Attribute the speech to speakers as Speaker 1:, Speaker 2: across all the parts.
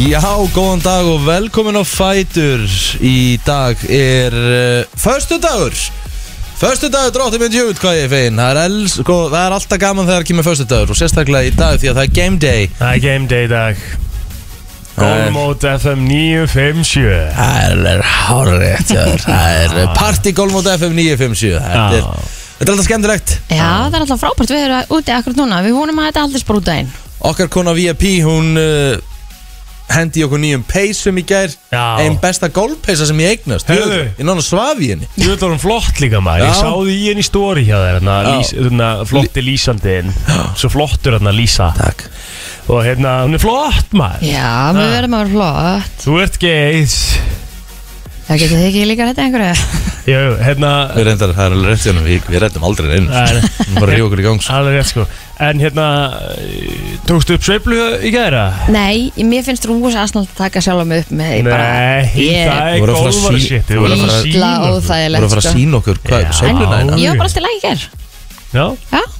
Speaker 1: Já, góðan dag og velkomin á Fætur Í dag er uh, Förstu dagur Förstu dagur, dróttir minn djúð, hvað ég er fein það er, els, sko, það er alltaf gaman þegar kemur förstu dagur Og sérstaklega í dag því að það er game day Eh,
Speaker 2: Það er game day í dag Gólmót FM 957
Speaker 1: Það er hárrétt hjá þér. Það
Speaker 2: Ah,
Speaker 1: er partygólmót FM 957 Þetta er,
Speaker 2: Já.
Speaker 1: þetta er alltaf skemmtilegt
Speaker 3: Já, það er alltaf frábært, við erum úti akkur núna Við vonum að þetta aldrei sprúta einn
Speaker 1: Okkar kona VIP, hún uh, hendi í okkur nýjum peysum í gær
Speaker 2: Já.
Speaker 1: Einn besta gólpeysa sem ég eignast
Speaker 2: Heyrðu.
Speaker 1: Ég náttúrulega svaf í henni
Speaker 2: Þú veit að hún flott líka maður ah, Ég
Speaker 1: Já.
Speaker 2: sá því í henni stóri hjá þér hérna,
Speaker 1: Já.
Speaker 2: lís, hérna, Flotti lýsandiðin Svo flottur hérna Lísa
Speaker 1: Takk
Speaker 2: Og hérna, hún er flott maður Ah,
Speaker 3: Já, við verðum að vera flott
Speaker 2: Þú ert geið
Speaker 3: Það getur þið ekki líka þetta einhverju
Speaker 2: Jú, hérna
Speaker 1: Við reyndar, það er alveg rétt hérna, við, við reyndum aldrei einn
Speaker 2: Það er-
Speaker 1: Við bara ríu okkur í gang sko.
Speaker 2: Alveg rétt sko En hérna, eh, tókstu upp sveiflu í gæra?
Speaker 3: Nei, mér finnst rús aðsnald að taka sjálf mig upp með því bara
Speaker 2: Nei, það
Speaker 1: Þú
Speaker 2: er
Speaker 1: voru að fara að
Speaker 2: gólvar
Speaker 1: sí-
Speaker 2: shit Þú
Speaker 1: þú voru að
Speaker 2: voru að
Speaker 1: fara
Speaker 2: fara
Speaker 1: að-
Speaker 3: Ítla óþægilegt
Speaker 1: Þú voru að
Speaker 2: að sína okkur.
Speaker 1: fara að
Speaker 3: sko.
Speaker 1: sína okkur hvað
Speaker 2: Já.
Speaker 1: er sveifluna hérna
Speaker 3: Ég var bara alltaf læg hér
Speaker 2: Já,
Speaker 3: Já, það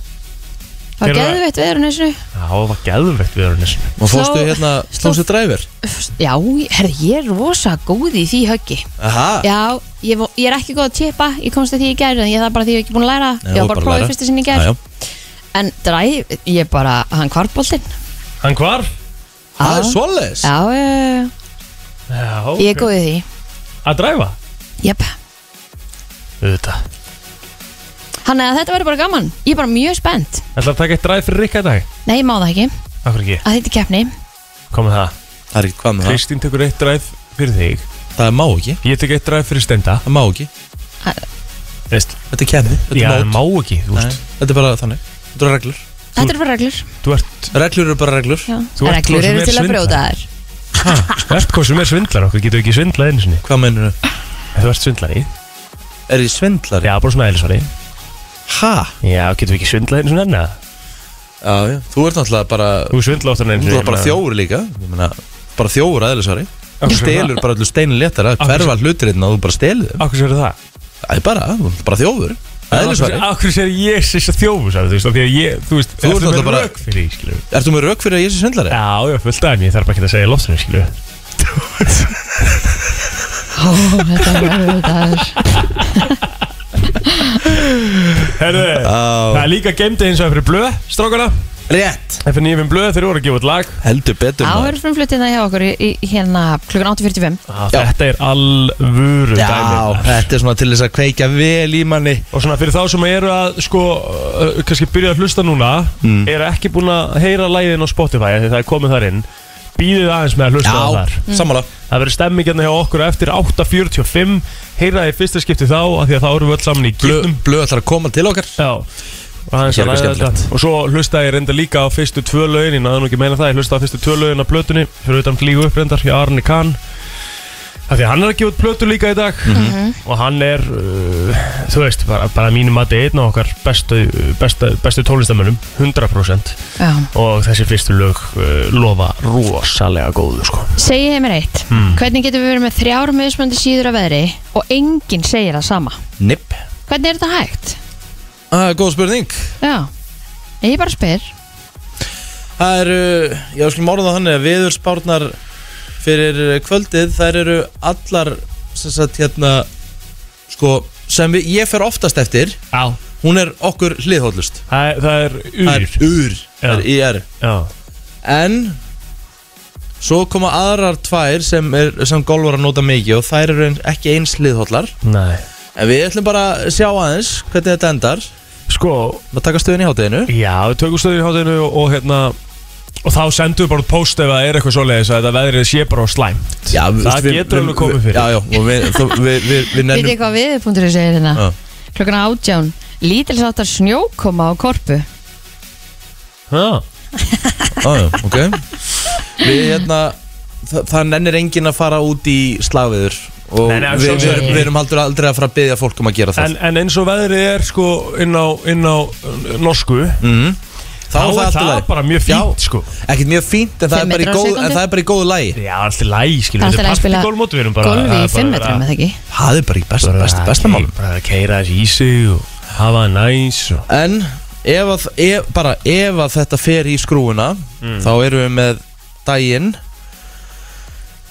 Speaker 2: Þeir
Speaker 3: var
Speaker 2: eru að-
Speaker 3: geðveitt veður eins og
Speaker 2: Já, það var geðvegt við erum nessun
Speaker 1: Og fórstu
Speaker 3: Sló-
Speaker 1: hérna,
Speaker 3: sló-
Speaker 1: slóstu dræfir
Speaker 3: Já, herðu, ég er rosa góð í því höggi
Speaker 1: Aha,
Speaker 3: Já, ég, vo- ég er ekki góð að tippa Ég komst að því í gæri en ég það er bara því ég er ekki búin að læra
Speaker 1: Já,
Speaker 3: Ég var
Speaker 1: bara
Speaker 3: bara að prófa
Speaker 1: læra.
Speaker 3: í fyrsta sinni í
Speaker 1: Já,
Speaker 3: gæri
Speaker 1: já.
Speaker 3: En dræf, ég er bara, hann kvartbóltinn
Speaker 2: Hann hvar?
Speaker 1: það er
Speaker 3: Já.
Speaker 1: svoleiðis
Speaker 3: Já, já, já, já.
Speaker 2: Já,
Speaker 3: ég er góð í því
Speaker 2: Að dræfa?
Speaker 3: Jep
Speaker 2: Þetta
Speaker 3: Þannig að eh, þetta verður bara gaman, ég er bara mjög spennt
Speaker 2: Ætlar að taka eitt dræf fyrir Rikka í dag?
Speaker 3: Nei, ég má það ekki,
Speaker 2: Akkur ekki,
Speaker 3: að þetta er keppni
Speaker 2: komið það
Speaker 1: Það er ekki hvað með það,
Speaker 2: Kristín tekur eitt dræf fyrir þig
Speaker 1: það er má ekki
Speaker 2: Ég tek eitt dræf fyrir Stenda
Speaker 1: Það má ekki,
Speaker 2: Veist,
Speaker 1: þetta er kemni Þetta
Speaker 2: já,
Speaker 1: er
Speaker 2: það
Speaker 1: mót
Speaker 2: má ekki, þú
Speaker 1: Nei,
Speaker 2: veist
Speaker 1: Þetta er bara þannig, þetta eru reglur
Speaker 3: Þetta eru bara reglur
Speaker 2: Þú ert,
Speaker 1: Reglur eru bara reglur
Speaker 3: Já.
Speaker 2: Þú ert
Speaker 3: Reglur
Speaker 2: þú sem
Speaker 3: eru
Speaker 2: er
Speaker 3: til að
Speaker 2: svindlar.
Speaker 3: brjóta þær
Speaker 2: ha, þú ert hvað sem er svindlar Okkur getur ekki svindlað einu sinni
Speaker 1: Hvað meinur þau?
Speaker 2: En Þú ert svindlari Já,
Speaker 1: Er ég svindlari?
Speaker 2: bara svona eðlisvari
Speaker 1: Ha?
Speaker 2: Já, getur ekki svindlað einu sinni enna
Speaker 1: Já, já, þú ert náttúrulega bara
Speaker 2: Þú svindla oftar en einu
Speaker 1: Þú
Speaker 2: sinni
Speaker 1: ert bara
Speaker 2: ég meina-
Speaker 1: þjófur líka Ég meina, bara þjófur aðeinsvari
Speaker 2: Akkur sem er
Speaker 1: Stelur bara allir steinin léttara
Speaker 2: Akkur-
Speaker 1: Hverfa hlutirinn að þú bara stelur
Speaker 2: það- Akkur sem er það
Speaker 1: Það er bara, þú ert bara þjófur
Speaker 2: Akkur-
Speaker 1: Eðlisværi
Speaker 2: Akkur sem er ég sérst þjófu sagði, Þú veist, af því að ég, þú veist
Speaker 1: Þú ert
Speaker 2: ertu með
Speaker 1: náttúrulega bara-
Speaker 2: rök fyrir því, skilur við.
Speaker 1: Ertu með rauk fyrir að ég sé svindlari?
Speaker 2: Já, já, fullt af henni, ég þarf bara ekki að segja lofsinu, skilju
Speaker 3: Ó, þetta eru erfiður dagur.
Speaker 2: Herðu, það
Speaker 1: Já,
Speaker 2: er líka gemdi eins og fyrir blöð, strákana
Speaker 1: rétt
Speaker 2: Fyrir nýjum blöð, þeir eru að gefa út lag
Speaker 1: Heldur betur
Speaker 3: Já,
Speaker 1: maður.
Speaker 3: verður frumflutin það hjá okkur í, í hérna klukkan 8.45
Speaker 2: ah,
Speaker 1: Já.
Speaker 2: Þetta er alvöru
Speaker 1: Já,
Speaker 2: dæmi
Speaker 1: þetta er svona til þess að kveikja vel í manni
Speaker 2: Og svona fyrir þá sem eru að, sko, uh, kannski byrja að hlusta núna
Speaker 1: Mm.
Speaker 2: Eru ekki búin að heyra lægin á Spotify af Því það er komið þar inn Býðið aðeins með að hlusta á þar
Speaker 1: Mm. sammála
Speaker 2: Það verður stemmingjarni hjá okkur eftir 8.45 Heyraði fyrsta skipti þá, af því að þá eru við öll saman í
Speaker 1: Blöð
Speaker 2: gýrnum
Speaker 1: blö ætlar að koma til okkar
Speaker 2: Já Og, aðeins
Speaker 1: Hér er
Speaker 2: að ræða
Speaker 1: eitthvað skemmtilegt.
Speaker 2: þetta. og svo hlustaði ég reynda líka á fyrstu tvö lögin Ég náði nú ekki að meina það, ég hlustaði á fyrstu tvö lögin á plötunni Fyrir utan flýgu upp reyndar hjá Arni Kahn Það því að hann er að gefa út plötu líka í dag
Speaker 1: Mhm.
Speaker 2: Og hann er, uh, þú veist, bara, bara mínum að einn á okkar bestu, bestu, bestu tónlistamönnum 100%
Speaker 3: Já,
Speaker 2: Og þessi fyrstu lög uh, lofa rosalega góðu sko
Speaker 3: segi heim er eitt
Speaker 1: Hmm.
Speaker 2: Mm.
Speaker 3: Hvernig getum við verið með þrjár mismöndi síður af veðri og enginn segir það sama
Speaker 1: Nipp
Speaker 3: Hvernig er þetta hægt?
Speaker 1: ah, Góð spurning
Speaker 3: Já, ég bara spyr
Speaker 1: Það eru, já, skulum orða það þannig að viðurspárnar fyrir kvöldið Þær eru allar, sem sagt, hérna Sko, sem við, ég fer oftast eftir
Speaker 2: Já
Speaker 1: Hún er okkur hliðhóllust
Speaker 2: Það er, það er
Speaker 1: Það
Speaker 2: úr
Speaker 1: er Úr, það er IR
Speaker 2: Já
Speaker 1: En Svo koma aðrar tvær sem, er, sem golfar að nota mikið og þær eru ein- ekki eins liðhóllar
Speaker 2: Nei
Speaker 1: En við ætlum bara að sjá aðeins hvernig þetta endar
Speaker 2: Sko,
Speaker 1: Það taka stöðin í hátæðinu
Speaker 2: Já, við tökum stöður í hátinu og, og hérna Og þá sendum við bara út post ef það er eitthvað svoleiðis að þetta veðrið sé bara á slæm
Speaker 1: já,
Speaker 2: Það getur alveg komið fyrir.
Speaker 1: Já, já, og við, þó, við, við, við
Speaker 3: Vitið
Speaker 1: nennum
Speaker 3: hvað viðurpunkturinn segir hérna?
Speaker 1: Já.
Speaker 3: Klukkan átján Lítilsáttar snjókoma á korpu
Speaker 2: Já,
Speaker 1: ah, já, okay. Við hérna Það, það nennir enginn að fara út í slagviður Og
Speaker 2: Nei, nei,
Speaker 1: við,
Speaker 2: sjálfsögðu
Speaker 1: við, erum,
Speaker 2: ekki.
Speaker 1: við erum aldrei, aldrei að fara að byggja fólk um að gera það
Speaker 2: en, en eins og veðrið er sko inn á, inn á uh, norsku
Speaker 1: mm. Þá,
Speaker 2: Þá
Speaker 1: er það,
Speaker 2: það
Speaker 1: alltaf
Speaker 2: bara mjög
Speaker 1: Já.
Speaker 2: fínt sko
Speaker 1: Ekkert mjög fínt en það,
Speaker 3: Fimm
Speaker 1: er bara í
Speaker 3: metrar á
Speaker 1: góð, en
Speaker 3: sekúndu.
Speaker 1: það er bara í góðu lægi
Speaker 2: Já, allt í læg, skiljum
Speaker 3: Það er alltaf að spila
Speaker 2: partygólmót, við erum bara
Speaker 3: golfi í
Speaker 2: það er
Speaker 3: 5
Speaker 2: bara
Speaker 3: metrum,
Speaker 2: að-
Speaker 3: eða ekki?
Speaker 1: Það er bara í best,
Speaker 2: bara
Speaker 1: best,
Speaker 2: að
Speaker 1: besta
Speaker 2: key-
Speaker 1: málum
Speaker 2: Bara að keira þessi í sig og hafa það næs og
Speaker 1: En ef að, ef,
Speaker 2: Mm.
Speaker 1: bara ef að þetta fer í skrúuna Þá erum við með daginn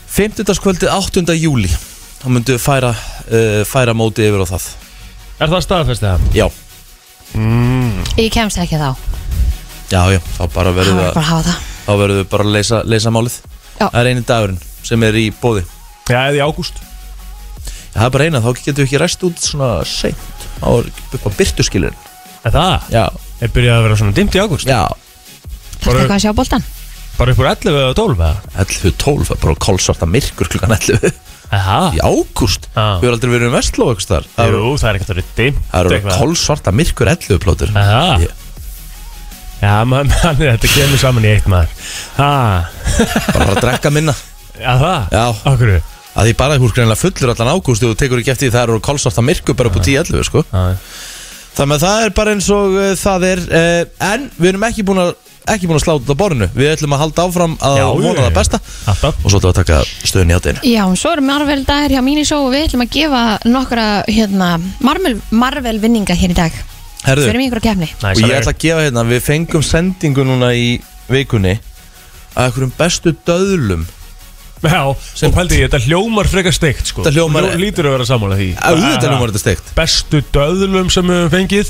Speaker 1: Fymtudagskvöldið 8. júli þá myndu við færa, uh, færa móti yfir á það
Speaker 2: Er það staðfestið það?
Speaker 1: Já,
Speaker 2: Mm.
Speaker 3: Ég kemst ekki þá
Speaker 1: já, já, þá bara
Speaker 3: Það
Speaker 1: verðum
Speaker 3: var bara
Speaker 1: við, að,
Speaker 3: að hafa það
Speaker 1: þá verðum við bara að leysa, leysa málið
Speaker 3: Já.
Speaker 1: Það er eini dagurinn sem er í bóði
Speaker 2: Já, eða í ágúst
Speaker 1: Það er bara eina, þá getum við ekki ræst út svona seint á, upp á byrtuskilurinn
Speaker 2: Er það?
Speaker 1: Já,
Speaker 2: Er byrjað að vera svona dimmt í ágúst?
Speaker 1: já,
Speaker 3: Það er
Speaker 2: Bara-
Speaker 3: eitthvað að sjá boltan
Speaker 2: Bara upp úr 11 eða 12 eða?
Speaker 1: 11.12, bara kólsvarta myrkur klukkan 11
Speaker 2: Aha.
Speaker 1: Í ágúst,
Speaker 2: Já.
Speaker 1: við erum aldrei verið um vestló Það eru-
Speaker 2: Jú, það er ekkert að vera dimmt
Speaker 1: það eru
Speaker 2: eitthvað.
Speaker 1: kólsvarta myrkur 11 plótur
Speaker 2: Aha.
Speaker 1: Ég-
Speaker 2: Já, mann, man, þetta kemur saman í eitt maður Ha,
Speaker 1: Bara að drekka minna
Speaker 2: já það?
Speaker 1: Já.
Speaker 2: Okkur
Speaker 1: að því bara þú er greinlega fullur allan ágúst og þú tekur ekki eftir því það eru kolsvarta myrku bara upp á 10-11 sko. þannig að það er bara eins og uh, það er uh, en við erum ekki búin að ekki búin að sláta út á borðinu við ætlum að halda áfram að
Speaker 2: Já,
Speaker 1: vona
Speaker 2: já,
Speaker 1: það
Speaker 2: já.
Speaker 1: besta
Speaker 2: Alltaf
Speaker 1: og svo ætlum við að taka stöðun í átinu
Speaker 3: Já, en svo eru Marvel dagir hjá Mínisó og við ætlum að gefa nokkra hérna, Marvel, Marvel vinninga hér í dag
Speaker 1: Herðu,
Speaker 3: Fyrir mig einhverja kefni
Speaker 1: og ég ætla að gefa hérna við fengum sendingu núna í vikunni að einhverjum bestu döðlum
Speaker 2: Sko, Já, og pældi ég, þetta hljómar frekar steikt sko
Speaker 1: Þetta hljómar-
Speaker 2: Ljó- Lítur að vera samanlega því
Speaker 1: að auðvitað nú var þetta steikt
Speaker 2: Bestu döðlum sem við höfum fengið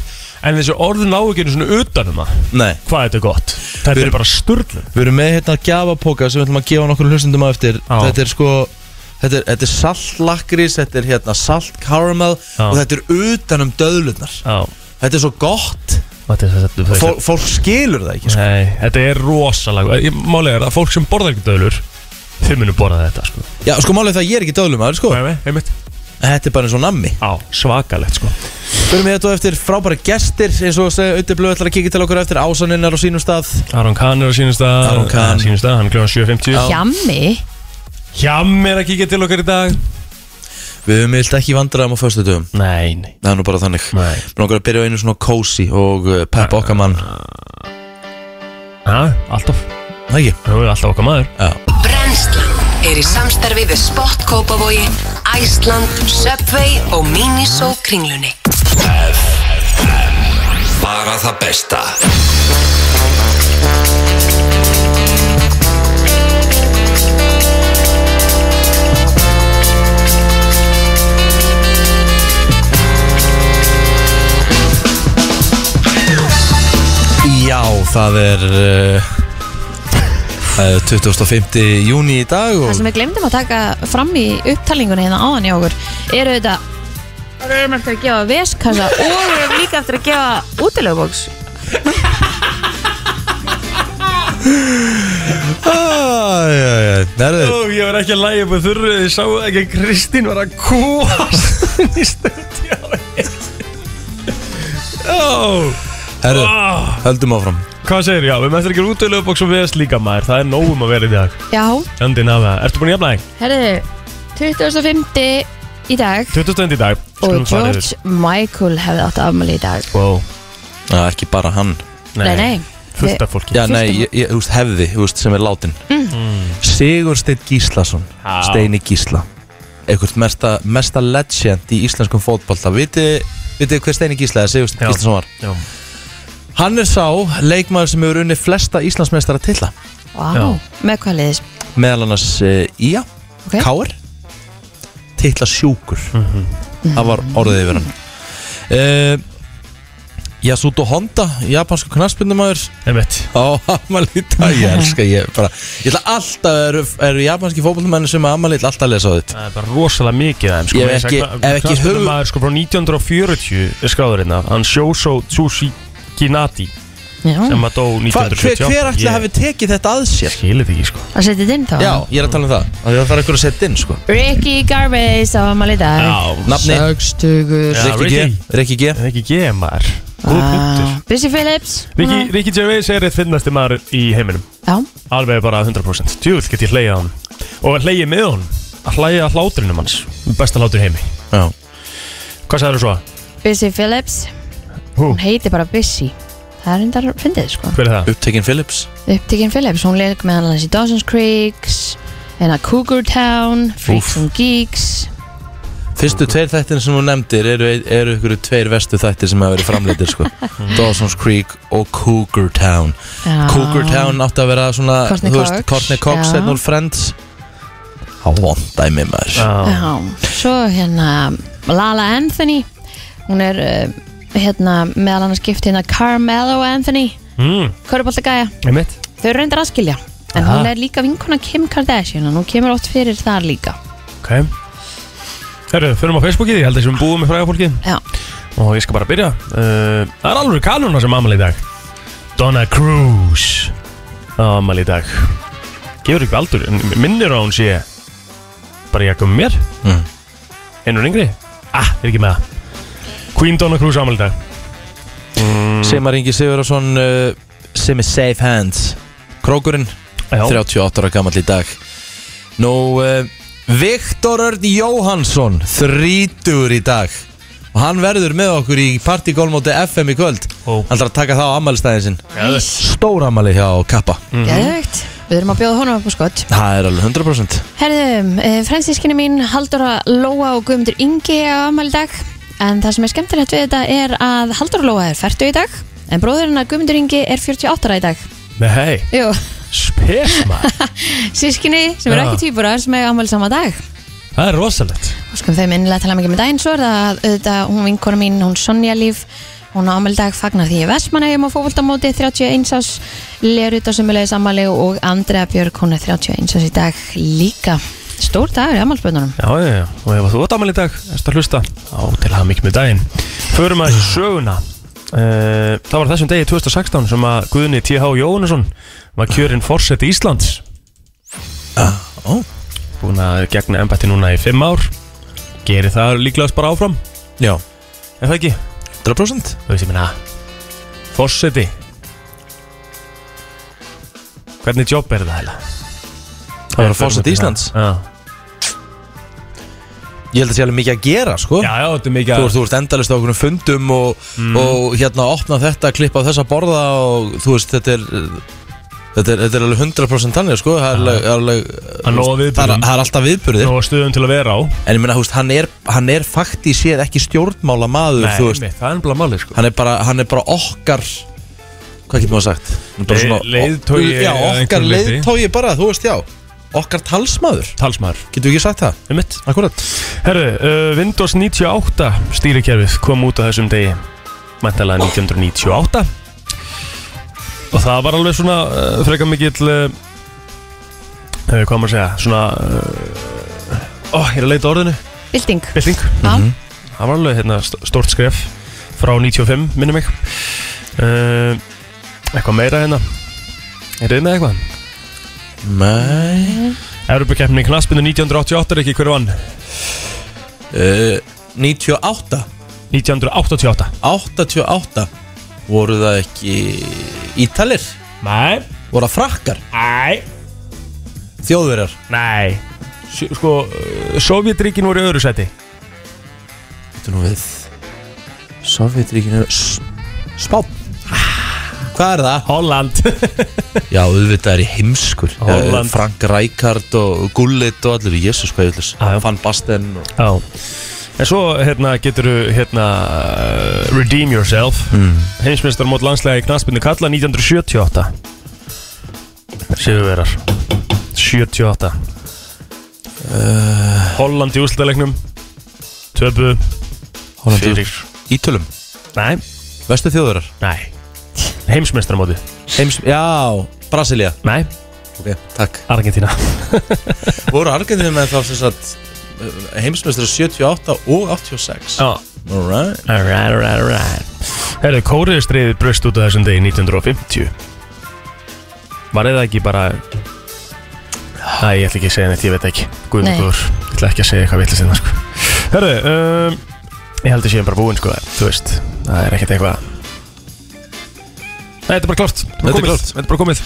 Speaker 2: En þessi orð ná ekki einu um svona utanum að
Speaker 1: Nei,
Speaker 2: Hvað þetta er gott Þetta
Speaker 1: Við-
Speaker 2: er bara sturlun
Speaker 1: við erum með hérna gjafapoka sem við ætlum að gefa nokkur hlustundum á eftir
Speaker 2: Já.
Speaker 1: þetta er sko þetta er, þetta er saltlakrís, þetta er hérna salt caramel
Speaker 2: Já.
Speaker 1: og þetta er utanum döðlunar
Speaker 2: Já
Speaker 1: þetta er svo gott,
Speaker 2: Þetta er þetta
Speaker 1: Fól, fólk skilur það ekki sko.
Speaker 2: Nei, þetta er rosalega Ég- Málega er að fólk sem borðar ekki döðlur Þau munum borða þetta sko
Speaker 1: já sko málið er það að ég er ekki döðlum aður sko,
Speaker 2: Nei, nei, einmitt
Speaker 1: þetta er bara eins og nammi
Speaker 2: Á, svakalegt sko
Speaker 1: fyrir mig þetta á eftir frábæri gestir eins og segja auðvitað blöð ætlar að kíkja til okkur á eftir ásaninnar á sínum stað
Speaker 2: Aron Kahn er á sínum stað
Speaker 1: Aron Kahn.
Speaker 2: Á sínum stað, hann er kljóðan 7.50
Speaker 3: Hjammi
Speaker 2: Hjam er að kíkja til okkar í dag
Speaker 1: við höfum vilt ekki vandræðum á föstu dögum
Speaker 2: Nei, nei
Speaker 1: það er nú bara þannig
Speaker 2: Nei
Speaker 1: Mér langar að byrja á einu svona cozy og uh, peppa okkar mann
Speaker 2: Ah. Ha, alltaf
Speaker 1: Það ekki?
Speaker 2: Nú er alltaf okkar maður
Speaker 1: Já
Speaker 4: Brennslan er í samstarfi við Spott Kópavogi, Æsland, Subway og Miniso kringlunni.
Speaker 5: Bara það besta
Speaker 1: Já, það er uh, það er 25. júni í dag og
Speaker 3: Það sem við glemdum að taka fram í upptalningunni hérna áðan hjá okkur eru þetta við erum eftir að gefa veskassa og við erum líka eftir að gefa útilegubóks
Speaker 1: Það er
Speaker 2: Ó, ég var ekki að lægja upp að þurru Ég sá ekki að Kristín var að kúast Í stöndi á mér Ó
Speaker 1: Herru,
Speaker 2: Ó,
Speaker 1: höldum áfram
Speaker 2: Hvað segir já, við mestur ekki útölu upp og svo viðast líka maður Það er nógum að vera í dag
Speaker 3: Já,
Speaker 2: Andin af það, ertu búin að jafna þig?
Speaker 3: herðu 25. í dag
Speaker 2: 20. í dag
Speaker 3: og
Speaker 2: Skulum fara yfir.
Speaker 3: George Michael hefði átt afmæli í dag
Speaker 2: Wow,
Speaker 1: Að ekki bara hann
Speaker 3: Nei, nei
Speaker 2: fullt af fólki
Speaker 1: Já, nei, ég, ég, þú veist, hefði, þú veist, sem er látin mm. Sigursteinn Gíslason
Speaker 2: Já.
Speaker 1: Steini Gísla Eitthvað mesta, mesta legend í íslenskum fótbolta Vitið viti hver Steini Gísla eða Sigursteinn
Speaker 2: Já.
Speaker 1: Gíslason var?
Speaker 2: Já.
Speaker 1: Hann er sá leikmaður sem hefur unni flesta Íslandsmeistara tilla
Speaker 3: Vá, með hvað liðis
Speaker 1: meðal annars uh, Ía,
Speaker 3: Ok. Mhm.
Speaker 1: okay. Káar titla sjúkur það var orðið yfir hann uh, Yasuto Honda japansku knarsbyndumæður
Speaker 2: Einmitt.
Speaker 1: á Amalí dag ég elska ég bara ég ætla alltaf eru, eru japanski fótbollmenni sem að Amalí ætla alltaf að lesa á þetta
Speaker 2: Það er bara rosalega mikið af þeim sko,
Speaker 1: Ég hef ekki- hef ekki hug-
Speaker 2: Það er sko frá 1940 er skráður hérna Hann Sjósó Tsushi Kinati
Speaker 3: Já,
Speaker 2: sem að dó
Speaker 1: Hm? Hva, hver,
Speaker 2: 1948
Speaker 1: hver ætla að hafi tekið þetta að sér?
Speaker 2: Skilir því sko
Speaker 3: það setið þið inn þá
Speaker 1: Já, ég er að tala um það Það þarf eitthvað að setja inn sko
Speaker 3: Ricky Gervais á afmæli í dag
Speaker 1: Nafni
Speaker 3: Sextugur
Speaker 2: Já,
Speaker 1: Rikki G
Speaker 2: Ricky.
Speaker 1: Rikki G
Speaker 2: Það er ekki ég maður Góð punktur
Speaker 3: Busy Phillips
Speaker 2: Riki,
Speaker 1: Hm.
Speaker 2: Riki Gervais er eitt finnasti maður í heiminum
Speaker 3: Já,
Speaker 2: Alveg bara 100% Tjúvill get ég hleyja hann Og að hleyja með hann Að hlæja að hlátrinum hans Besta hlátur í heimi
Speaker 1: Já
Speaker 2: Hvað sagður svo?
Speaker 3: Busy Phillips
Speaker 2: Hú?
Speaker 3: hún heiti bara Busy það er hendar fyndið sko
Speaker 2: Hver er það?
Speaker 1: Upptekinn Phillips
Speaker 3: upptekinn Phillips, hún leik með hann í Dawson's Creeks en að Cougar Town, Freaks and Geeks
Speaker 1: Fyrstu tveir þættir sem þú nefndir eru, eru ykkur tveir vestu þættir sem hafa verið framleitir sko.
Speaker 2: Mhm.
Speaker 1: Dawson's Creek og Cougar Town
Speaker 3: Já.
Speaker 1: Cougar Town átti að vera svona
Speaker 3: Courtney
Speaker 1: þú veist,
Speaker 3: Cox,
Speaker 1: Courtney Cox
Speaker 3: já.
Speaker 1: hérna úr Friends Há Það vondaði mig maður
Speaker 2: Já,
Speaker 3: Já, svo hérna Lala Anthony hún er uh, hérna meðal annars gift hérna Carmelo Anthony
Speaker 2: mm,
Speaker 3: Köruboltagæja,
Speaker 2: einmitt
Speaker 3: þau eru reyndar að skilja en
Speaker 2: Aha.
Speaker 3: hún er líka vinkona Kim Kardashian og hún kemur oft fyrir þar líka
Speaker 2: Ok Herru, förum á Facebookið, ég held að sem búum með fræga fólki
Speaker 3: Já,
Speaker 2: Og ég skal bara byrja uh, Það er alveg kanuna sem amal í dag Donna Cruz Amal í dag Gefur ekki aldur, en minnir á hún sé Bara ég að koma mér
Speaker 1: Mm.
Speaker 2: Einur yngri Ah, er ekki með það Queen Donna Cruz amal í dag Mm.
Speaker 1: Semar Ingi Sigurðarsson uh, sem er Safe Hands Krókurinn,
Speaker 2: Já,
Speaker 1: 38 ára gammal í dag Nú, uh, Viktor Örd Jóhansson 30 í dag og hann verður með okkur í partygólmóti FM í kvöld
Speaker 2: Ó.
Speaker 1: hann þarf að taka það á ammælstæðin sinn
Speaker 2: Geðveikt.
Speaker 1: stór ammæli hjá Kappa
Speaker 2: Mhm.
Speaker 3: geðvögt Við erum að bjóða honum upp á skott
Speaker 1: það er alveg 100%
Speaker 3: Herðum, eh, fransískinni mín Halldóra Lóa og Guðmundur Ingi á afmæli í dag en það sem er skemmtilegt við þetta er að Halldóra Lóa er færtu í dag en bróðurinn að Guðmundur Ingi er 48 ára í dag
Speaker 2: með hei
Speaker 3: Jú,
Speaker 2: Spesma
Speaker 3: sískinni sem eru
Speaker 2: Já.
Speaker 3: ekki týpurar sem eiga afmæli sama dag
Speaker 2: Það er rosalegt
Speaker 3: Óskum þeim innilega að tala mikið með daginn svo er það að auðvitað hún vinkona mín, hún Sonja Líf hún á afmæli í dag fagnar því í Vestmannaheim á fókvöldamóti 31 ás Lerut á sumulegis afmæli og Andrea Björk hún er 31 ás í dag líka Stór dagur í afmælspöndunum
Speaker 2: Já, já, já, og ef þú átt amal í dag, erst að hlusta á til hafa mikið með daginn Förum að þessu söguna uh, Það var á þessum degi 2016 sem að Guðni T.H. Jóhannesson var kjörinn forseti Íslands
Speaker 1: Ah, ó.
Speaker 2: Búin að gegna embætti núna í fimm ár Gerir það líklegast bara áfram,
Speaker 1: já,
Speaker 2: er það ekki?
Speaker 1: 100%
Speaker 2: Þú veist, ég minna Forseti Hvernig jobb er það heila?
Speaker 1: að vera forseti Íslands.
Speaker 2: Já,
Speaker 1: ég held að sé alveg mikið að gera sko
Speaker 2: já, já þetta er mikið
Speaker 1: Þú
Speaker 2: að- Mm.
Speaker 1: ert, þú ert endalist á okkur fundum og, og hérna opna þetta, klippa á þessa borða og þú veist, þetta er þetta er, þetta er alveg 100% þannig sko, það er alveg, alveg
Speaker 2: Að nóg af viðburðum.
Speaker 1: það, er, það er alltaf viðburðir
Speaker 2: Nú á stöðum til að vera á
Speaker 1: en ég meina, þú veist, hann er, hann er fakti séð ekki stjórnmála maður,
Speaker 2: Nei,
Speaker 1: þú veist
Speaker 2: einmitt, það er ennbla máli sko.
Speaker 1: hann er, bara, hann er bara okkar hvað getur maður sagt? Hann er bara
Speaker 2: Leið- leiðtogi
Speaker 1: já, okkar
Speaker 2: að einhverju leyti.
Speaker 1: leiðtói bara, þú veist, já okkar talsmaður,
Speaker 2: Talsmaður
Speaker 1: getur við ekki sagt það?
Speaker 2: um mitt
Speaker 1: Akkurat
Speaker 2: Herru, uh, Windows 98 stýrikerfið kom út á þessum degi Mæntalega 1998 Og það var alveg svona uh, frekar mikill uh, uh, Hvað á maður að segja Svona uh, Ó, ég er að leita að orðinu
Speaker 3: Bilding
Speaker 2: Bylting
Speaker 3: Já.
Speaker 2: Það var alveg hérna, st- stórt skref Frá 95, minnum mig uh, Eitthvað meira hérna Er þið með eitthvað? Mm-hmm.
Speaker 1: Nei
Speaker 2: Evropakeppni knaspinu 1988 er ekki hver vann
Speaker 1: uh, 98
Speaker 2: 1988
Speaker 1: 88 voru það ekki ítalir,
Speaker 2: Nei
Speaker 1: voru það frakkar
Speaker 2: Nei
Speaker 1: þjóðverjar
Speaker 2: Nei S- Sko, Sovjetríkin voru í öðru seti
Speaker 1: Þetta nú við Sovjetríkinu Spán Hvað er það?
Speaker 2: Holland
Speaker 1: Já, auðvitað er í heimskur Eh,
Speaker 2: Holland.
Speaker 1: Frank Rijkaard og Gullit og allir Jésus, hvað ég ætlis
Speaker 2: Já, já.
Speaker 1: Van Basten og...
Speaker 2: Já En svo hérna getur hérna uh, Redeem yourself mm. Heimsmeistar mót landslega í knaspinu kalla 1978 Sigurverar 78
Speaker 1: Eh.
Speaker 2: Holland í úrslutalegnum Töpu
Speaker 1: Hollandi-
Speaker 2: Fyrir
Speaker 1: Ítölum,
Speaker 2: Nei,
Speaker 1: vestu þjóðverjar
Speaker 2: nei Heimsmeistar móti
Speaker 1: Heims... Já, Brasilia
Speaker 2: Nei,
Speaker 1: Ok, takk
Speaker 2: Argentina
Speaker 1: Voru Argentínu með þá sem sagt heimsmeistra 78 og 86
Speaker 2: Já
Speaker 1: Alright
Speaker 2: Alright, alright, alright Herðu, kóriðustriðið bröst út á þessum degi 1950 Var eða ekki bara Æ, ég ætla ekki að segja neitt, ég veit ekki Guð
Speaker 3: Nei.
Speaker 2: mig góður, ég ætla ekki að segja eitthvað vitlega sinna sko. Herðu, um, ég held að séum bara búinn sko Þú veist, það er ekkert eitthvað Nei, þetta er bara klárt
Speaker 1: Þetta er
Speaker 2: komið.
Speaker 1: klárt.
Speaker 2: Þetta er bara komið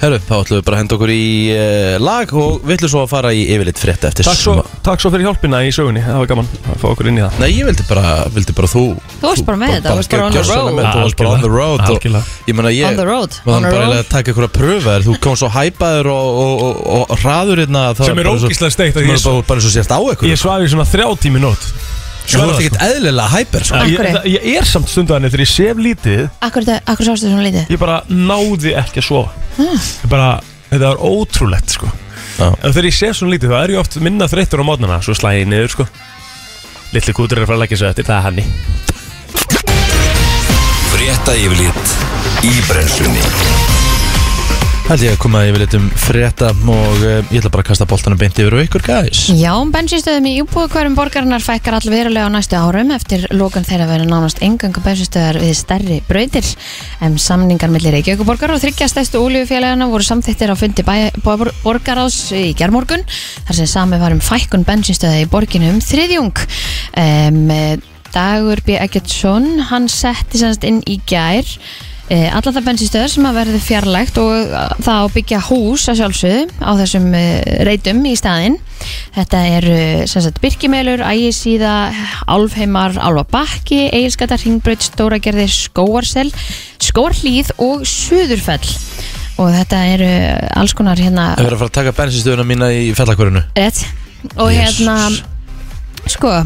Speaker 1: Herru, þá ætlum við bara að henda okkur í uh, lag og við ætlum svo að fara í yfirleitt frétt eftir
Speaker 2: takk svo,
Speaker 1: smá-
Speaker 2: takk svo fyrir hjálpina í sögunni Það var gaman að fá okkur inn í það
Speaker 1: Nei, ég vildi bara, vildi bara þú
Speaker 3: Þú varst bara með þetta, þú varst bara on the
Speaker 1: gjörsamlega
Speaker 3: road.
Speaker 1: með þetta, Þú varst bara on the road og,
Speaker 2: Algjörlega.
Speaker 1: Ég meina ég
Speaker 3: On the road,
Speaker 1: maður
Speaker 3: on the
Speaker 1: þarf bara
Speaker 3: road.
Speaker 1: eiginlega að taka ykkur að pröfa þér Þú kom svo hæpaður og, og, og, og hraður hérna það
Speaker 2: Sem er
Speaker 1: bara svo-
Speaker 2: ógeðslega steikt að
Speaker 1: Sem
Speaker 2: ég-
Speaker 1: er bara, bara svo sért á ykkur
Speaker 2: Ég svaði svona þrjá tími nót
Speaker 1: Svo er þetta ekkert eðlilega hæper sko.
Speaker 2: Já, ég,
Speaker 3: Af hverju?
Speaker 2: það- ég er samt stundan þegar ég sef lítið
Speaker 3: Akkur, þetta- akkur sástu svona lítið
Speaker 2: ég bara náði ekki að sofa ég bara, þetta var ótrúlegt sko
Speaker 1: Já.
Speaker 2: En þegar ég sef svona lítið þá er ég oft minna þreyttur á mótnana Svo slæði ég niður sko Lilli kútur er að fara að leggja svo eftir, það er hanni
Speaker 5: Frétta yfirlit í brennslunni
Speaker 1: Held ég að koma að ég vil eitthvað um frétta og eh, ég ætla bara að kasta boltanum beint yfir á ykkur, guys
Speaker 3: Já, bensinstöðum í íbúðkværum borgarinnar fækkar allverulega á næstu árum eftir lókun þeirra verið nánast engangu bensinstöðar við stærri brautir en samningar millir Reykjavíkuborgar og þryggja stæstu úlífufélagana voru samþittir á fundi bæ, bor, borgaráðs í gerðmorgun þar sem sami var um fækkun bensinstöða í borginu um þriðjung um, Dagur B. Eggertsson hann setti sannst inn í gær Eh, Allar það bensinstöður sem að verði fjarlægt og eh, það á að byggja hús að sjálfsögðu á þessum eh, reytum í staðinn. Þetta eru eh, sem sagt Birkimelur, Ægisíða, Álfheimar, Álfabakki, Egilskata, Ringbraut, Stóragerði, Skóarsel, Skóarhlíð og Suðurfell. Og þetta eru alls konar hérna...
Speaker 1: Það verður að fara að taka bensinstöðuna mína í fellakvarinu
Speaker 3: Rétt Og
Speaker 1: Jesus.
Speaker 3: hérna Sko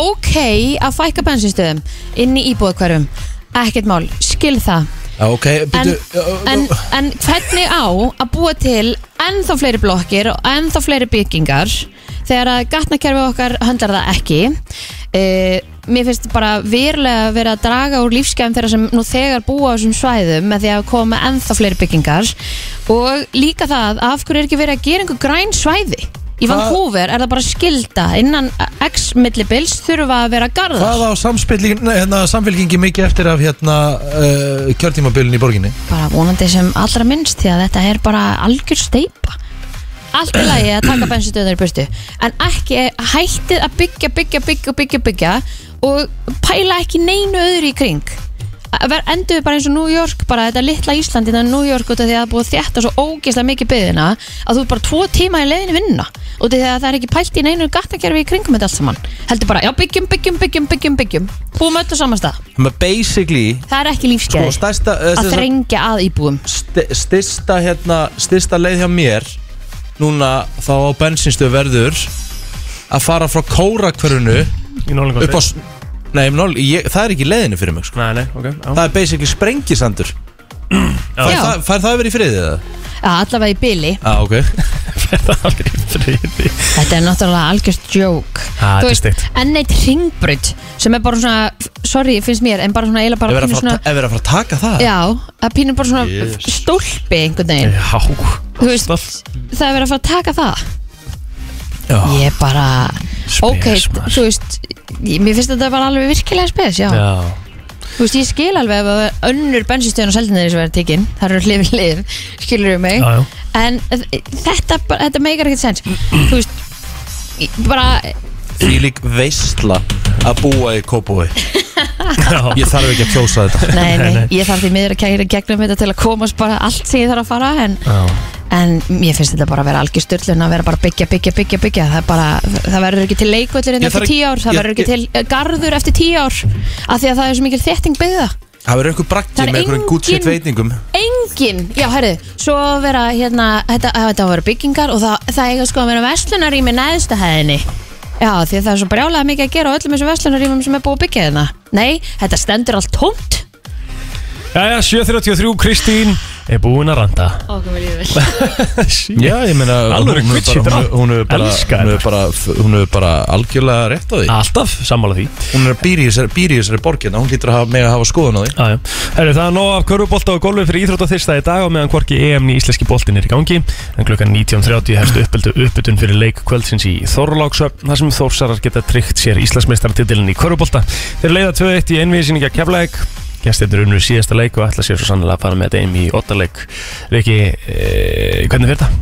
Speaker 3: Ok að fækka bensinstöðum Inni íbúðkverfum Ekkert mál Skil það
Speaker 1: Já, ok,
Speaker 3: en,
Speaker 1: byrju
Speaker 3: en, en hvernig á að búa til Ennþá fleiri blokkir Og ennþá fleiri byggingar Þegar að gatnakerfi okkar höndlar það ekki e, Mér finnst bara verulega verið að draga úr lífsgæðum þeirra sem nú þegar búa á þessum svæðum með því að koma með ennþá fleiri byggingar og líka það af hverju er ekki verið að gera einhver græn svæði í Vancouver er það bara skilda innan x millibils þurfa að vera garðar
Speaker 1: Hvað á samspillingin, nei, hérna, samfélkingi mikið eftir af hérna uh, kjörtímabilin í borginni?
Speaker 3: bara vonandi sem allra minnst því að þetta er bara algjör steipa allt í lagi að taka bensinstöðunar í burtu en ekki hættið að byggja, byggja, byggja, byggja, byggja og pæla ekki neinu öðru í kring verð endur við bara eins og New York bara þetta litla Ísland innan New York út af því að það er búið þetta svo ógeðslega mikið byggðina að þú er bara tvo tíma í leiðinni vinna út af því að það er ekki pælt í neinu gattakerfi í kringum þetta allt saman heldur bara, já byggjum, byggjum, byggjum, byggjum, byggjum búum öll á saman stað,
Speaker 1: Þannig að basically
Speaker 3: það er ekki
Speaker 1: sko,
Speaker 3: lífskeið
Speaker 1: stærsta, eh,
Speaker 3: að
Speaker 1: sem sagt,
Speaker 3: þrengja að íbúum
Speaker 1: sti- stysta hérna, stysta leið hjá mér núna þá á bensinstöð verður að fara frá kórakverfinu
Speaker 2: Í nálingu
Speaker 1: upp á s- Nei, nól, ég, það er ekki í leiðinni fyrir mig sko.
Speaker 2: Nei, nei, ok já.
Speaker 1: Það er basically sprengisandur Fær
Speaker 3: Já.
Speaker 1: það, fær það verið í friðið það?
Speaker 3: Já, allavega í byli
Speaker 1: Já, ah, ok
Speaker 2: Það er alveg í friði
Speaker 3: Þetta er náttúrulega algjörst joke
Speaker 2: Ah, þetta
Speaker 3: Þú
Speaker 2: er
Speaker 3: veist,
Speaker 2: steikt.
Speaker 3: Enn eitt ringbraut sem er bara svona, sorry, finnst mér en bara svona, eiginlega
Speaker 1: Ef
Speaker 3: bara
Speaker 1: við erum
Speaker 3: pínu
Speaker 1: að fara
Speaker 3: svona
Speaker 1: að ta- ef við erum að fara að taka það
Speaker 3: Já, að pínu bara svona
Speaker 1: Jesus.
Speaker 3: stólpi einhvern veginn
Speaker 2: Já
Speaker 3: Þú veist, það er verið að fara að taka það
Speaker 1: Já.
Speaker 3: Ég bara,
Speaker 2: Spes,
Speaker 3: ok,
Speaker 2: maður.
Speaker 3: þú veist ég- Mér finnst þetta bara alveg virkilega spes, já.
Speaker 2: Já
Speaker 3: Þú veist, ég skil alveg ef að önnur bensinstöðun og seldinari sem verður tekin, það eru hlið við hlið, skilur við mig
Speaker 2: Já, já.
Speaker 3: En þ- þetta, bara- þetta meikar ekkert sens Þú veist, ég- bara
Speaker 1: Því lík veistla að búa í kópúi
Speaker 2: Já.
Speaker 1: Ég þarf ekki að kjósa þetta
Speaker 3: Nei, nei, ég þarf því miður að kæra gegnum þetta til að komast bara allt sem ég þarf að fara en, en mér finnst þetta bara að vera algjör styrlun að vera bara að byggja, byggja, byggja, byggja það, er bara, það verður ekki til leikvöldur
Speaker 1: Ég
Speaker 3: eftir
Speaker 1: þarf ekki-
Speaker 3: tíu ár, það
Speaker 1: ég-
Speaker 3: verður ekki
Speaker 1: ég-
Speaker 3: til eh, garður eftir tíu ár af því að það er svo mikil þétting byggða
Speaker 1: Það verður einhver
Speaker 3: Það
Speaker 1: brakki
Speaker 3: er
Speaker 1: með einhverjum
Speaker 3: engin-
Speaker 1: gútsett veitingum
Speaker 3: Engin, já, herðu, svo á að vera hérna, þetta, að þetta á að vera byggingar og það, það eiga sko að vera veslunarými neðstu hæðinni Já, því að það er svo brjálega mikið að gera á öllum þessum veslunarýmum sem er búið að byggja hérna Nei, þetta stendur allt tómt
Speaker 2: Jæja, 7.33, Kristín er búin að randa
Speaker 3: Okkur vil ég vel
Speaker 1: Já, ég meina
Speaker 2: Alvöru
Speaker 1: hún hefur
Speaker 2: quitshit,
Speaker 1: bara,
Speaker 2: já.
Speaker 1: hún hefur bara,
Speaker 2: Elska
Speaker 1: hún hefur bara, hún hefur bara algjörlega rétt á því
Speaker 2: Alltaf, sammála því
Speaker 1: Hún er að býri í þessari, býr í þessari borgina Hún lítur að hafa, mega að hafa skoðun á því
Speaker 2: Aðja. Herru, það er nóg af körfubólta og golfi fyrir íþróttathyrsta í dag og meðan hvorki EM í íslenski bóltin er í gangi en klukkan 19.30 hefst uppbyldu uppbytun fyrir leik kvöldsins í Þorláksöfn þar sem Þórsarar geta tryggt sér Íslandsmeistaratitilin í körfubólta. Þeir leiða 2-1 í einviðsýninga keflaðeg Gestirnir unnur síðasta leik og ætla sér svo sannlega að fara með þetta einn í ottaleik Riki, e, hvernig fyrir það?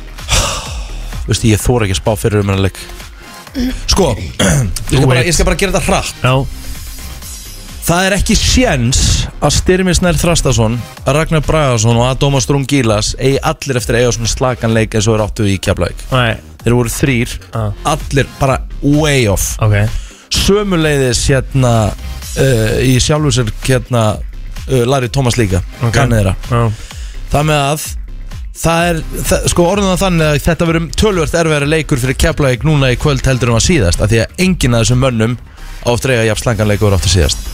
Speaker 1: Þú veist, ég þóra ekki að spá fyrir um hennar leik Sko, ég skal,
Speaker 2: Þú
Speaker 1: bara,
Speaker 2: veit.
Speaker 1: ég skal bara gera þetta hratt
Speaker 2: Já,
Speaker 1: Það er ekki sjens að Styrmi Snær Þrastason, Ragnar Bragason og Adóma Strún Gílas eigi allir eftir að eiga svona slagan leik eins og er áttu í Keflavík.
Speaker 2: nei,
Speaker 1: Þeir voru þrýr,
Speaker 2: Ah.
Speaker 1: allir bara way off.
Speaker 2: ok
Speaker 1: Sömuleiðis hérna uh, í sjálfu sér hérna uh, Larry Thomas líka,
Speaker 2: Ok.
Speaker 1: okay. kannið þeirra.
Speaker 2: Já,
Speaker 1: Það með að það er, það, sko orðan það þannig að þetta verður tölvört erfæri leikur fyrir Keflavík núna í kvöld heldur um að síðast af því að enginn af þessum mönnum átt reyga jafn slangan leikur áttu síðast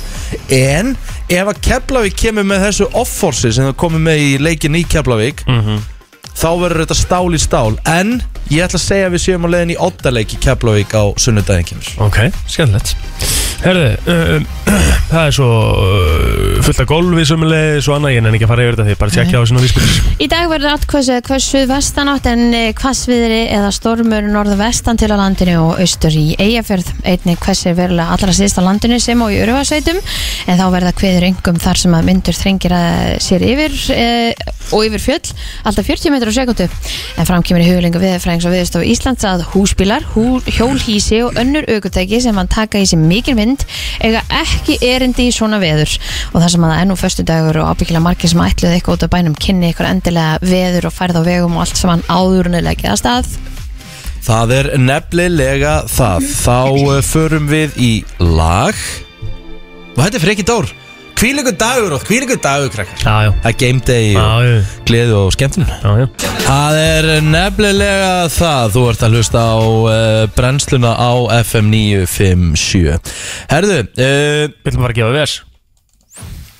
Speaker 1: en ef að Keflavík kemur með þessu off-force sem það komið með í leikin í Keflavík
Speaker 2: mhm
Speaker 1: þá verður þetta stál í stál en ég ætla að segja að við séum á leiðin í oddaleik í Keflavík á sunnudaginn kemur
Speaker 2: Ok, skemmtilegt Herðu, uh, það er svo uh, fullt af gólfi sömulegis og annað, ég nenni ekki að fara yfir þetta því, bara tjekkja á þessu vísbyrðis
Speaker 3: Í dag verður allkvæmsu hversu vestanátt en eh, hvassviðri eða stormur norðvestan til á landinu og austur í Eyjafjörð. Einnig hvassir verulega allra síðst á landinu sem og í Uruvasveitum en þá verða hviður yngum þar sem að myndur þrengir að sér yfir e, og yfir fjöll, alltaf 40 metrur á sekundu. En fram kemur í huglingu viðfræðings og viðstofu Íslands að húsbílar, hú, hjólhísi og önnur aukutæki sem hann taka í sig mikil vind eiga ekki erindi í svona veður og það sem að það er nú föstudagur og ábyggilega margir sem ætluðu eitthvað út af bænum kynni eitthvað endilega veður og færð á vegum og allt sem hann áðurunilegja að stað
Speaker 1: Það er nefnilega það Þá
Speaker 2: Mhm.
Speaker 1: uh, förum við í lag Og þetta er Freki Dór Hvílíkur dagur og hvílíkur dagur krakkar
Speaker 2: Já, já,
Speaker 1: Það er game day og
Speaker 2: já,
Speaker 1: gleði og skemmtun
Speaker 2: já, já.
Speaker 1: Það er nefnilega það Þú ert að hlusta á uh, brennsluna á FM 957 Herðu, uh,
Speaker 2: Við ætlum bara að gefa VS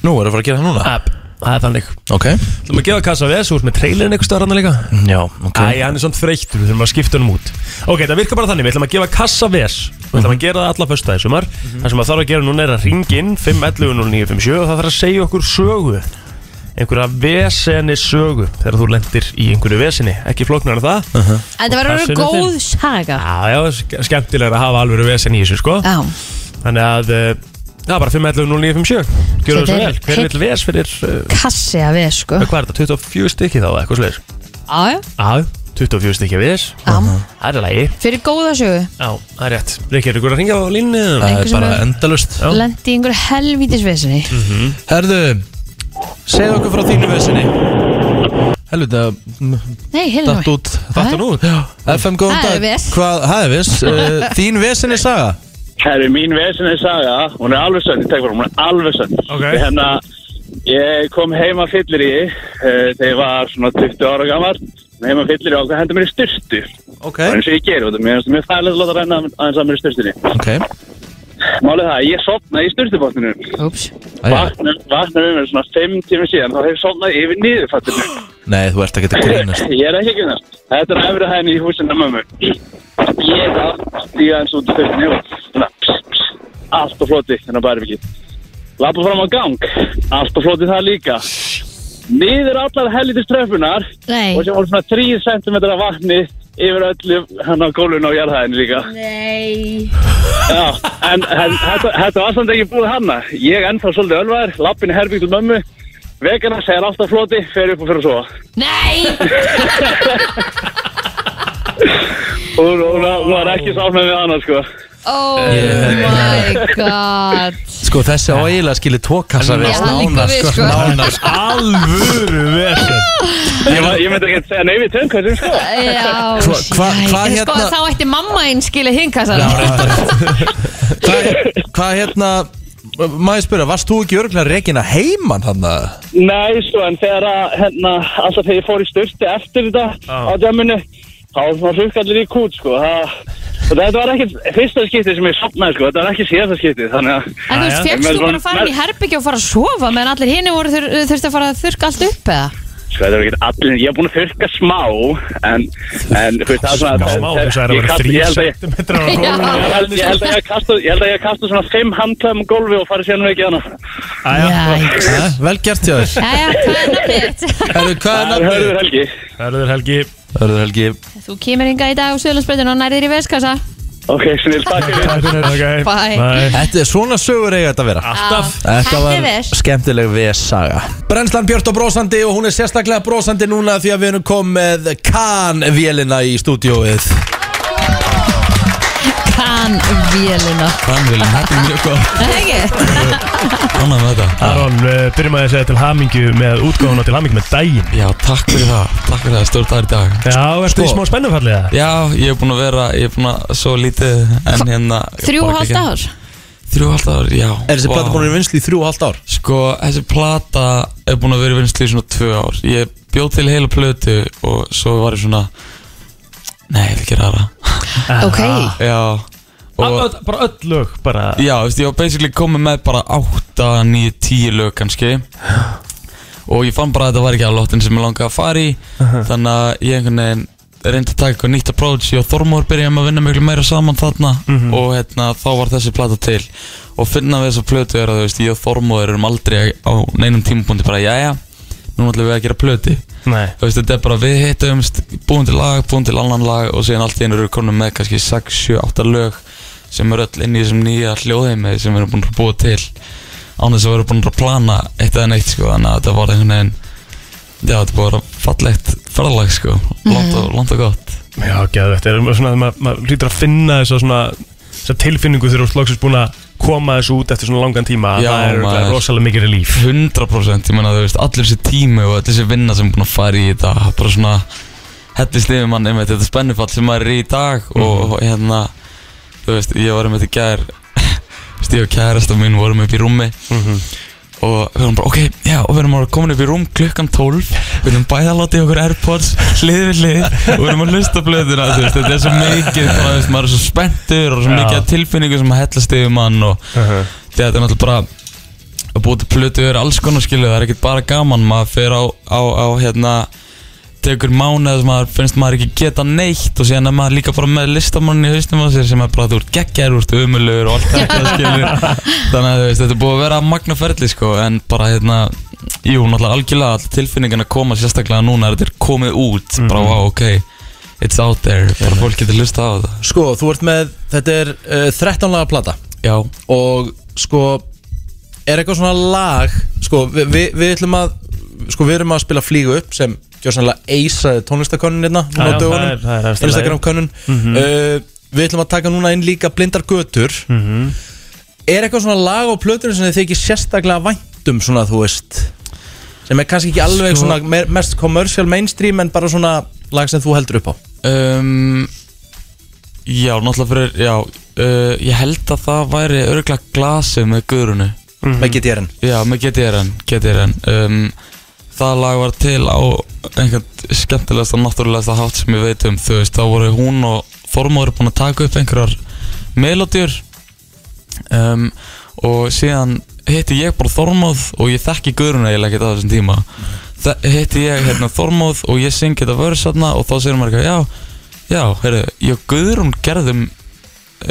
Speaker 1: nú erum við að fara að gera það núna
Speaker 2: app, það er þannig Við
Speaker 1: Ok,
Speaker 2: ætlum að gefa kassa VS úr með trailerin einhvers staðar hann líka
Speaker 1: já, ok
Speaker 2: Æ, hann er svona þreyttur, við þurfum að skipta hann út Ok, það virkar bara þannig, við ætlum að gefa kassa VS Við ætlum að gera það alla föstudagir sumar Það sem að þarf að gera núna er að ringin 511-0957 og það þarf að segja okkur sögu einhverja veseni sögu þegar þú lendir í einhverju veseni ekki flóknar en það
Speaker 3: Þetta var
Speaker 2: Hvað
Speaker 3: alveg
Speaker 2: segirðu
Speaker 3: góð saga
Speaker 2: Já, já, ske- skemmtilegra að hafa alveg vesen í þessu, sko
Speaker 3: Já,
Speaker 2: Þannig að, uh, já, bara 5.11.09.57 Gjörðu
Speaker 3: Þetta
Speaker 2: þessu
Speaker 3: er
Speaker 2: vel, hver
Speaker 3: heill-
Speaker 2: vil ves fyrir, uh,
Speaker 3: kassi að veð sko
Speaker 2: hvað er þetta, 24 stykki þá, eða eitthvað slegir
Speaker 3: Já, já,
Speaker 2: Já, 24 stykki að ves,
Speaker 3: já,
Speaker 2: það er í lagi
Speaker 3: fyrir góða sögu
Speaker 2: Já, það er rétt, Rikki, er ykkur að ringja á línu?
Speaker 1: Það
Speaker 3: einhver
Speaker 1: er
Speaker 3: sem
Speaker 1: bara
Speaker 3: er-
Speaker 1: endalust
Speaker 2: Já. Mhm.
Speaker 3: Lendi í einhverju helvítis vesinni
Speaker 1: Herðu, segðu okkur frá þínu vissinni Helvita,
Speaker 3: Nei, heyrðu
Speaker 1: datt
Speaker 3: nú
Speaker 1: út
Speaker 3: Datt
Speaker 2: Þetta nú,
Speaker 1: FM, góðan
Speaker 3: Það er
Speaker 1: dag
Speaker 3: viss.
Speaker 1: Hvað, það er viss uh, Þín vissinni saga
Speaker 6: Herri, mín vesin er saga, hún er alveg sönn, ég tek bara, hún er alveg sönn.
Speaker 2: Ok.
Speaker 6: Hérna, ég kom heima fyllir í, uh, þegar ég var svona 20 ára gammal, heima fyllir í og hvað hendur mér í styrstu.
Speaker 1: Ok,
Speaker 6: Það er eins og ég gerir, þetta mér finnst mjög fælið að láta renna aðeins að mér í styrstunni.
Speaker 1: ok
Speaker 6: Málið það, ég sopnaði í styrstubotninu,
Speaker 3: Úps,
Speaker 1: Æja.
Speaker 6: vaknaði við mér svona 5 tíma síðan, þá hef ég sopnaði yfir niðurfattinu.
Speaker 1: Nei, þú ert ekki að grínast
Speaker 6: Ég er ekki ekki það. Þetta er efri hæðin í húsinu að mömmu. Ég er stíða eins út í fyrstinu og svona pss, pss, allt á floti þennan bæri ekki. Lappa fram á gang, allt á floti það líka. Niður allar hellitis treffunar
Speaker 3: nei
Speaker 6: og sem voru svona 3 cm af vatni yfir öllu hann á gólun á jarðhæðinu líka.
Speaker 3: Nei
Speaker 6: Já, en, en þetta, þetta var samt ekki búið hanna. Ég ennþá svolítið ölvaður, lappin í herbygglu mömmu, vegana segir allt á floti, fer upp og fyrir að sofa.
Speaker 3: Nei,
Speaker 6: Hún, hún, hún var ekki sáfnað við annars sko
Speaker 3: oh my god
Speaker 1: Eh, Sko, þessi á eiginlega skilir tókassa
Speaker 3: Já, hann liggur við, sko.
Speaker 1: Nánast
Speaker 2: alvöru vesen
Speaker 6: Ég, var- ég myndi ekki að segja nei við tömkvæðum sko
Speaker 3: Já,
Speaker 1: Hva- hva-
Speaker 3: jæ.
Speaker 1: hvað
Speaker 3: En
Speaker 1: hérna-
Speaker 3: Sko, þá ætti mamma einn skilja hinkassan
Speaker 1: Hvað hvað hérna Maður spyrja, varst þú ekki örgulega reygin að heiman hann að
Speaker 6: Nei sko en þegar að hérna alltaf þegar ég fór í styrti eftir þetta
Speaker 2: Já.
Speaker 6: á dæminu þá var svona hrugkallir í kút sko það, og þetta var ekki fyrsta skipti sem ég sopnaði sko þetta var ekki síðasta skipti þannig að
Speaker 3: En þú
Speaker 2: Jæja.
Speaker 3: veist, fegst þú bara að fara inn í herbyggja og fara að sofa meðan allir hini voru þur, þurfti að fara að þurka allt upp eða?
Speaker 6: sko þetta var ekki allir ég er búin að þurka smá en, en þú veist það er svona
Speaker 2: Smá, þess að það er að
Speaker 6: ég
Speaker 2: vera
Speaker 6: kasta-
Speaker 2: 3
Speaker 6: ég held að ég-
Speaker 2: cm á gólfinu
Speaker 6: ég held- ég held að ég kasta ég held að ég kasta svona 5 handklæðum á gólfi og farið sérnum ekki annað
Speaker 3: Jæja,
Speaker 1: Vel gert hjá þér
Speaker 3: Jæja, hvað er nafnið? þitt?
Speaker 1: Herru, hvað er
Speaker 6: Það er
Speaker 1: nafnið?
Speaker 6: hörður helgi
Speaker 2: Hörður Helgi,
Speaker 1: Hörður Helgi
Speaker 3: Þú kemur hinga í dag á Söðlandsbreytun og nærðir í veskassa
Speaker 6: Ok, snill, takk fyrir
Speaker 2: okay.
Speaker 3: Bye.
Speaker 1: Þetta er svona sögur eiga þetta að vera
Speaker 2: Alltaf
Speaker 1: Þetta
Speaker 3: Þetta
Speaker 1: var
Speaker 3: er ves.
Speaker 1: skemmtileg VS-saga Brennslan Björn og brósandi og hún er sérstaklega brósandi núna því að við erum komið Kahn-vélina í stúdióið
Speaker 3: Kann vélina
Speaker 1: Kahn-vélina, þetta er mjög góð
Speaker 3: Ekki?
Speaker 1: Annan með þetta
Speaker 2: Aron, uh, byrjum að ég að segja til hamingju með útgáðuna til hamingju með daginn
Speaker 7: Já, takk fyrir það, takk fyrir það, stór dagur í dag
Speaker 2: Já, ertu í
Speaker 7: Sko.
Speaker 2: smá spennumfallið það?
Speaker 7: Já, ég hef búin að vera, ég hef búin að svo lítið en hérna
Speaker 3: Þrjú og
Speaker 7: bara
Speaker 3: hálft
Speaker 7: ekki-
Speaker 3: ár
Speaker 7: Þrjú og halvt ár, já
Speaker 1: Er þessi
Speaker 7: vá.
Speaker 1: plata búin í vinslu í þrjú og halvt ár?
Speaker 7: Sko, þessi plata er búin að vera í vinslu í svona tvö ár Ég bjóð til heila plötu og svo var ég svona Nei, ég vil gera aðra
Speaker 3: Ok,
Speaker 7: Já og,
Speaker 2: Öll- Bara öll lög, bara
Speaker 7: Já, veist, ég var basically komið með bara 8, 9, 10 lög kannski og ég fann bara að þetta var ekki að lóttin sem ég langaði að fara í þannig að ég einhvern veginn reyndi að taka eitthvað nýtt approach ég og Þormór byrjaðum að vinna miklu meira saman þarna og hérna, þá var þessi plata til og finna við þessa plötu er að þú veist ég og Þormór erum aldrei á neinum tímapunkti bara jæja, nú ætlum við að gera plötu
Speaker 2: Nei
Speaker 7: þú veist, þetta er bara við hittumst búin til lag, búin til annan lag og síðan allt í einu eru konum með kannski 6, 7, 8 lög sem eru öll inn í þessum nýja hljóðheimi sem við erum búin að búa til án þess að við erum búin að plana eitt eða neitt sko, þannig að þetta var einhvern veginn já, þetta var fallegt ferðalag sko, langt og, langt og gott
Speaker 2: Já, geðvægt, þetta er svona þegar maður ma hlýtur að finna þessa svona þessa tilfinningu þegar þú ert loksins búin að koma þessu út eftir svona langan tíma
Speaker 7: Já,
Speaker 2: það er
Speaker 7: maður.
Speaker 2: örugglega rosalega mikið relíf
Speaker 7: 100% ég meina þú veist, allir þessi tími og allir þessi vinna sem er búin að fara í þetta bara svona hellist yfir mann einmitt þetta spennufall sem maður er í í dag
Speaker 2: Mm.
Speaker 7: og hérna þú veist, ég var einmitt í gær þú veist, ég og kærasta mín vorum upp í rúmi
Speaker 2: Mhm.
Speaker 7: og við erum bara, ok, já, og við erum bara komin upp í rúm klukkan 12 við erum bæði að láta í okkur Airpods hlið við hlið og við erum að hlusta á blöðuna þú veist, þetta er svo mikið, bara, þú veist, maður er svo spenntur og svo
Speaker 2: Já.
Speaker 7: mikið af tilfinningu sem að hellast yfir mann og þetta er náttúrulega bara að búið til plötu er alls konar skilu það er ekkert bara gaman, maður fer á, á, á hérna, tekur mánuð sem maður finnst maður ekki geta neitt og síðan er maður líka bara með listamann í haustum á sér sem er bara þú ert geggjær, þú ert umulur og allt þetta skilu þannig að þú veist, þetta er búið að vera magna ferli sko, en bara hérna jú, náttúrulega algjörlega all tilfinningin að koma sérstaklega núna er þetta er komið út bara, wow, ok, it's out there bara fólk getur lusta á þetta
Speaker 1: Sko, þú ert með, þetta er uh, 13 laga plata
Speaker 7: já,
Speaker 1: Og sko, er eitthvað svona lag Sko, við, við, við ætlum að Sko, við erum að spila flýgu upp Sem gjörsanlega eisaði tónlistakönnun hérna
Speaker 2: Já,
Speaker 1: Núna á
Speaker 2: já, það er-
Speaker 1: dögunum,
Speaker 2: það er Mhm. efsta
Speaker 1: Instagram-könnun uh, Við ætlum að taka núna inn líka blindar götur
Speaker 2: Mhm.
Speaker 1: Er eitthvað svona lag á plötunum Sem þið þykir sérstaklega væntum Svona, þú veist Sem er kannski ekki alveg
Speaker 7: Sko-
Speaker 1: svona me- mest commercial mainstream En bara svona lag sem þú heldur upp á
Speaker 7: Um, já, náttúrulega fyrir, já, uh, ég held að það væri örgulega glasið með guðrunu.
Speaker 1: Með GTR-in
Speaker 7: Já, með GTRN, GTRN. Um, það lag var til á einhvern skemmtilegasta, náttúrulegasta hátt sem ég veit um, þú veist, þá voru hún og Þormóður búin að taka upp einhverjar melodjur um, og síðan hitti ég bara Þormóð og ég þekki Guðrun eiginlega ekkert á þessum tíma Þa, hitti ég hérna Þormóð og ég syngi þetta vörð satna og þá segir maður eitthvað já, já, heyrðu, ég og Guðrun gerðum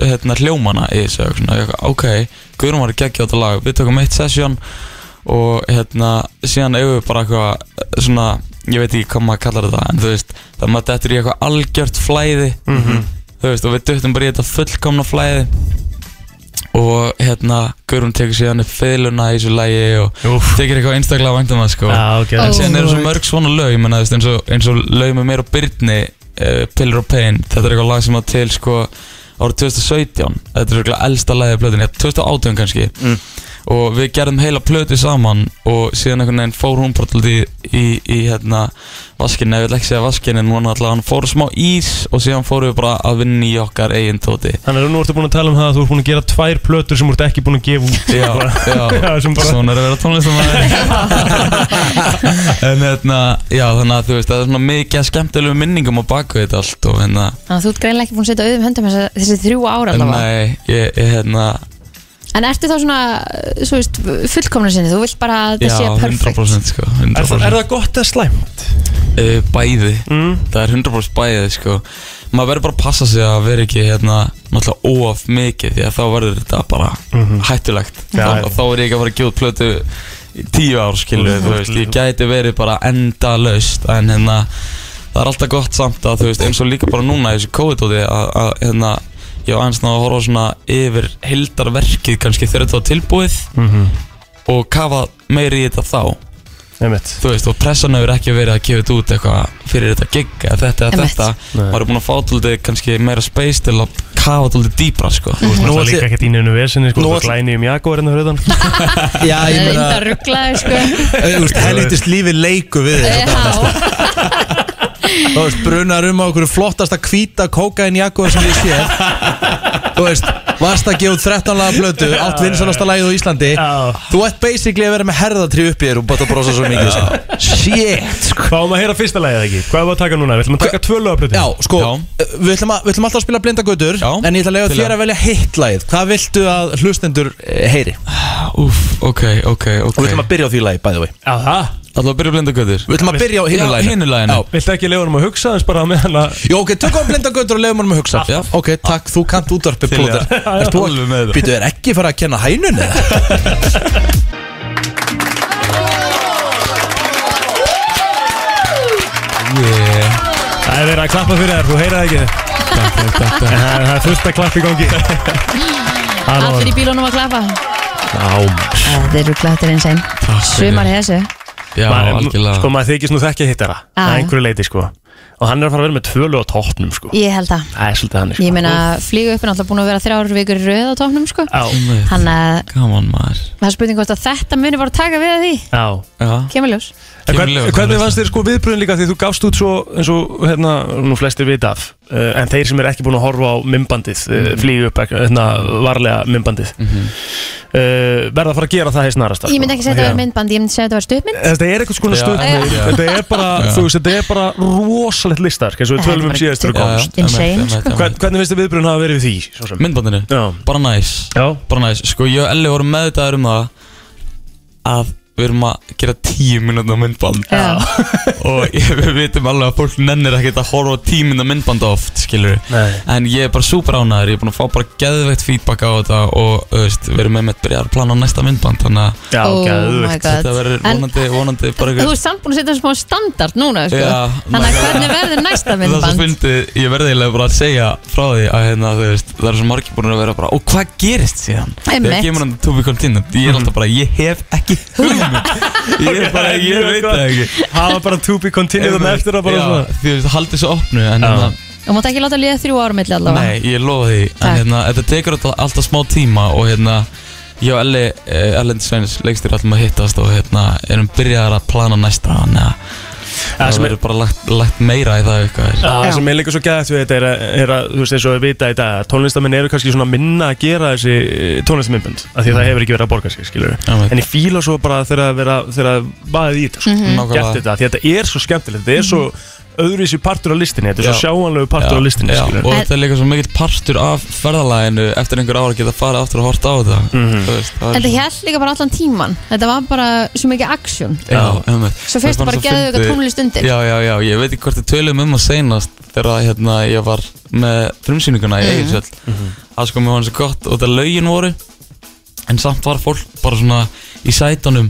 Speaker 7: hérna hljómana í þessu og svona, ég eitthvað, ok, Guðrun var að gegja á þetta lag við tökum eitt sesjón og hérna, síðan eigum við bara eitthvað svona, ég veit ekki hvað maður kallar þetta en þú veist, það maður dettur í eitthvað algjört flæði þú veist, og við duttum bara í þetta fullkomna flæði og hérna Guðrún tekur síðan upp feiluna í þessu lægi og
Speaker 2: Úff.
Speaker 7: tekur eitthvað einstaklega væntum það sko
Speaker 2: Já, ok,
Speaker 3: Ó.
Speaker 7: en síðan eru svo mörg svona lög ég menna, eins, og, eins og lög með mér og Byrni uh, Pillar og Pain, þetta er eitthvað lag sem var til sko árið 2017 þetta er eitthvað elsta lagið af plötunni, 2018 kannski og við gerðum heila plötu saman og síðan einhvern veginn fór hún bara til í, í, í hérna vaskinn, ef ég vil ekki segja vaskinn en hún alltaf hann fór smá ís og síðan fórum við bara að vinna í okkar eigin tóti
Speaker 2: Þannig að nú ertu búin að tala um það að þú ert búin að gera tvær plötur sem þú ert ekki búin að gefa út
Speaker 7: já, já,
Speaker 2: Já, sem bara-
Speaker 7: svona er að vera tónlistamæður en hérna, já þannig að þú veist það er svona mikið af skemmtilegum minningum á baku þetta allt og hérna
Speaker 3: Þannig að þú ert greinlega ekki búin að setja auðum höndum þessi, þessi þrjú ára
Speaker 7: en
Speaker 3: allavega.
Speaker 7: nei, ég, ég hérna
Speaker 3: En ertu þá svona, eh, svo veist, fullkomna sinni? Þú vilt bara að
Speaker 7: já,
Speaker 3: þetta sé perfekt.
Speaker 7: 100% sko
Speaker 2: er, það-
Speaker 7: 100%.
Speaker 2: er það gott eða slæmt?
Speaker 7: Eh, bæði,
Speaker 2: Mm.
Speaker 7: það er 100% bæði sko maður verður bara að passa sig að vera ekki hérna náttúrulega óaf mikið því að þá verður þetta bara hættulegt
Speaker 2: Mhm. Já,
Speaker 7: þá,
Speaker 2: já.
Speaker 7: þá er ég ekki að fara að gjóð plötu í tíu ár skilu,
Speaker 2: Mhm.
Speaker 7: þú veist ég gæti verið bara enda laust en hérna það er alltaf gott samt að þú veist eins og líka bara núna í þessu COVID-dóti að að, hérna ég á aðeins ná að horfa svona yfir hildarverkið kannski þegar þetta var tilbúið
Speaker 2: Mhm.
Speaker 7: og kafa meiri í þetta þá
Speaker 2: Einmitt
Speaker 7: þú veist, og pressan hefur ekki verið að gefa þetta út eitthvað fyrir þetta gig eða þetta eða
Speaker 3: Einmitt.
Speaker 7: þetta,
Speaker 2: Nei.
Speaker 7: maður er búin að fá tóldi kannski meira space til að kafa tóldi dýbra, sko
Speaker 2: Þú
Speaker 1: Mhm. Nú
Speaker 2: ert
Speaker 1: ætli-
Speaker 2: líka ekkert í neinu vesinni, sko,
Speaker 1: Nú
Speaker 2: þú
Speaker 1: ætli-
Speaker 2: glæni um Jakob hérna fyrir þann
Speaker 1: Já,
Speaker 3: Það er enda rugglaði, sko.
Speaker 1: Helvítist lífi leiku við þér
Speaker 3: Já,
Speaker 1: sko. Þú veist, brunar um á okkur flottasta hvíta kókain jakkuða sem ég sé Þú veist, varst að gefa út 13 laga blötu Allt vinsalasta lagið á Íslandi
Speaker 2: Já.
Speaker 1: Þú ert basically að vera með herðatri upp í þér Og bara að brosa svo mikið sko. Shit, sko
Speaker 2: Fáum að heyra fyrsta lagið eða ekki? Hvað er það að taka núna? Við ætlum að taka tvö lögaplötu
Speaker 1: Já, sko,
Speaker 7: Já.
Speaker 1: Við, ætlum að, við ætlum alltaf að spila blindagötur
Speaker 7: Já.
Speaker 1: En ég ætla að lega
Speaker 7: Til
Speaker 1: þér
Speaker 7: að-
Speaker 1: að velja hitt lagið Hvað viltu að hlustendur eh, heyri?
Speaker 7: Úf, ok, ok, ok
Speaker 1: Og við ætlum að byrja á því lagið, by the way
Speaker 2: Já, það
Speaker 7: Alltaf að byrja blindagötur
Speaker 1: Við ætlum að byrja á hinu
Speaker 7: Já,
Speaker 1: laginu.
Speaker 7: hinu laginu.
Speaker 1: Já.
Speaker 2: Viltu ekki leiða honum að hugsa þess bara með hana
Speaker 1: Jó, ok, tökum við blinda götur og leiðum honum að hugsa
Speaker 7: Já.
Speaker 1: Ok, takk, þú kannt útvarpi
Speaker 2: Til, já.
Speaker 1: plóðar Ert þú
Speaker 7: Alveg með
Speaker 1: að,
Speaker 7: þetta.
Speaker 1: býtu, er ekki fara að kenna hænunni?
Speaker 2: Það er verið að klappa fyrir þér, þú heyrið það ekki En það er- það er fullt að klappa í gangi Halló.
Speaker 3: Allir í bílunum að klappa
Speaker 7: Já,
Speaker 3: Þeir eru klættir eins einn Sumar í þessu
Speaker 7: já
Speaker 2: Maður-
Speaker 7: algjörlega
Speaker 2: Sko maður þykist nú þekkja hittara
Speaker 3: Já.
Speaker 2: Það er einhverju leiti sko Og hann er að fara að vera með tvölu á tóknum sko
Speaker 3: Ég held að
Speaker 2: Það er svolítið hann sko
Speaker 3: Ég meina, flýgu upp er náttúrulega búin að vera þrjár vikur í röð á tóknum, sko
Speaker 2: Á,
Speaker 3: Þannig að
Speaker 7: Gaman maður
Speaker 3: það er spurning hvort að þetta muni bara taka við að því
Speaker 2: á
Speaker 7: Já
Speaker 3: Kemur ljós
Speaker 2: En hvern,
Speaker 7: Kemurlega,
Speaker 2: hvernig fannst þér sko viðbröðin líka því þú gafst út svo eins og hérna nú flestir vita af uh, en þeir sem er ekki búin að horfa á mymbandið uh, flýgu upp ekki, hérna varlega mymbandið uh, verða að fara að gera það sko. hér snarast
Speaker 3: Ég myndi ekki segja þetta var myndband, ég myndi segja þetta var stuðmynd
Speaker 2: Eh, Þetta er eitthvað
Speaker 7: Já,
Speaker 2: svona stöð
Speaker 7: já.
Speaker 2: Þetta er bara, þú veist, þetta er bara rosalegt listar eins og við
Speaker 3: Þetta er
Speaker 2: tölum um
Speaker 3: bara
Speaker 2: síðast þegar þú
Speaker 3: geggjað.
Speaker 2: komst
Speaker 3: Insane, sko.
Speaker 2: Hvern- Hvernig finnst þið viðbröðin hafa verið við því? svo sem?
Speaker 7: Myndbandinu
Speaker 2: Já,
Speaker 7: Bara næs
Speaker 2: já,
Speaker 7: Bara næs Sko ég og Elli vorum meðvitaðar um það Að við erum að gera tíu minútna myndband
Speaker 3: Já,
Speaker 7: Og ég, við vitum alveg að fólk nennir ekkert að horfa á tíu minútna myndband oft Skilur
Speaker 2: nei
Speaker 7: En ég er bara super ánæður Ég er búin að fá bara geðveikt feedback á þetta Og þú veist, við erum með með byrjar að plana næsta myndband Þannig að
Speaker 2: Já,
Speaker 3: Oh
Speaker 2: geðveikt.
Speaker 3: my God.
Speaker 7: þetta verður
Speaker 3: En-
Speaker 7: vonandi, vonandi bara
Speaker 3: þú ert samt búin að setja smá standard núna, sko
Speaker 7: Já,
Speaker 3: Þannig að
Speaker 7: nákvæmlega.
Speaker 3: hvernig verður næsta
Speaker 7: Það er svo
Speaker 3: myndband?
Speaker 7: fyndið, ég verði eiginlega bara að segja frá því að hérna, þú veist, það er svo margir búin að vera bara, og hvað gerist síðan?
Speaker 3: Einmitt.
Speaker 7: Þegar kemur hann to be continued,
Speaker 2: Mhm.
Speaker 7: ég er alltaf bara, ég hef ekki hugmynd, ég er bara, ég veit það ekki.
Speaker 2: Hafa bara to be continued þarna eftir að bara
Speaker 7: Já,
Speaker 2: svona
Speaker 7: Þú veist, haldið svo opnu, en
Speaker 2: Já.
Speaker 7: hérna,
Speaker 3: Þú mátt ekki láta líða þrjú ára milli allavega
Speaker 7: nei, ég lofa því, en
Speaker 3: Takk.
Speaker 7: hérna, þetta tekur alltaf, alltaf smá tíma og hérna, ég og Elli, eh, Ellen Sveins, leikstir allum að hittast og hérna, erum byrjaðar að plana næsta, þannig að
Speaker 2: Það
Speaker 7: það
Speaker 2: sem er-
Speaker 7: verður bara lagt, lagt meira í það eitthvað.
Speaker 2: Já, það
Speaker 3: Já.
Speaker 2: sem er líka svo gæðt við þetta er að, er að þú veist, eins og við vita í dag, tónlistamenn eru kannski svona minna að gera þessi tónlistamindbund, af því að það hefur ekki verið að borga sig, skilur
Speaker 7: Já, veit.
Speaker 2: En ég fíla svo bara þegar að vera, þegar að vaðið í þetta, sko,
Speaker 7: Mhm. Nákvæmlega. Mhm.
Speaker 2: gert þetta, af því að þetta er svo skemmtilegt, þetta er svo öðruvísi partur á listinni, þetta er svo
Speaker 7: Já.
Speaker 2: sjáanlegu partur á listinni,
Speaker 7: já,
Speaker 2: skilur
Speaker 7: og þetta er líka svo mikill partur af ferðalaginu eftir einhver ára geta farið aftur og horta á þetta
Speaker 2: Mhm.
Speaker 7: Þú veist, það
Speaker 3: En
Speaker 7: er
Speaker 3: það
Speaker 7: svo-
Speaker 3: held líka bara allan tíman Þetta var bara svo mikið action
Speaker 7: já, einmitt.
Speaker 3: Svo
Speaker 7: Mér
Speaker 3: fyrst
Speaker 7: fannst
Speaker 3: bara
Speaker 7: svo
Speaker 3: geðu
Speaker 7: fyndið-
Speaker 3: ykkur tónlist undir
Speaker 7: já, já, já, ég veit ekki hvort þið tölum um að seinast þegar að, hérna, ég var með frumsýninguna
Speaker 3: Mhm.
Speaker 7: í Egilsvöld
Speaker 2: Mhm.
Speaker 7: það sko mér var hans gott og þetta lögin voru en samt var fólk bara svona í sætunum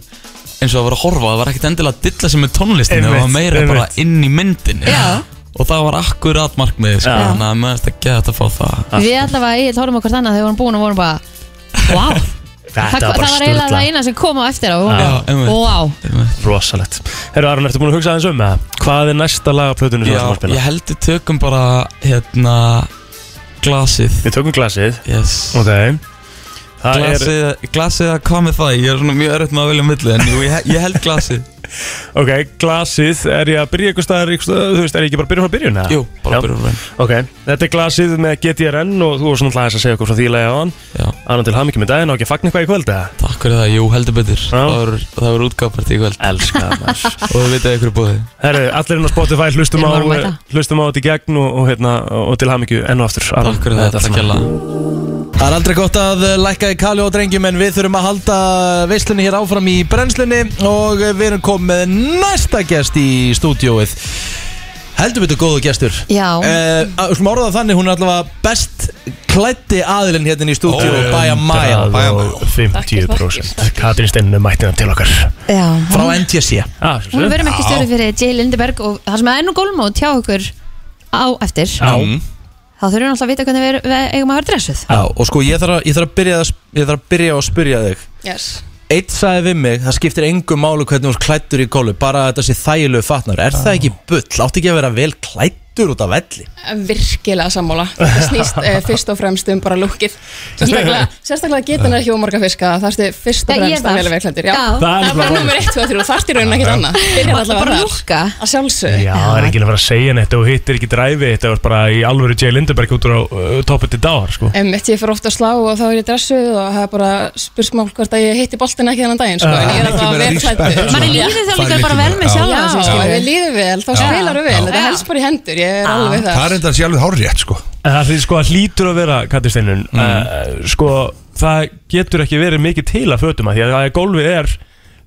Speaker 7: eins og að vera að horfa, það var ekkert endilega að dilla sem með tónlistin, það
Speaker 2: Einmitt,
Speaker 7: var meira bara
Speaker 2: einmitt.
Speaker 7: inn í myndin
Speaker 3: Já.
Speaker 7: og það var akkurat markmiðið, sko,
Speaker 2: Já.
Speaker 7: þannig að maður veist ekki að þetta fá það
Speaker 3: Við allavega, ég horfum okkur þannig að þau vorum búin og vorum bara Wow, það, það
Speaker 2: Þetta var bara
Speaker 3: var eiginlega
Speaker 2: sturla,
Speaker 3: það eina sem kom á eftir á
Speaker 7: Já, einmitt.
Speaker 3: Wow,
Speaker 2: rosalegt Herru Aron, ertu búin að hugsa aðeins um það? Hvað er næsta lagaplötunni sem þú ætlum
Speaker 7: Já,
Speaker 2: að spila?
Speaker 7: ég held við tökum bara hérna glasið
Speaker 2: Við tökum glasið,
Speaker 7: yes.
Speaker 2: ok Það er,
Speaker 7: glasið, glasið að hvað með það ég er svona mjög erfitt með að velja á milli en jú, ég, ég held glasið
Speaker 2: ok, glasið, er ég að byrja eitthvað staðar, einhvers staðar, þú veist, er ég ekki bara að byrja frá byrjun? eða?
Speaker 7: jú,
Speaker 2: Já.
Speaker 7: bara byrjum við
Speaker 2: Ok, þetta er glasið með GTRN og þú er svona hlæðis að segja okkur frá því lægja á hann
Speaker 7: já,
Speaker 2: Annan til hamingi með daginn og ekki að fagna eitthvað í kvöld eða?
Speaker 7: takk fyrir það, jú, heldur betur
Speaker 2: Já.
Speaker 7: það voru- það verður útgáfparti í kvöld
Speaker 2: Elska það maður
Speaker 7: og við veitum ykkur búið
Speaker 2: Herru, allir inn á Spotify, hlustum
Speaker 3: Við
Speaker 2: á,
Speaker 3: vorum að mæta.
Speaker 2: hlustum á þetta í gegn og, og, hérna, og til hamingi enn og aftur Aron,
Speaker 7: takk fyrir það,
Speaker 2: þetta
Speaker 7: takk
Speaker 2: allt
Speaker 7: hella
Speaker 1: Það er aldrei gott að eh, lækka í kalju og drengjum en við þurfum að halda veislunni hér áfram í brennslunni og eh, við erum komið með næsta gest í stúdióið Heldur betur góðu gestur
Speaker 3: Já.
Speaker 1: Eh, að- Við slum orða það þannig, hún er allavega best klætti aðilinn hérna í stúdió oh, Bæja Maja
Speaker 2: saman. 50% Katrín Steinu mættina til okkar
Speaker 3: já
Speaker 1: frá NTC
Speaker 2: ah,
Speaker 3: Hún verðum ekki stjóri fyrir J. Lindeberg og það sem er nú gólmóð tjá okkur á eftir
Speaker 2: Já,
Speaker 3: þá þurfum við alltaf að vita hvernig við, við eigum að vera dressuð
Speaker 1: Já, og sko ég þarf að, ég þarf að, byrja, að sp- ég þarf að byrja að spyrja þig
Speaker 8: Yes.
Speaker 1: Eitt sagði við mig, það skiptir engu málu hvernig hún er klættur í kólu, bara að þetta sé þægilegu fatnar Er það ekki bull? Átti ekki að vera vel klættur út af velli?
Speaker 8: Virkilega sammála. Þetta snýst uh, fyrst og fremst um bara lúkið. Sérstaklega, sérstaklega geta hennar ekki ómarga fiska. Það þarfstu fyrst og
Speaker 3: Já, ég
Speaker 8: fremst
Speaker 3: þarf.
Speaker 8: að velja veiklendir.
Speaker 3: Já. Það er
Speaker 8: Það er
Speaker 2: nefnilega
Speaker 8: bara
Speaker 2: málið.
Speaker 8: nummer 1, 2, 3. Þarfst í raunin ekkert annað. Byrjar alltaf
Speaker 3: bara lúkka
Speaker 8: Að sjálfsögðu.
Speaker 2: Já, það er ekki að fara að segja neitt og hittir ekki dræfi þetta var bara í alvöru J. Lindeberg út úr á uh, toppið til dagar sko.
Speaker 8: Emmitt, ég fyrir ofta að slá og þá er ég dressuð og það er bara spursmál hvort að ég hitti boltin ekki þennan daginn, sko, en ég er alltaf að vera klættu.
Speaker 3: Manni líður þá líka bara vel með sjálf
Speaker 8: Já,
Speaker 3: þessu,
Speaker 8: já, ef
Speaker 3: skilur
Speaker 8: við
Speaker 3: við.
Speaker 8: líður vel, þá spilar við vel, þetta helst bara í hendur, ég er alveg
Speaker 9: Það
Speaker 8: það.
Speaker 9: er enda sér alveg hárétt sko
Speaker 2: Ah. En Það er sko að hlýtur að vera kattisteinun mm. Sko það getur ekki verið mikið til að fötum að því að það er- gólfið er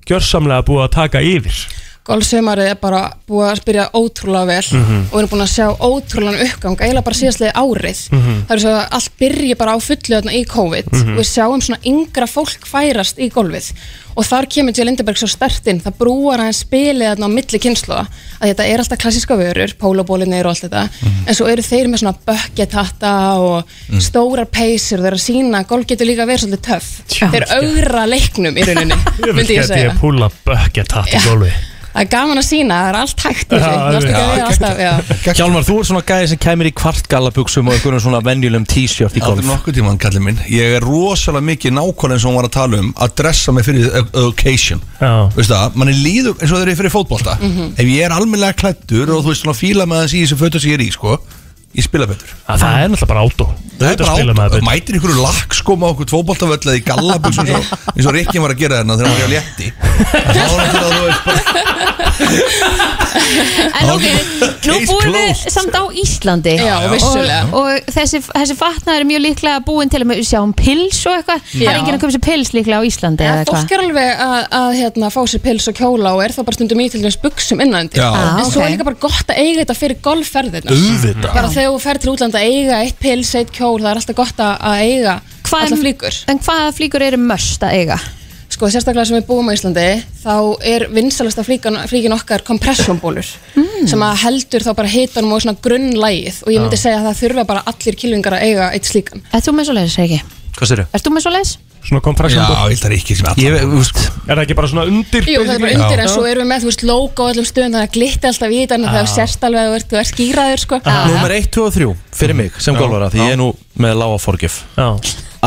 Speaker 2: gjörsamlega búið að taka yfir
Speaker 8: sko alveg sömarið er bara búið að spyrja ótrúlega vel
Speaker 2: Mhm.
Speaker 8: og við erum búin að sjá ótrúlegan uppgang eiginlega bara síðastlega árið
Speaker 2: Mhm.
Speaker 8: það er svo að allt byrji bara á fullu þarna í COVID og við sjáum svona yngra fólk færast í golfið og þar kemur Jill Lindeberg svo stertinn, það brúar aðeins spilið þarna á milli kynsluða að þetta er alltaf klassíska vörur, pólabólinir og allt þetta
Speaker 2: Mhm.
Speaker 8: en svo eru þeir með svona bucket hatta og stórar peysir og þeir eru að sína, golf getur líka að vera svolítið töff þeir augra leiknum í rauninni
Speaker 2: Ég vil
Speaker 8: myndi ég
Speaker 2: geti
Speaker 8: segja
Speaker 2: ég púla bucket hat í
Speaker 8: Já.
Speaker 2: gólfi
Speaker 8: Það er gaman að sína, það er allt hægt í
Speaker 2: Já,
Speaker 8: þessu, það er ekki að
Speaker 2: já,
Speaker 8: vera alltaf, já.
Speaker 1: Hjálmar, þú er svona gæði sem kemur í kvartgallabuxum og einhvern svona venjulegum t-shirt í golf
Speaker 5: Aldrei nokkuð tímann, kallið minn Ég er rosalega mikið nákvæmlega eins og hún var að tala um að dressa mig fyrir the occasion
Speaker 2: Já.
Speaker 5: Veist það, manni líður eins og þeir eru fyrir fótbolta Ef ég er almennilega klættur og þú veist svona fíla með þessi í þessu fötu sem ég er í sko Ég spila betur
Speaker 2: Að Það er náttúrulega bara átó
Speaker 5: Það er bara
Speaker 2: maður
Speaker 5: átt,
Speaker 2: betur
Speaker 5: mætir einhverju lakk sko með okkur tvóboltavöll eða í gallabus eins og, eins og Rikkin var að gera þarna þegar hann var í á létti Þá er náttúrulega þú veist bara
Speaker 3: En ok, nú
Speaker 5: Case
Speaker 3: búum við
Speaker 5: closed.
Speaker 3: samt á Íslandi
Speaker 8: Já, vissulega.
Speaker 3: Og, og þessi, þessi fatnaður er mjög líklega búin til að við sjáum pils og eitthvað Það
Speaker 8: Já.
Speaker 3: er enginn að koma sér pils líklega á Íslandi
Speaker 8: Ja,
Speaker 3: eða
Speaker 8: fólk
Speaker 3: eitthvað
Speaker 8: er alveg að, að hérna, fá sér pils og kjóla og er það bara stundum í til dæmis buksum innandi.
Speaker 5: Já.
Speaker 3: Ah,
Speaker 8: en svo
Speaker 3: ok.
Speaker 8: er líka bara gott að eiga þetta fyrir golfferðina.
Speaker 2: Auðvitað.
Speaker 8: Bara þegar þú ferð til útlanda að eiga eitt pils, eitt kjól, það er alltaf gott að- að eiga
Speaker 3: Hvað- um-
Speaker 8: allar flíkur.
Speaker 3: En hvaða flíkur eru möst að eiga?
Speaker 8: Sko, sérstaklega sem við búum á Íslandi, þá er vinsalasta flíkan, flíkin okkar kompressjónbólur
Speaker 3: Hmm.
Speaker 8: sem að heldur þá bara hitanum og svona grunnlægið og ég myndi segja að það þurfa bara allir kilvingar að eiga eitt slíkan.
Speaker 3: Ert þú með svo leiðis, Reyki?
Speaker 1: Hvað sér
Speaker 3: Ert þú með svo leiðis?
Speaker 2: Svona
Speaker 5: Já,
Speaker 2: kompression ból.
Speaker 5: ég ætlar ekki sem
Speaker 1: Ég
Speaker 5: allan
Speaker 1: veit, þú veist,
Speaker 2: Er það ekki bara svona undir
Speaker 8: Jú, það er bara
Speaker 2: basically?
Speaker 8: undir en
Speaker 2: Já.
Speaker 8: svo erum við með, þú veist, logo á öllum stöðum þannig að glitti alltaf í þannig að það er sérst alveg að þú ert, þú ert skýraður, sko
Speaker 1: Númer 1, 2 og 3 fyrir mig sem golfara því ég er nú með lága forgjöf
Speaker 2: Já.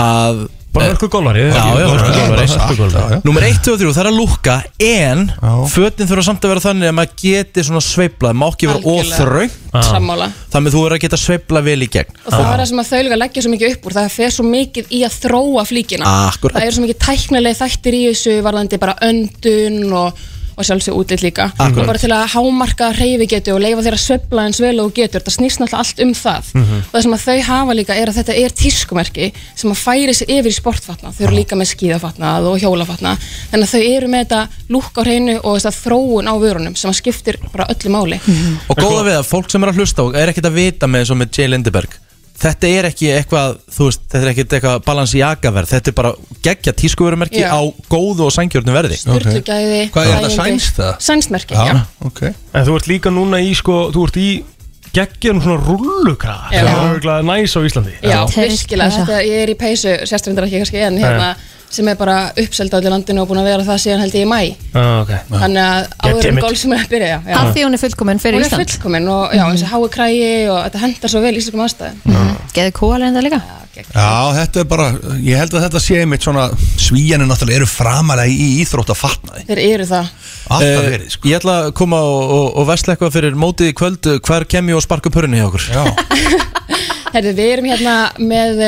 Speaker 1: að eh,
Speaker 2: Bara hörku gólvari
Speaker 1: Já, já, hörku golfari.
Speaker 2: gólvari
Speaker 1: Númer 1, 2 og 3 það er að lúkka en fötin þurfa samt að vera þannig að maður geti svona sveiplað, má ekki vera
Speaker 8: Algjörlega.
Speaker 1: óþröng
Speaker 8: Sammála
Speaker 1: þannig að þú verður að geta sveiplað vel í gegn
Speaker 8: Og
Speaker 5: Ah.
Speaker 8: það er það sem að þau líka leggja svo mikið upp úr, það fer svo mikið í að þróa flíkina
Speaker 1: Akkurat.
Speaker 8: Það eru svo mikið tæknileg þættir í þessu, varðandi bara öndun og, og sjálfsög útlit líka
Speaker 1: Akkurat.
Speaker 8: Og bara til að hámarka reyfigetu og leifa þér að svefla eins vel og þú getur, það snýst náttúrulega allt um það
Speaker 5: Mhm.
Speaker 8: Og það sem að þau hafa líka er að þetta er tískumerki sem að færi sig yfir í sportfatna,
Speaker 5: Ah.
Speaker 8: þau eru líka með skíðafatnað og hjólafatna Þannig að þau eru með þetta lúk á hreinu og þess þróun á vörunum sem að skiptir bara öllu máli
Speaker 5: Mhm.
Speaker 1: Og góða við að fólk sem er að hlusta og er ekkert að vita með eins og með Jay Lindeberg Þetta er ekki eitthvað, þú veist, þetta er ekkert eitthvað balans í agaverð Þetta er bara geggja tískuverumerki
Speaker 8: Já.
Speaker 1: á góðu og sængjörnum verði
Speaker 8: Sturlugæði
Speaker 5: Hvað er þetta, sænskt eða?
Speaker 8: Sænsmerki, já,
Speaker 5: Já, ok
Speaker 2: En þú ert líka núna í sko Þú ert í geggjum svona rullukraðar
Speaker 8: Já.
Speaker 2: Það er örgulega næs á Íslandi
Speaker 8: já,
Speaker 3: Já.
Speaker 8: virkilega
Speaker 3: Peysa.
Speaker 8: þetta, Ég er í peysu, sérstöndar ekki kannski en hérna sem er bara uppseld á öllu landinu og búin að vera það síðan held ég í mæ
Speaker 2: Ah, ok.
Speaker 8: Þannig að
Speaker 2: God
Speaker 8: áður
Speaker 2: damn
Speaker 8: um
Speaker 2: it.
Speaker 8: golf sem er að byrja já,
Speaker 3: Af
Speaker 8: já.
Speaker 3: því hún er fullkomin fyrir
Speaker 8: Hún er
Speaker 3: Ísland Mhm.
Speaker 8: fullkomin og já, eins og hái krægi og þetta hendar svo vel í íslenskum aðstæðum
Speaker 3: Geði kóa leðinda líka?
Speaker 5: Já, þetta er bara, ég held að þetta sé einmitt svona svíjanir náttúrulega eru framalega í íþrótt að fatnaði
Speaker 8: Þeir eru það
Speaker 5: Alltaf verið, sko
Speaker 1: Eh, Ég ætla að koma og, og, og vesla eitthvað fyrir mótið í kvöld Hver kem ég og sparka upp hörunni hjá okkur?
Speaker 5: Já,
Speaker 8: Herri, Við erum hérna með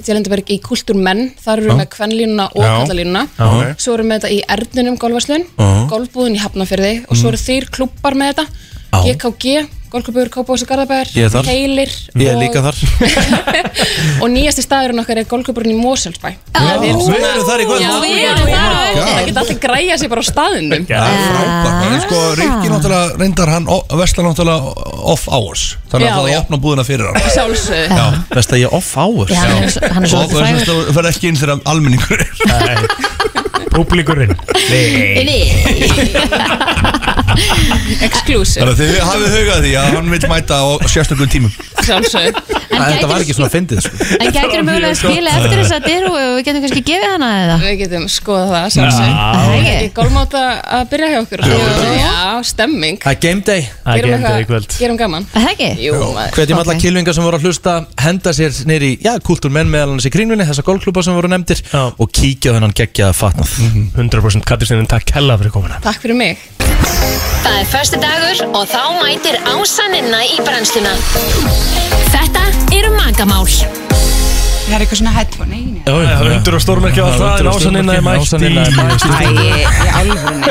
Speaker 8: Tjálendurberg í Kultúrmenn þar eru við með kvennlínuna og
Speaker 5: Já.
Speaker 8: kallalínuna
Speaker 5: ok.
Speaker 8: svo erum við þetta í Erdnunum golfarslun
Speaker 5: Já.
Speaker 8: golfbúðin í Hafnafyrði og
Speaker 1: Mm.
Speaker 8: svo eru þeir klubbar með þetta GKG, golfklubur, Kópavós og
Speaker 1: Ég er þar.
Speaker 8: Garðabæðar Heilir
Speaker 1: Ég er líka þar
Speaker 8: og nýjasti staðurinn okkar er golfklubburinn í Móselsbæ
Speaker 1: Við erum þar í Oh kvöld
Speaker 8: Já, við erum þar á eftir, það geta allir græja sér bara á staðinum
Speaker 5: það er frábært En sko, Rikki náttúrulega reyndar hann Vesla náttúrulega off hours
Speaker 8: Já,
Speaker 5: Þannig að það
Speaker 8: já.
Speaker 5: er opna búðina fyrir hann
Speaker 8: Sjálfsög
Speaker 1: Vest að ég er off hours
Speaker 3: Já, hann er svo- hann er
Speaker 5: Og
Speaker 3: svolítið
Speaker 5: það er
Speaker 3: frægur
Speaker 5: svona, það fer ekki inn þegar almenningur er
Speaker 2: Públíkurinn
Speaker 3: Nei.
Speaker 8: Exclusive,
Speaker 5: Þannig að þið hafið hugað því að hann vil mæta á sérstökum tímum
Speaker 8: sjálfsög
Speaker 3: En
Speaker 1: Þetta
Speaker 3: gætirðu-
Speaker 1: var ekki svona fyndið sko.
Speaker 3: En gætur mögulega að skila eftir þess að dyru og við getum kannski gefið hana eða
Speaker 8: Við getum skoðað það, sjálfsög
Speaker 3: Það
Speaker 8: Það
Speaker 3: er
Speaker 8: er
Speaker 3: ekki.
Speaker 8: ekki golfmáta að byrja hjá okkur Já, stemming
Speaker 1: Það er game day
Speaker 2: Það er
Speaker 8: Gerum
Speaker 2: gemd
Speaker 8: eitthvað-
Speaker 2: í kvöld
Speaker 8: Gerum gaman
Speaker 3: Er Það ekki?
Speaker 8: Jú, maður
Speaker 1: Hvetjum
Speaker 3: Ok.
Speaker 1: alla kilvingar sem voru að hlusta henda sér nýri, já, kultúrmenn meðal hans í krínvinni þessa golfklúpa sem voru nefndir
Speaker 2: Já.
Speaker 1: og kíkja á þennan geggjaða fatnað
Speaker 2: 100% Katristinnin, takk hella fyrir komuna
Speaker 8: Takk fyrir mig
Speaker 10: Það er förstu dagur og þá mætir ásaninna í brennsluna. Þetta eru magamál.
Speaker 7: Það er eitthvað svona headphone í henni.
Speaker 2: Undur og stórmerki á það en ásaninna er mætt hérna í
Speaker 7: Æ, í alvörunni.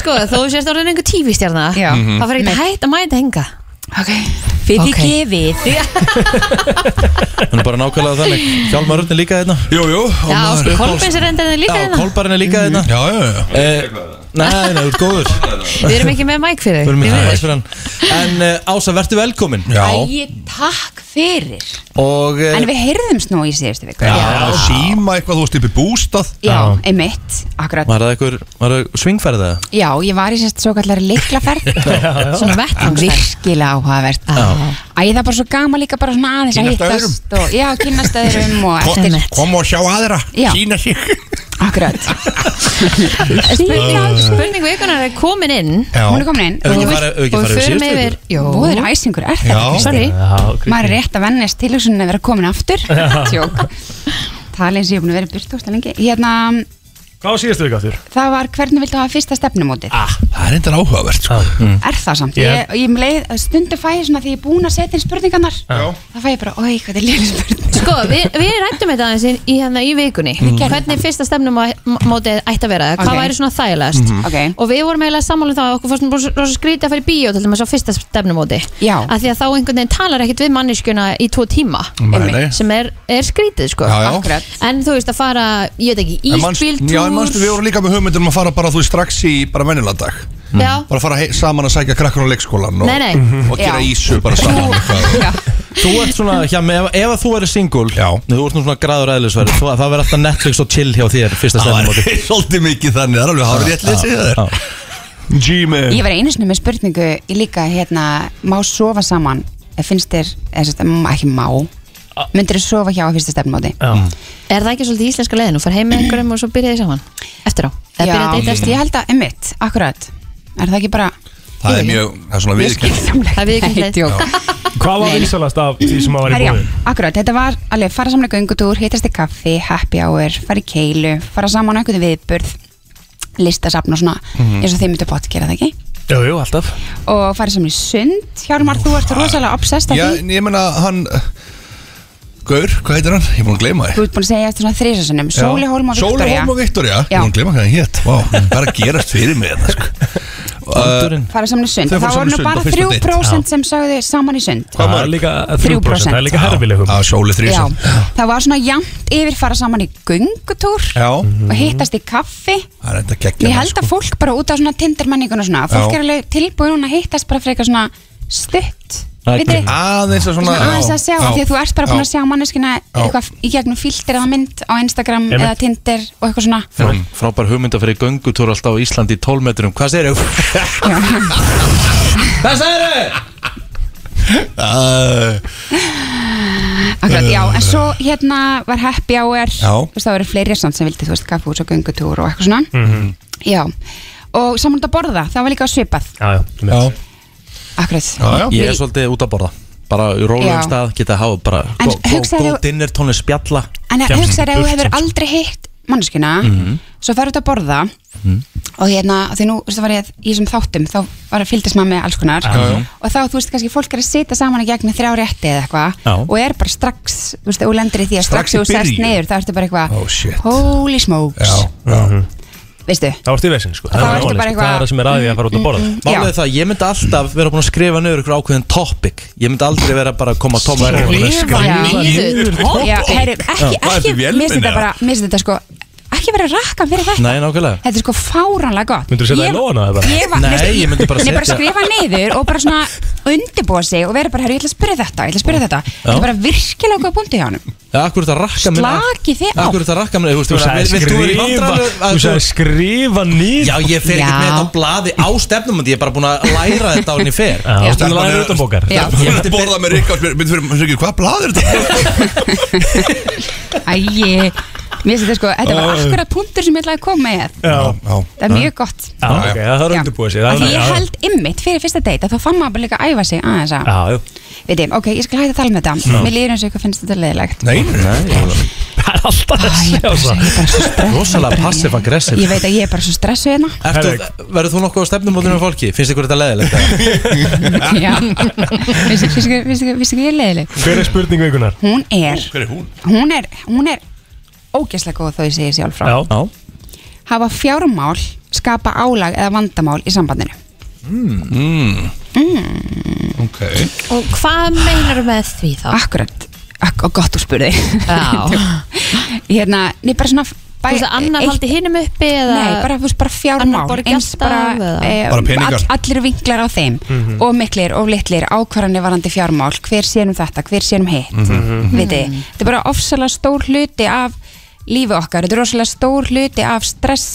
Speaker 3: Sko, þó þú sést orðin einhver tífistjarna
Speaker 7: Já.
Speaker 5: Mhm.
Speaker 3: Það fyrir ekki að hætta að mæta henga
Speaker 7: Ok.
Speaker 3: Fyrir
Speaker 10: gefið.
Speaker 1: Hún er bara nákvæmlega þannig Hjálmar Örn er líka þetta
Speaker 5: Jú, jú og
Speaker 3: Já,
Speaker 5: maður-
Speaker 3: sko, Kolbins er endan líka
Speaker 1: Já,
Speaker 3: hérna
Speaker 1: Kolbarinn er líka þetta
Speaker 5: Já, já, já
Speaker 1: Eh, Nei, nei, þú ert góður
Speaker 3: Við erum ekki með mæk fyrir
Speaker 1: Við erum
Speaker 3: því
Speaker 1: ekki hægt fyrir hann En uh, Ása, verður velkomin
Speaker 10: Æ, takk fyrir
Speaker 1: Og uh,
Speaker 10: En við heyrðumst nú í síðustu viku
Speaker 5: Já, síma eitthvað, þú veist, upp í bústað
Speaker 10: Já, einmitt, akkurat
Speaker 1: Var það einhver, var það svingferð eða?
Speaker 10: Já, ég var í sérst svo kallar leiklaferð
Speaker 1: já.
Speaker 10: Svona vettvangsferð Virkilega áhugavert
Speaker 1: Já.
Speaker 10: Æ, það er bara svo gaman líka bara svona aðeins að
Speaker 5: Kynnast
Speaker 10: hittast og, Já, kynnast öðrum og
Speaker 5: Kom-
Speaker 10: eftir
Speaker 5: Kom og sjá aðra,
Speaker 10: Já.
Speaker 5: sína sig
Speaker 10: Akkurat
Speaker 5: Uh.
Speaker 3: Spurning, spurning vikunar er komin inn
Speaker 5: Já. Hún er
Speaker 10: komin inn.
Speaker 1: Ef við ekki farið- ef við ekki
Speaker 3: Og við förum
Speaker 1: farið síðustu
Speaker 3: yfir
Speaker 1: viku?
Speaker 3: Jó.
Speaker 10: Búður æsingur er það
Speaker 1: Já.
Speaker 10: ekki, sorry
Speaker 1: Já, Kristín.
Speaker 10: Maður er rétt að vennast til hugsunin að vera komin aftur
Speaker 2: Já.
Speaker 10: Tjók Talið eins og ég er búin að vera byrst óslega lengi Hérna,
Speaker 2: Hvað var síðastu vika þurr?
Speaker 10: það var hvernig viltu hafa fyrsta stefnumótið
Speaker 2: ah.
Speaker 5: Það er endur áhugavert sko.
Speaker 10: Er það samt?
Speaker 5: Ég-
Speaker 10: Ég, ég um leið, stundu fæ ég svona því ég er búin að setja inn spurningarnar
Speaker 5: Já.
Speaker 10: Það fæ ég bara, oi, hvað er lélega spurning
Speaker 3: Sko, við, við rættum þetta aðeins í, í, hérna, í vikunni
Speaker 5: Mm.
Speaker 10: Við gerðum
Speaker 3: Hvernig fyrsta stefnumótið ætti að vera Hvað
Speaker 10: Ok.
Speaker 3: væri svona þægilegast
Speaker 10: Mhm. Ok.
Speaker 3: Og við vorum eiginlega sammálum þá að Okkur fórstum rosa skrítið að fara í bíó Til þess að fyrsta stefnumóti
Speaker 10: Já.
Speaker 3: Af Því að þá einhvern veginn talar ekkert við manneskjuna í tvo tíma
Speaker 5: Nei, nei.
Speaker 3: Sem er, er skrítið sko
Speaker 5: Já, já. Akkurat.
Speaker 3: En þú veist að fara, ég veit ekki,
Speaker 5: En manst- Já, en manstu, við
Speaker 3: ísbíltúr
Speaker 5: vorum líka með hugmyndum að fara bara, þú veist, strax í bara mennilandag
Speaker 3: Já.
Speaker 5: Bara fara hei, saman að sækja krakkan á leikskólan og,
Speaker 3: Nei, nei.
Speaker 5: og gera
Speaker 3: Já.
Speaker 5: ísu bara saman eitthvað.
Speaker 1: Þú ert svona, hjá mig, ef, ef að þú verður singul Já Þú ert nú svona graður eðlisverð Það verður alltaf Netflix og chill hjá þér Fyrsta
Speaker 5: Það
Speaker 1: stefnumóti
Speaker 5: er svolítið mikið þannig, það er alveg hafrið rétt lýsið þér G-man
Speaker 10: Ég var einu sinni með spurningu í líka hérna, má sofa saman Ef finnst þér, eða sérst, mm, ekki má Myndir þú sofa hjá á fyrsta stefnumóti
Speaker 3: Er það ekki svolítið í íslenska leiðin? Þú far heim með einhverjum og svo byrjaði saman Eftir á Eða
Speaker 10: Já,
Speaker 3: byrjaði að deyta eftir
Speaker 10: ég held að, emmitt, akkurat Er það ekki bara
Speaker 5: Það er mjög, það er svona viðkjönd
Speaker 10: Það er
Speaker 3: viðurkennt
Speaker 10: leið
Speaker 2: Hvað var vinsalast af því sem að var í
Speaker 10: Herjá,
Speaker 2: búið?
Speaker 10: akkurat, þetta var alveg fara saman í göngutúr, hittast í kaffi, happy hour, fara í keilu, fara saman á einhvern viðburð, listasafn og svona,
Speaker 2: Mhm.
Speaker 10: eins og þið myndu bótt gera það ekki?
Speaker 2: Jú, jú, alltaf
Speaker 10: Og fara saman í sund, Hjálmar, þú ert rosalega obsessed af
Speaker 5: Já,
Speaker 10: því.
Speaker 5: en ég meina, hann Gaur, hvað heitir hann? Ég er búin að gleyma
Speaker 10: Þú ert búin að segja eftir svona þrísasunum, Sóli Hólm og Viktoria.
Speaker 5: Sóli Hólm og Viktoria, ég
Speaker 10: Já.
Speaker 5: er búin að gleyma hvað hann hétt Vá, það er að gerast fyrir mig þetta, sko Vandurinn
Speaker 10: Fara saman í sund.
Speaker 5: Þau
Speaker 10: Og
Speaker 5: fóru
Speaker 10: Það voru
Speaker 5: saman í
Speaker 10: nú
Speaker 5: sund
Speaker 10: bara
Speaker 5: á fyrsta date.
Speaker 10: 3% sem sagði saman í sund.
Speaker 2: Það er líka 3%, það er líka herfilegum
Speaker 5: Já, sóli
Speaker 10: Já, það var svona jæmt yfir fara saman í göngutúr
Speaker 5: Já
Speaker 10: og hittast í kaffi.
Speaker 5: Það er enda sko. geggja
Speaker 10: Ég
Speaker 1: sko.
Speaker 10: held að fólk bara út á svona Tinder menningun og svona, fólk
Speaker 5: Já.
Speaker 10: er alveg tilbúin núna að hittast bara frekar svona stutt vitið þið?
Speaker 5: Aðeins að svona
Speaker 10: Svona aðeins að sjá, af því að þú ert bara búin að sjá manneskina
Speaker 5: Já.
Speaker 10: eitthvað í gegnum filter eða mynd á Instagram
Speaker 1: Einmitt.
Speaker 10: eða Tinder og eitthvað svona
Speaker 1: Frá,
Speaker 2: Mm.
Speaker 1: Frábær hugmynda fyrir göngutúr alltaf á Íslandi í 12 metrum Hvað segir þú? Hvað segir þau?
Speaker 10: Akkurat, já, en svo hérna var happy hour
Speaker 5: Eh. Já.
Speaker 10: þú veist það voru fleiri samt sem vildi, þú veist, kaffús og göngutúr og eitthvað svona
Speaker 2: Mm-hmm.
Speaker 10: Já, og saman út að borða, það var líka svipað
Speaker 2: Já, já
Speaker 10: Akkurat
Speaker 1: Ég er svolítið út að borða Bara í rólegum
Speaker 10: Já.
Speaker 1: stað geta að hafa bara
Speaker 10: En
Speaker 1: gó- gó-
Speaker 10: hugsaðu-
Speaker 1: Góð dinner tónlist spjalla
Speaker 10: En
Speaker 1: Kemst
Speaker 10: hugsaður ef þú
Speaker 1: burt
Speaker 10: hefur
Speaker 1: samt, sko.
Speaker 10: aldrei Ah? hitt manneskina
Speaker 1: Mhm.
Speaker 10: svo ferur þetta að borða og hérna, af því nú, þú veist, það var ég í þessum þáttum þá var að fylgdist maður með alls konar
Speaker 11: Já, já.
Speaker 10: og þá, þú veist, kannski fólk er að sitja saman í gegnum þrjá rétti eða eitthvað
Speaker 11: Já.
Speaker 10: og er bara strax, þú veist, og lendir í því að
Speaker 2: Strax
Speaker 10: strax
Speaker 2: í
Speaker 10: þú sest
Speaker 2: byrjun.
Speaker 10: niður, þá ertu bara eitthvað
Speaker 2: Oh, shit.
Speaker 10: holy smokes,
Speaker 2: Mhm.
Speaker 10: veistu
Speaker 2: Það varst í vesin, sko
Speaker 10: Þá
Speaker 2: Það er
Speaker 10: ertu bara
Speaker 2: málið, sko. Það
Speaker 10: eitthvað- Mm,
Speaker 2: er það sem er aðið að fara út að borða
Speaker 1: Málið er það, ég myndi alltaf vera búin að skrifa niður ykkur ákveðin topic Ég myndi aldrei vera bara að koma að tóma
Speaker 10: Já, heyrðu, ekki, ekki, mér finnst þetta bara mér finnst þetta sko, ekki vera rakkan fyrir þetta
Speaker 1: Nei, nákvæmlega
Speaker 10: Þetta er sko fáránlega gott
Speaker 1: Myndirðu setja það í
Speaker 10: Ég-
Speaker 1: lófana eða bara?
Speaker 10: Ég var,
Speaker 1: Nei,
Speaker 10: veistu,
Speaker 1: ég myndi bara
Speaker 10: Nei, bara
Speaker 1: setja-
Speaker 10: skrifa niður og bara svona undirbúa sig og vera bara, herru, ég ætla að spyrja þetta, ég ætla að spyrja þetta Þetta er bara virkilega góða punkti hjá hann
Speaker 1: Já, akkur þetta rakka minn
Speaker 10: Slakið þig á.
Speaker 1: Akkur þetta rakka minn, þú veist,
Speaker 2: Þú sagði
Speaker 1: vilt- vilt þú vera í
Speaker 2: skrifa-
Speaker 1: vandræðum að
Speaker 2: þú sagði skrifa nýr
Speaker 1: Já, ég fer ekkert með þetta á blaði á stefnum Ég er bara búin að læra þetta á henni fer
Speaker 2: Já, þú ert búin að læra utan bókar. Já.
Speaker 5: Ég myndi borða með Rikka og spyrir, myndi fyrir, myndi fyrir, hvað blað er þetta?
Speaker 10: Æi, mér finnst þetta sko, þetta var akkurat punktur sem ég ætlaði að koma með
Speaker 2: Já, já
Speaker 10: Það er mjög gott
Speaker 2: Já, ok, það er undirbúið
Speaker 10: Af
Speaker 2: sig það
Speaker 10: Því
Speaker 2: er-
Speaker 10: ég
Speaker 2: já.
Speaker 10: held ymmit fyrir fyrsta date að þá fann maður bara líka að æfa sig aðeins að
Speaker 2: Já, já
Speaker 10: Við þeim, ok, ég skal hægt að tala um þetta
Speaker 2: Já.
Speaker 10: Mér líður eins og eitthvað finnst þetta leðilegt
Speaker 5: Nei, nei
Speaker 2: Það er alltaf
Speaker 10: þessi
Speaker 1: Rosalega passive aggressive
Speaker 10: Ég veit að ég er bara svo stressuð hérna
Speaker 1: Verður þú nokkuð á stefnum út með fólki? Finnst ykkur þetta leðilegt?
Speaker 10: Já, Veistu- veistu ekki- veistu ekki veistu ekki ég er leðileg
Speaker 2: Hver er spurning vikunar?
Speaker 10: Hún er
Speaker 2: Hver er hún?
Speaker 10: hún er, hún er ógeðslega góð þó ég segi sjálf frá
Speaker 2: Já
Speaker 10: hafa fjármál skapa álag eða vandamál í sambandinu
Speaker 5: Mm. Ok
Speaker 3: Og hvað meinar með því þá?
Speaker 10: akkurat, ak og gott úr spurði
Speaker 3: Já.
Speaker 10: Ah, hérna, nei bara svona bæ,
Speaker 3: Þú veist að annar haldi hinum uppi eða
Speaker 10: Nei, bara, þú veist, bara
Speaker 3: Annar
Speaker 10: fjármál
Speaker 3: borgi
Speaker 10: eins
Speaker 3: alltaf
Speaker 10: bara,
Speaker 3: eða-
Speaker 10: eh,
Speaker 5: Bara peningar.
Speaker 10: all, allir vinklar á þeim
Speaker 5: Mhm.
Speaker 10: og miklir og litlir ákvarðanir varandi fjármál hver sér um þetta, hver sér um hitt
Speaker 5: Mhm.
Speaker 10: viti, þetta er bara ofsalega stór hluti af lífi okkar þetta er rosalega stór hluti af stress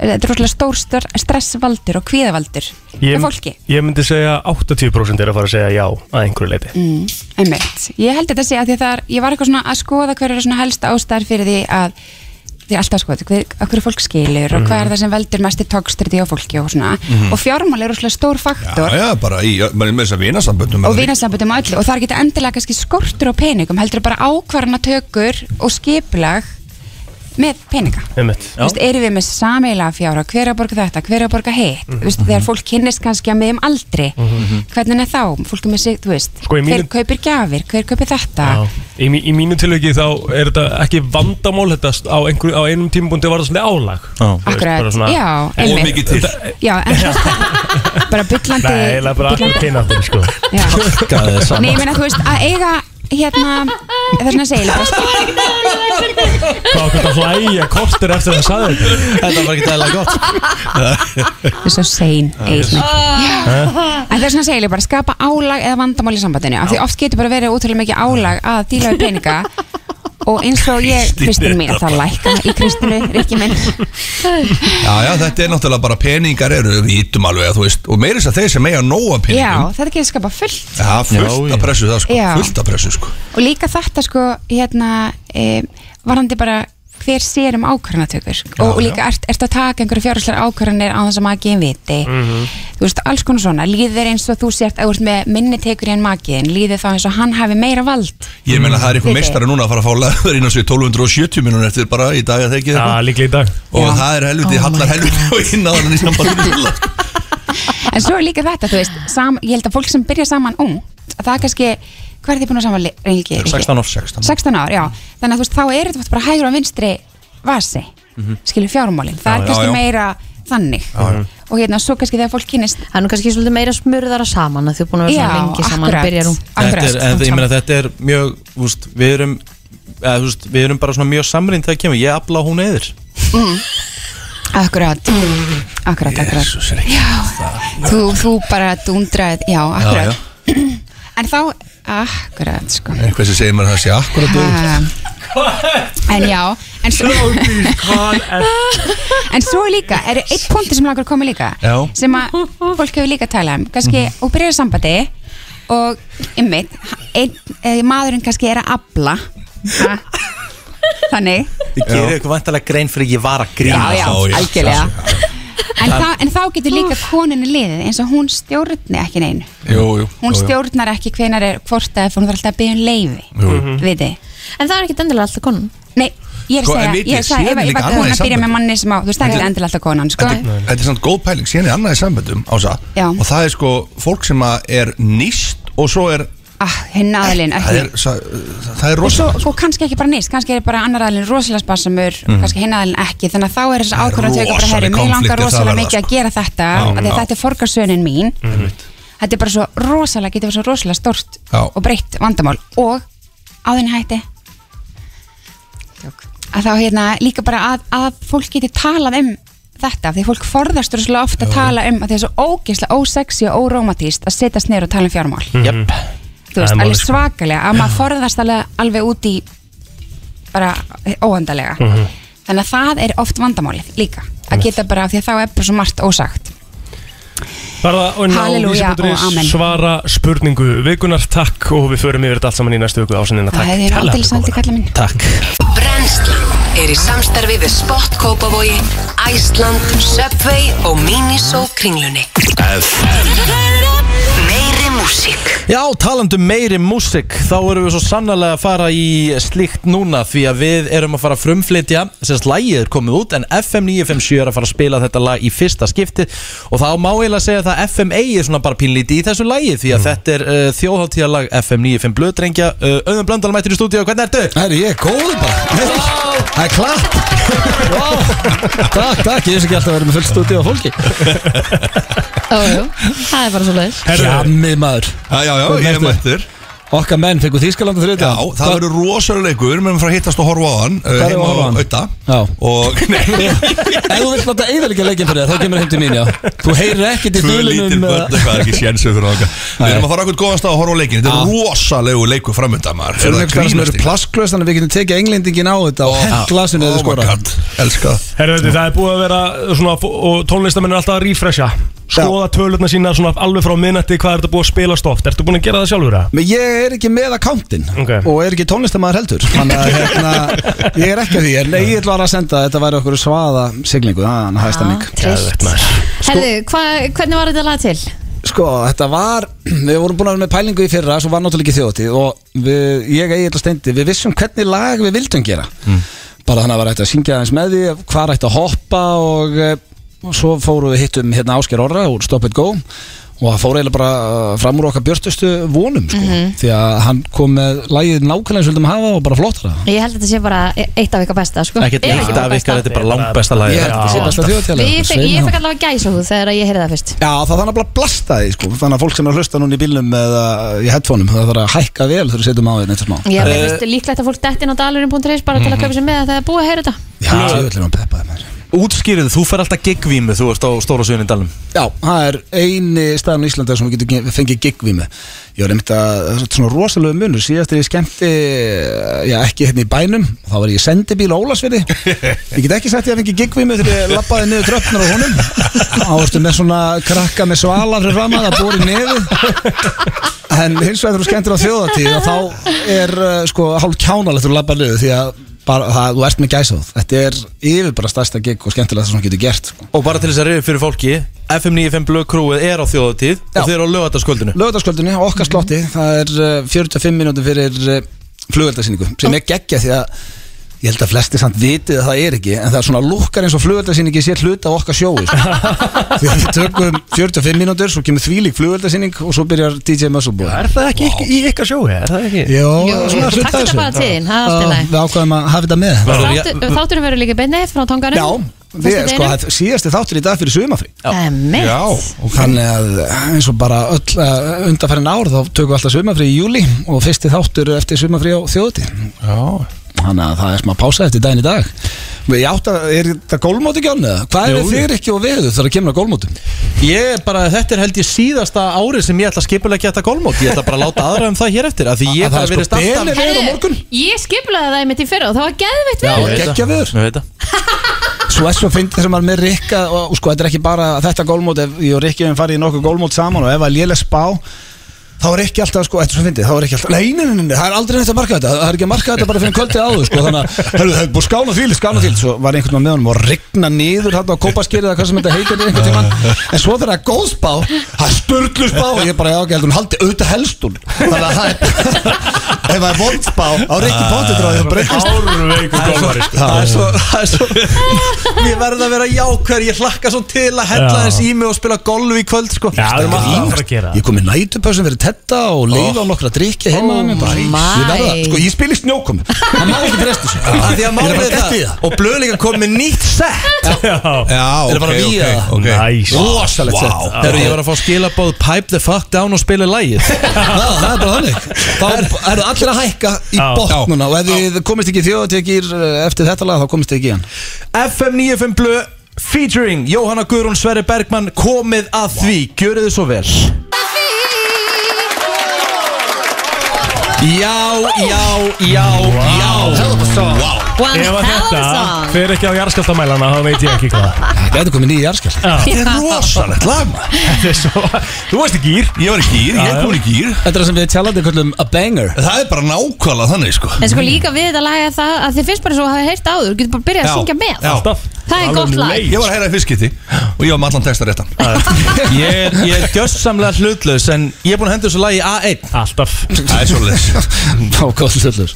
Speaker 10: þetta er rosalega stór stor, stressvaldur og kvíðavaldur með fólki
Speaker 2: ég myndi segja 80% er að fara að segja já að einhverju leiti
Speaker 10: mm, einmitt, ég held þetta að segja að því að það er, ég var eitthvað svona að skoða hverju eru svona helsta ástæðar fyrir því að því er alltaf skoða, hver, af hverju fólk skilur og hvað er það sem veldur mest í tókstriti á fólki og svona,
Speaker 5: Mhm.
Speaker 10: og fjármál er rosalega stór faktor
Speaker 5: Já, já, bara í, maður er með þess að vinasamböndum
Speaker 10: og vinasamböndum og öllu og það er ekki endilega kannski skortur á peningum heldur bara ákvarðanatökur og skipulag með peninga
Speaker 2: Einmitt.
Speaker 10: Þú veist, erum við með sameila fjára, hver er að borga þetta, hver er að borga hitt mm
Speaker 2: Mhm.
Speaker 10: veist, þegar fólk kynnist kannski að með um aldri
Speaker 2: Mhm.
Speaker 10: hvernig er þá, fólk er með sig, þú veist
Speaker 2: Sko, í mínu-
Speaker 10: hver kaupir gjafir, hver kaupir þetta
Speaker 2: Í, mí- í mínu tilviki þá er þetta ekki vandamál þetta st- á, einhver, á einum tímabúndi var það svona álag Þú veist,
Speaker 10: Akkurat,
Speaker 2: bara svona-
Speaker 10: já, Og einmitt. mikið til.
Speaker 2: Þetta-
Speaker 10: já, en bara byllandi
Speaker 2: Nei, eiginlega bara allir kynáttin sko
Speaker 9: Gæði þess
Speaker 10: Nei, ég meina, þú veist, að eiga hérna, það er svona að segja líka, sko.
Speaker 2: Hvað okkur að hlæja kortur eftir að það sagði þetta
Speaker 9: Þetta var ekki dæla gott
Speaker 10: Þú er svo sein, Egill. En það er svona segileg bara skapa álag eða vandamál í sambandinu af því oft getur bara verið útrúlega mikið álag að díla við peninga og eins og ég,
Speaker 5: Kristín
Speaker 10: Kristinn
Speaker 5: er
Speaker 10: mín,
Speaker 5: það
Speaker 10: það lækka í Kristinu, Rikki minn
Speaker 5: Já, já, þetta er náttúrulega bara peningar eru við ítum alveg að þú veist og meira þess að þeir sem eiga nóa
Speaker 10: Já,
Speaker 5: peningum
Speaker 10: þetta getur skapa fullt
Speaker 5: Já, fullt að pressu það sko,
Speaker 10: Já.
Speaker 5: fullt að pressu sko
Speaker 10: og líka þetta sko, hérna e, varandi bara hver sér um ákvarðanatökur og, og líka ert, ert að taka einhverju fjárháslar ákvarðanir á þess að magiðin viti þú veist, alls konar svona, líður eins og þú sért að þú ert með minni tekur en magiðin líður þá eins og hann hafi meira vald
Speaker 5: Ég meina það er einhver
Speaker 10: Mm. Viti.
Speaker 5: meistari núna að fara að fá leður inn á sig 1270 minnum eftir bara í dag að það ekki Já,
Speaker 2: líklega í dag
Speaker 5: Og það er helviti,
Speaker 10: Oh
Speaker 5: hallar helviti á inn á hann í sambandinu
Speaker 10: En svo er líka þetta, þú veist, sam, ég held að fólk sem byrja saman ung, að það er kannski, hvað er þið búin að saman lengi?
Speaker 5: Eru 16 ár. 16 ár.
Speaker 10: 16 ár, já. Þannig að þú veist, þá er þetta bara hægur á vinstri vasi, skilur fjármálin. Það er
Speaker 3: Já, já,
Speaker 10: kannski
Speaker 3: já.
Speaker 10: meira þannig. Og hérna, svo kannski þegar fólk kynist.
Speaker 3: Það er nú kannski svolítið meira smurðara saman að þau búin að vera svona
Speaker 10: Já,
Speaker 3: lengi saman
Speaker 10: akkurat.
Speaker 3: byrjar hún
Speaker 10: Akkurat.
Speaker 9: þetta er, en, ég meina, þetta er mjög úst, við erum eða, úst, við erum bara svona mjög samrýnd þegar kemur ég afla og hún eður
Speaker 10: Mm. Akkurat, akkurat, akkurat.
Speaker 5: Jesus,
Speaker 10: já, þú, þú bara dundrað, já, akkurat.
Speaker 5: já.
Speaker 10: En þá, akkurat, sko.
Speaker 5: Einhver sem segir mér að það sé akkurat
Speaker 10: Ha. En já En svo, en svo líka, er eitt punkti sem langar að koma líka
Speaker 5: Já.
Speaker 10: sem að fólk hefur líka talað um kannski,
Speaker 5: Mhm.
Speaker 10: og byrjar í sambandi og ymmit, ein, eh, maðurinn kannski er að abla ha? þannig
Speaker 9: við gerum ykkur vantarlega grein fyrir ég var að grína
Speaker 10: Já, já, algjörlega. en, þá, en þá getur líka koninni liðið eins og hún stjórni ekki neinu
Speaker 5: Jú, jú
Speaker 10: hún stjórnar ekki hvenar er hvort að hún þarf alltaf að byggja um leifi
Speaker 5: Jú.
Speaker 10: viti En það er ekki endilega alltaf konan Nei, ég er að
Speaker 5: Sko, en
Speaker 10: segja,
Speaker 5: vitið,
Speaker 10: ég er að segja
Speaker 5: síðan
Speaker 10: ef
Speaker 5: er
Speaker 10: ef
Speaker 5: líka
Speaker 10: að
Speaker 5: annað
Speaker 10: hún
Speaker 5: í
Speaker 10: að byrja
Speaker 5: sambandi.
Speaker 10: með manni sem á, þú veist, það er
Speaker 5: Þetta-
Speaker 10: ekki endilega alltaf konan, sko
Speaker 5: Þetta er samt góð pæling, síðan er annað í samböndum Ása,
Speaker 10: Já.
Speaker 5: og það er sko fólk sem að er nýst og svo er
Speaker 10: Ah, hinn aðalinn,
Speaker 5: það
Speaker 10: ekki
Speaker 5: er, það, það er
Speaker 10: Og svo,
Speaker 5: rosa
Speaker 10: og kannski ekki bara nýst, kannski er bara annar aðalinn rosalega sparsamur,
Speaker 5: Mhm.
Speaker 10: kannski hinn aðalinn ekki þannig að þá er þess að
Speaker 5: Það er
Speaker 10: ákvörðan tökur bara
Speaker 5: rosaleg
Speaker 10: herri, mig langar
Speaker 5: konfliktir það
Speaker 10: rosalega
Speaker 5: verða,
Speaker 10: mikið að gera þetta
Speaker 5: Já,
Speaker 10: af því
Speaker 5: já.
Speaker 10: að þetta er forgarsönin mín þetta er bara svo rosalega, getur verið svo rosalega stort
Speaker 5: Já.
Speaker 10: og breytt vandamál og áðinni hætti að þá hérna líka bara að, að fólk geti talað um þetta af því fólk forðast rosalega ofta að tala um að því það er svo ógeðslega ósexy og óromatíst að setjast neyru og tala um fjármál
Speaker 5: Mhm.
Speaker 2: Jöpp
Speaker 10: þú veist, alveg
Speaker 1: sko.
Speaker 5: sko.
Speaker 10: svakalega að maður forðast alveg, alveg út í bara óhandalega
Speaker 2: Mm. Mhm.
Speaker 10: þannig að það er oft vandamálið líka að geta bara af því að þá er bara svo margt ósagt
Speaker 2: Var það inn á
Speaker 10: Halleluja
Speaker 2: vísi.is
Speaker 10: og amen.
Speaker 2: svara spurningu vikunar takk og við förum yfir þetta allt saman í næstu viku ásendina
Speaker 10: það
Speaker 2: takk
Speaker 10: hefði ég
Speaker 2: kærlega
Speaker 10: aldrei
Speaker 2: fyrir
Speaker 10: sagt í kalla minn
Speaker 2: Takk
Speaker 4: Brennslan er í samstarfi við Sport Kópavogi, Æsland, Subway og Miniso kringlunni. Meiri músík
Speaker 9: Já, talandum meiri músik þá erum við svo sannlega að fara í slíkt núna því að við erum að fara að frumflytja semst lægið er komið út en FM 957 er að fara að spila þetta lag í fyrsta skipti og þá má eiginlega segja það að FMA er svona bara pínlíti í þessu lægi því
Speaker 5: Mhm.
Speaker 9: að þetta er uh, þjóðháttíðalag FM 95 Blöðdrengja uh, Öðum Blöndal mættir í stúdíu, hvernig ertu?
Speaker 5: Það er ég, góður bara Það er klart
Speaker 9: Takk, takk, ég veist ekki alltaf að vera með fullt stúdíu á fólki
Speaker 3: Ójú, það er bara svo leiðis
Speaker 9: Jammið maður
Speaker 5: Já, já, já,
Speaker 9: Hvernig
Speaker 5: ég er
Speaker 9: ertu?
Speaker 5: mættur
Speaker 11: Okkar menn fengur Þískalanda þriðið
Speaker 5: Já, það verður rosaleikur Menn frá hittast og horfa á hann eh,
Speaker 11: Hvað er að
Speaker 5: heima
Speaker 11: horfa á hann?
Speaker 5: Auta
Speaker 11: Já
Speaker 5: Og
Speaker 11: Ef þú vilt láta eðalega leikinn fyrir þér, þá kemur heim til mín, já Þú heyrir ekkert í
Speaker 5: Tvö lítil
Speaker 11: dulinum
Speaker 5: börn eitthvað er ekki sjensu fyrir okkar Við erum að fara okkur góðan stað að horfa á leikin Þetta er rosalegu leikur framönda maður
Speaker 11: Fyrir einhvers þar sem eru plastklöst Þannig að við getum tekið englendingin á þetta og hella sem
Speaker 5: Oh
Speaker 11: við
Speaker 5: my
Speaker 11: skora
Speaker 5: god, elska það
Speaker 2: Herru, þetta, það er búið að vera eh, svona, og tónlistamenn er alltaf að refresha skoða tölurna sína svona alveg frá minnati hvað er þetta búið að spila stoft Ertu búin að gera það sjálfur það?
Speaker 11: Men ég er ekki með akkántin
Speaker 2: Ok.
Speaker 11: og er ekki tónlistamæður heldur Þannig að hérna, ég er ekki að því En ég ætla bara að senda að þetta væri okkur svaða siglingu Þannig að það er stemming
Speaker 3: trist Herðu, hva, hvernig var þetta lag til?
Speaker 11: Sko, þetta var, við vorum búin að vera með pælingu í fyrra Svo var náttúrulega ekki þjóðatíð Og við, ég eigi alltaf steindi, við vissum hvernig lag við vildum gera
Speaker 9: Mm.
Speaker 11: Bara þannig að var hægt að syngja aðeins með því Hvar ætti að hoppa og, eh, og Svo fórum við hittum hérna Ásker Orra úr Stop It Go Og það fór eiginlega bara eh, fram úr okkar björstustu vonum sko.
Speaker 3: Mhm.
Speaker 11: Því að hann kom með lagið nákvæmlega eins og við vildum hafa og bara flottara
Speaker 3: Ég held að þetta sé bara e- eitt af ykkar besta sko.
Speaker 9: Ekkert
Speaker 3: Ef ekki
Speaker 9: eitt
Speaker 3: bara
Speaker 9: af
Speaker 3: besta.
Speaker 9: ykkar, þetta er bara langt besta lagi
Speaker 11: Ég held að þetta sé besta þjóðatíð
Speaker 3: Við fekk- Ég fekk allavega gæsa húð þegar ég heyrði það fyrst
Speaker 11: Já, það þarf nefnilega að blasta því sko Þannig að fólk sem er að hlusta núna í bílnum eða í headphoneum Það þarf að hækka vel þegar við setjum á þetta smá
Speaker 3: Ég hef veist líklegt að fólk dettin á dalurinn.is bara
Speaker 11: Mhm.
Speaker 3: til að kaupa sér með það er búið að heyra þetta
Speaker 11: Já, tjóðlega hann peppaði mér
Speaker 9: Útskýrðu, þú fer alltaf gigvímu þú ert á stóra suðin í dalum
Speaker 11: Já, það er eini staðan í Íslanda sem við getum ge- fengið gig við með Ég var einmitt að, það er svona rosalega munur Síðast er ég skemmti, já ekki hérna í bænum Þá var ég í sendibíl á Ólasfirði Ég get ekki sagt ég að fengi gig við mig Þegar ég labbaði niður tröfnur á honum Ástu með svona krakka með svalar fyrir fram að það bóri nefi En hins vegar þú skemmtir á þjóðatíð og Þá er uh, sko hálf kjánalegt Þú labbaði niður því að bara, það, þú ert með gæsáð Þetta er yfir bara stærsta gig og skemmtilega það sem getur gert sko.
Speaker 9: Og bara til þess að reyðu fyrir fólki FM 95 Blöð krúið er á þjóðatíð og þeir eru á lögataskvöldinu
Speaker 11: lögðarskvöldinni á okkar slotti það er uh, 45 mínútur fyrir uh, flugöldarsýningu sem er geggja því að ég held að flesti samt vitið að það er ekki en það er svona lukkar eins og flugöldarsýningi sé hluta á okkar sjói sko. því að við tökum 45 mínútur svo kemur þvílík flugöldarsýning og svo byrjar DJ Muscleboy
Speaker 2: Er það ekki wow. í ykkar sjói? Er það ekki?
Speaker 11: Jó,
Speaker 3: Jú,
Speaker 11: svona
Speaker 3: taktu
Speaker 11: hluta
Speaker 3: þetta
Speaker 11: þessu
Speaker 3: bara til þín, það er allt í
Speaker 11: Uh,
Speaker 3: lagi.
Speaker 11: Við ákvæðum að hafa þetta með
Speaker 3: Þáttur- Þátturinn verður líka beinni frá
Speaker 11: Já,
Speaker 3: tóngarum
Speaker 11: við, sko, það er síðasti þáttur í dag fyrir sumafrí
Speaker 3: Emmett
Speaker 11: Þannig að eh, eins og bara öll uh, undanfærin ár þá tökum við alltaf sumafrí í júli og fyrsti þáttur eftir sumafrí á þjóðuti Þannig að það er smá pása eftir daginn í dag Ég átt að, er þetta gólmóti ekki án eða? Hvað er þér ekki og veður þegar það kemur að gólmótum?
Speaker 9: Ég er bara, þetta er held ég síðasta árið sem ég ætla að skipulegja þetta golfmót Ég ætla bara að láta aðra um það hér eftir að Því
Speaker 11: Að
Speaker 9: ég
Speaker 11: það
Speaker 9: bara
Speaker 11: er sko
Speaker 9: verið
Speaker 11: Benedikt-
Speaker 9: alltaf
Speaker 11: Við erum á morgun.
Speaker 3: Ég skiplaði það einmitt í fyrra og það var geðveitt
Speaker 9: Já, ég
Speaker 3: við
Speaker 9: veit
Speaker 11: Geggja
Speaker 9: það.
Speaker 11: veður
Speaker 9: Ég veit það.
Speaker 11: Svo er svo fyndið sem maður með Rikka og, og sko, þetta er ekki bara þetta gólmót ef ég og Rikki hefum farið í nokkuð gólmót saman og ef að lélega spá þá er ekki alltaf, sko, þetta er svo fyndið þá er ekki alltaf, nei, nei, nei, nei, nei, það er aldrei neitt að marka þetta það er ekki að marka þetta bara fyrir kvöldið áður, sko þannig að, herru, það er búið skána þvíli, skána þvíli svo var einhvern veginn með honum og rigna niður þarna á kópaskýrið eða hvað sem þetta heitir einhvern tímann en svo þegar það er góð spá, það er spurglu spá og ég bara, já, ekki, heldur hún haldi auðvitað helst hún þannig að það er ef það er vond spá, á Rikki Pótið dráði og breytast
Speaker 2: Árveikur dómari sko.
Speaker 9: Það er svo, það er svo Mér verður að vera jákvæður Ég hlakka svo til að hella
Speaker 2: Já.
Speaker 9: þess í mig og spila golf í kvöld sko
Speaker 2: Já, það er maður að fara að gera
Speaker 11: Ég kom í nætupössin fyrir tetta og leiði á nokkra drikki
Speaker 3: Oh
Speaker 11: heima oh, bara,
Speaker 3: my.
Speaker 11: Ég verða, sko, ég spil í snjókom Það má ekki fresta sig
Speaker 9: Af Því að
Speaker 11: Ég er
Speaker 9: málið
Speaker 11: bara
Speaker 9: er
Speaker 11: gert í
Speaker 9: það Og blöðleika kom með nýtt set
Speaker 2: Já,
Speaker 5: Já,
Speaker 9: Þeir
Speaker 5: ok,
Speaker 9: eru bara að vígja það.
Speaker 5: ok, ok
Speaker 2: næs
Speaker 11: Rosalegt
Speaker 5: Vá.
Speaker 11: sett
Speaker 9: Þegar ég var að fá skilabóð Pipe the fuck down og spila lægið
Speaker 11: Það það er bara þannig Þá eru allir að hækka í
Speaker 2: Já.
Speaker 11: botnuna Og ef þið komist ekki í þjóðatekir eh, eftir þetta lag þá komist þið ekki í hann
Speaker 9: FM 95 Blöð Featuring Jóhanna Guðrún Sverri Bergmann Komið að því, gjörið þið svo vel Já, já, já, já
Speaker 3: One
Speaker 2: Ef að
Speaker 3: hell of a
Speaker 2: þetta
Speaker 3: song
Speaker 2: fer ekki á jarðskjálftamælana þá veit ég ekki hvað
Speaker 11: Þetta er komið nýja jarðskjál
Speaker 2: Já,
Speaker 5: Þetta er rosalegt lag maður.
Speaker 2: þetta er svo Þú veist ekki ír
Speaker 5: Ég var í gýr, ég kom í gýr
Speaker 11: Þetta er það sem við tjálandi kallum a banger
Speaker 5: Það er bara nákvæmlega þannig sko
Speaker 3: En sko líka við þetta laga það að þið finnst bara svo að hafa heyrt áður, þú getur bara byrjað að
Speaker 5: Já,
Speaker 3: syngja með
Speaker 5: já.
Speaker 2: Alltaf
Speaker 3: Það er
Speaker 2: Alveg
Speaker 3: gott
Speaker 2: um
Speaker 3: lag.
Speaker 2: leið.
Speaker 5: Ég var að heyra í fiskiti og ég var með allan texta réttan
Speaker 9: Ég er, ég er gjössamlega hlutlaus En ég er búin að henda þessu lagi A1
Speaker 2: Alltaf
Speaker 5: Það er svolítið
Speaker 11: Þá góðslu söldur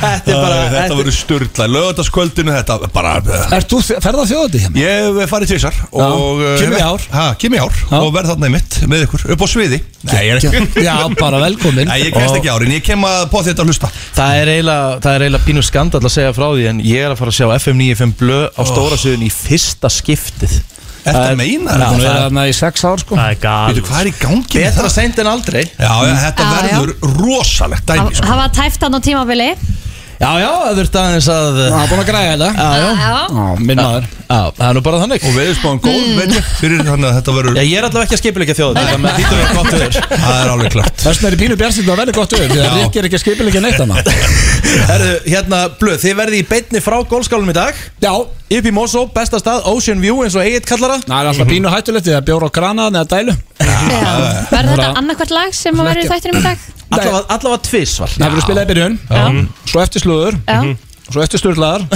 Speaker 9: Þetta er bara
Speaker 5: Þetta
Speaker 9: þetta-
Speaker 5: voru styrla lögataskvöldinu Þetta var bara
Speaker 11: Ert þú ferðað þjóðati hjá mig?
Speaker 5: Ég hef farið tvisar og uh,
Speaker 11: kemur í ár.
Speaker 5: Ha, kemur í ár
Speaker 11: Já.
Speaker 5: og verð þarna í mitt með ykkur upp á sviði Nei, ég er ekki
Speaker 11: Já, bara velkomin
Speaker 5: Nei, ég kemst ekki árin, ég kem að på þetta að hlusta
Speaker 9: Það er eiginlega, það er eiginlega pínu skandall að segja frá því En ég er að fara að sjá FM 95 Blöð Á stóra sögun í fyrsta skiptið
Speaker 5: Ertu að meina
Speaker 11: það?
Speaker 5: þetta?
Speaker 11: Hún er þarna í sex ár sko
Speaker 2: Það er
Speaker 5: Veitu, hvað er í gangi með
Speaker 1: Betra seint en aldrei
Speaker 5: Já, já, þetta
Speaker 3: Já,
Speaker 5: verður rosalegt dæmi
Speaker 3: Það
Speaker 5: sko.
Speaker 3: var tæft hann á tímabili
Speaker 1: Já, já, það þurfti aðeins að Já,
Speaker 11: búin að græja þetta
Speaker 1: Já, já
Speaker 3: Já.
Speaker 11: Já, minn maður
Speaker 1: Já, það er nú bara þannig
Speaker 5: Og veðurspáðan góð mm. fyrir þannig að þetta verður
Speaker 1: Já, ég er allavega ekki að skipilegja þjóðin Það með þýttum við gott yfir
Speaker 5: Það er alveg klart
Speaker 11: Þess vegna er í pínu bjarsind að velja gott auð Því að
Speaker 5: Já.
Speaker 11: Rík er ekki að skipilegja neitt hana
Speaker 1: Herðu, hérna, blöð, þið verði í beinni frá golfskálum í dag
Speaker 11: Já,
Speaker 1: Upp í Mosó, besta stað, Ocean View eins og Egil kallara
Speaker 11: það er
Speaker 2: Mhm.
Speaker 11: alltaf pínu hættulegt Því að bjóra á granaðan eða dælu
Speaker 3: Verður þetta annarkvært lag sem að verður í þættinum í dag?
Speaker 1: Allavega, allavega tvisvar
Speaker 11: Það verður spilað í byrjun um, Svo eftir slúður
Speaker 3: Já,
Speaker 11: Svo eftir sturlaðar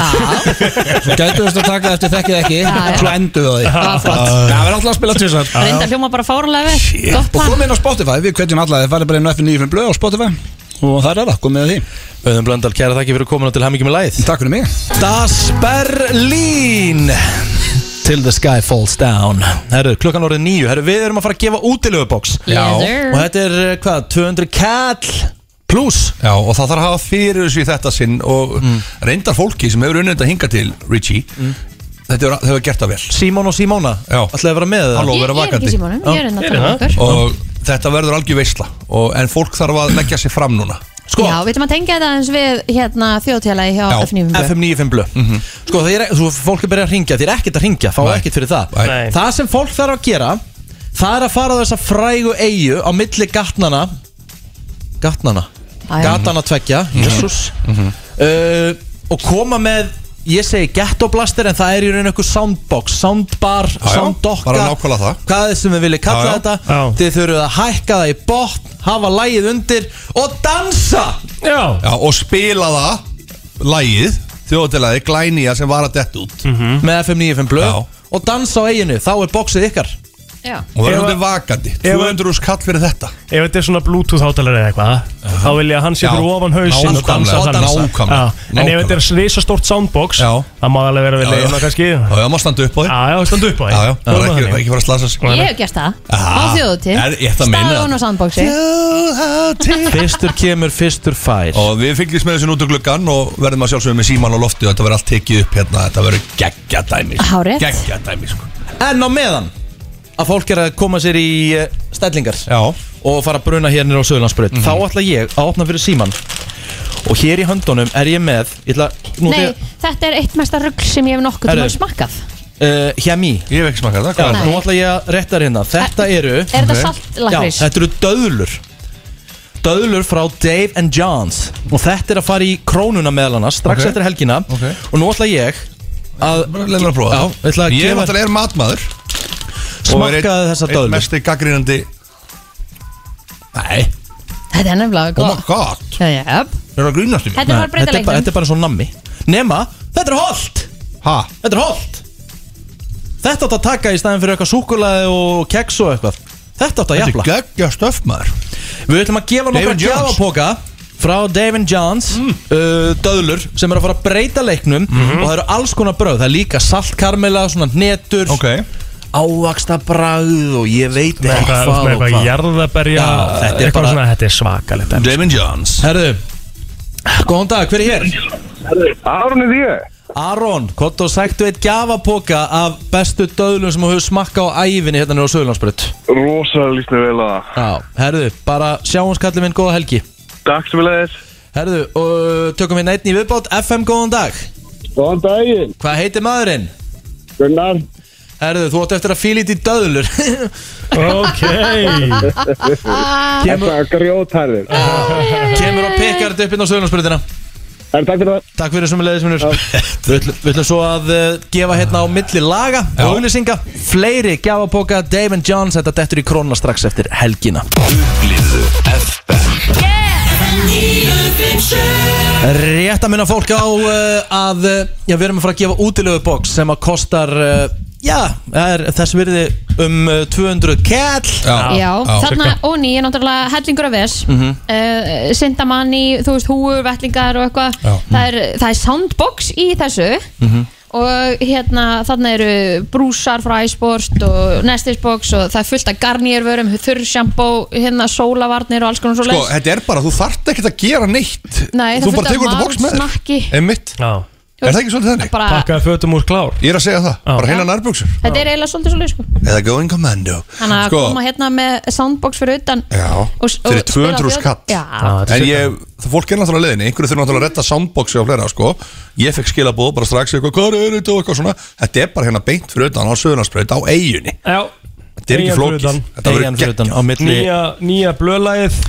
Speaker 11: Svo gætu þess að taka það eftir þekkið ekki
Speaker 3: já.
Speaker 11: Svo endur það því
Speaker 3: það var flott
Speaker 11: Það verður alltaf að spila tvisar
Speaker 3: Reynda hljóma bara fárlega vel Gott
Speaker 11: Og
Speaker 3: plan
Speaker 11: komið inn á Spotify, við kveitjum alla Þið farið bara inn á FN95 blöð á Spotify Og það er það, komið að því
Speaker 1: Auðun Blöndal, kæra þakki fyrir komuna til hamingjum í læð
Speaker 11: Takk fyrir mig
Speaker 1: Das Berlin Till the sky falls down Herru, klukkan orðið nýju Herru, við erum að fara að gefa útilegubóks
Speaker 3: Yes, sir.
Speaker 1: Og þetta er, eh, hvað, 200 kall Plus Mm.
Speaker 5: Já, og það þarf að hafa fyrir þessu í þetta sinn og reyndar fólki sem hefur unnið að hinga til Richie þetta hefur, hefur gert það vel
Speaker 1: Simon Mm. og Simona
Speaker 5: Já.
Speaker 1: Ætlaði að vera með
Speaker 5: Halló.
Speaker 1: það
Speaker 3: Ég
Speaker 5: vera
Speaker 3: ég er
Speaker 5: vakandi.
Speaker 3: ekki í símónum, ég er hérna að tala um okkur
Speaker 5: og þetta verður algjör veisla og, en fólk þarf að leggja sig fram núna
Speaker 1: Sko,
Speaker 3: Já, við ætlum að tengja þetta eins við hérna þjóðtélagi hjá
Speaker 5: Já,
Speaker 3: FNÍFum
Speaker 1: FM 95 blö Sko, það er, þú, fólk er byrjað að ringja Þið er ekkert að ringja, fá ekkert fyrir það
Speaker 2: Nei.
Speaker 1: Það sem fólk þarf að gera Það er að fara á þessa frægu eigu Á milli gatnana Gatnana
Speaker 3: Æ.
Speaker 1: Gatnana tveggja,
Speaker 5: Mhm.
Speaker 1: jessus uh, Og koma með Ég segi gettoblaster en það er í raun einhver soundbox, soundbar,
Speaker 5: já,
Speaker 1: soundokka
Speaker 5: bara nákvæmlega það.
Speaker 1: Hvað er sem við viljum kalla
Speaker 5: Já, já.
Speaker 1: þetta
Speaker 2: Já.
Speaker 1: Þið þurfum að hækka það í botn, hafa lægið undir og dansa
Speaker 2: Já,
Speaker 5: Já, og spila það lægið þjóðatilaði glænýja sem var að detta út
Speaker 2: Mhm.
Speaker 1: Með FM 95 blöð
Speaker 5: Já.
Speaker 1: Og dansa á eiginu, þá er boxið ykkar
Speaker 3: Já,
Speaker 5: og verður
Speaker 2: Ef-
Speaker 5: þetta vakandi
Speaker 2: ef-
Speaker 5: 200 úr skall fyrir þetta
Speaker 2: ef þetta er svona bluetooth hátalar eða eitthvað þá vil ég að hann sé
Speaker 5: Já.
Speaker 2: fyrir ofan hausin og dansa
Speaker 5: Nákvæmlega,
Speaker 2: þannig.
Speaker 5: nákvæmlega,
Speaker 2: Já. en ef
Speaker 5: nákvæmlega.
Speaker 2: þetta er risastórt soundbox
Speaker 5: Já.
Speaker 2: það má alveg vera við leiðina kannski já,
Speaker 5: Já, já, maður standa upp á því
Speaker 2: já, standu upp á því
Speaker 5: Já, já, það er
Speaker 2: Góð með
Speaker 5: ekki,
Speaker 2: þannig.
Speaker 5: ekki fara að slasa sig Ah,
Speaker 3: ég hef gert það Á þjóðutíð
Speaker 5: Er- ég ætla að meina
Speaker 3: Staðið hún á soundboxi
Speaker 5: Þjóðhátíð.
Speaker 1: Fyrstur kemur, fyrstur fær
Speaker 5: Og við fylgjumst með þessu út úr gluggan og verðum að sjálfsögum með síman og lofti og þetta verður allt tekið upp hérna, þetta verður geggja dæmi sko.
Speaker 3: Hárrétt.
Speaker 5: Geggja dæmi, sko
Speaker 1: En á meðan að fólk er að koma sér í eh, stellingar
Speaker 5: Já, Mhm.
Speaker 1: og fara að bruna hérna á Söðlandsbröð þá ætla ég að opna fyrir síman og hér í höndunum er ég með ég ætla, nú
Speaker 3: Nei,
Speaker 1: þegar,
Speaker 3: þetta er eitt mesta rugg sem ég hef nokkuð til
Speaker 1: Herru.
Speaker 3: að smakkað
Speaker 1: uh, hjemi
Speaker 5: ég hef ekki smakað það, hvað er
Speaker 3: Nei.
Speaker 5: það?
Speaker 1: nú ætla ég að rétta þér hérna þetta eru
Speaker 3: Er þetta
Speaker 5: Ok.
Speaker 1: já,
Speaker 3: saltlakrís?
Speaker 1: þetta eru döðlur döðlur frá Dave and Johns og þetta er að fara í krónuna meðal annars strax
Speaker 5: Ok.
Speaker 1: eftir helgina
Speaker 5: Ok.
Speaker 1: og nú ætla ég að
Speaker 5: Bara Leðum við að prófa
Speaker 1: Já,
Speaker 5: það.
Speaker 1: ég ætla að
Speaker 5: Ég
Speaker 1: gefa-
Speaker 5: náttúrulega er matmaður
Speaker 1: smakka þessa
Speaker 5: Eitt
Speaker 1: döðlur
Speaker 5: mest í gaggrínandi Nei,
Speaker 3: Þetta er nefnilega
Speaker 5: oh my
Speaker 3: góð
Speaker 5: god
Speaker 3: Já, já.
Speaker 5: Er það að grínast í mér?
Speaker 3: Þetta er bara
Speaker 1: Nei, þetta, er bara, þetta
Speaker 3: breytilegnum
Speaker 1: er bara svo nammi nema, þetta er holdt
Speaker 5: Ha?
Speaker 1: Þetta er holdt Þetta átt að taka í staðin fyrir eitthvað súkulaði og keks og eitthvað Þetta átt að
Speaker 5: Þetta
Speaker 1: jafla
Speaker 5: er geggja stöfmaður
Speaker 1: Við ætlum að gefa nokkra
Speaker 5: Dave Johns.
Speaker 1: gjafapoka Frá Davin Johns
Speaker 5: Mm.
Speaker 1: uh, Döðlur sem er að fara að breyta leiknum
Speaker 5: Mhm.
Speaker 1: Og það eru alls konar bröð Það er líka saltkarmela, svona hnetur
Speaker 5: Ok
Speaker 1: Ávaxta og ég veit
Speaker 2: með
Speaker 1: ekki
Speaker 2: eitthvað,
Speaker 1: hvað
Speaker 2: með
Speaker 1: og
Speaker 2: eitthvað
Speaker 1: hvað
Speaker 2: jarðaberja
Speaker 1: Já, þetta er
Speaker 2: eitthvað
Speaker 1: bara-
Speaker 2: svona, þetta er svakalegt dæmi.
Speaker 5: Damon Johns
Speaker 1: Herðu, góðan dag, hver er hér? Aron, hvort og sættu eitt gjafapoka Af bestu döðlum sem þú hefur smakka á ævinni Hérna nýra á Söðurlandsbröð
Speaker 6: Rosalega líst mér vel að það.
Speaker 1: Já, herðu, bara sjáum skallið minn góða helgi
Speaker 6: Takk sem við leiðis.
Speaker 1: Herðu, og uh, tökum við neittn í viðbót FM, góðan dag
Speaker 6: Góðan daginn.
Speaker 1: Hvað heitir maðurinn?
Speaker 6: Gunnar.
Speaker 1: Herðu, þú átt eftir að fíla í því döðlur
Speaker 2: ok
Speaker 1: kemur,
Speaker 6: er grjótærðir.
Speaker 1: kemur og pekar þetta upp inn á söðunarsbyrðina
Speaker 6: En takk fyrir það.
Speaker 1: Takk fyrir sem leiðis minnur Við ætlum- við ætlum svo að uh, gefa hérna á milli laga og auðlýsinga Fleiri gjafapoka, Dave and Johns Þetta dettur í krónuna strax eftir helgina Rétt að minna fólk á uh, að uh, já, við erum að fara að gefa útilegu box sem að kostar uh, Já, er þess virði um uh, 200 kell
Speaker 5: Já, Mhm.
Speaker 3: Já, þarna
Speaker 2: cirka.
Speaker 3: og ný er náttúrulega hellingur af ves mm Sindamanni, þú veist, húur, vellingar og eitthvað það, er- það er soundbox í þessu og hérna þarna eru brúsar frá iSport og Nestisbox og það er fullt af garnírvörum, þurrsjambó hérna sólavarnir og alls konar svo
Speaker 5: Sko, þetta er bara, þú þarft ekkert að gera neitt
Speaker 3: Nei, það er
Speaker 5: Þú
Speaker 3: fullt
Speaker 5: bara
Speaker 3: af
Speaker 5: tekur þetta
Speaker 3: mat,
Speaker 5: bóks með
Speaker 3: snakki.
Speaker 5: Einmitt
Speaker 2: já
Speaker 5: Er það ekki svolítið þannig?
Speaker 3: Bara- Pakkaðu
Speaker 2: fötum úr klár
Speaker 5: Ég er að segja það, bara heila nærbuksur
Speaker 3: Þetta er eiginlega svolítið svolítið sko
Speaker 5: Eða going commando
Speaker 3: Þannig að koma hérna með soundbox fyrir utan
Speaker 5: Sko, Já,
Speaker 3: og-
Speaker 5: þeir eru
Speaker 3: og spila
Speaker 5: 200
Speaker 3: þjóð-
Speaker 5: skall
Speaker 3: Já.
Speaker 5: En
Speaker 2: þetta er
Speaker 5: ég, það fólk er náttúrulega á leiðinni Einhverju þurfa náttúrulega að redda soundboxi og fleira sko. Ég fekk skilabóð bara strax eitthvað, Hvað er þetta og eitthvað svona Þetta er bara hérna beint fyrir utan á söðunarspröyt á eiginni
Speaker 2: Já
Speaker 5: Þetta er ekki flókið Þetta
Speaker 1: Eyjan
Speaker 5: verður
Speaker 1: fyrir utan á milli
Speaker 2: Nýja, nýja blöðlægið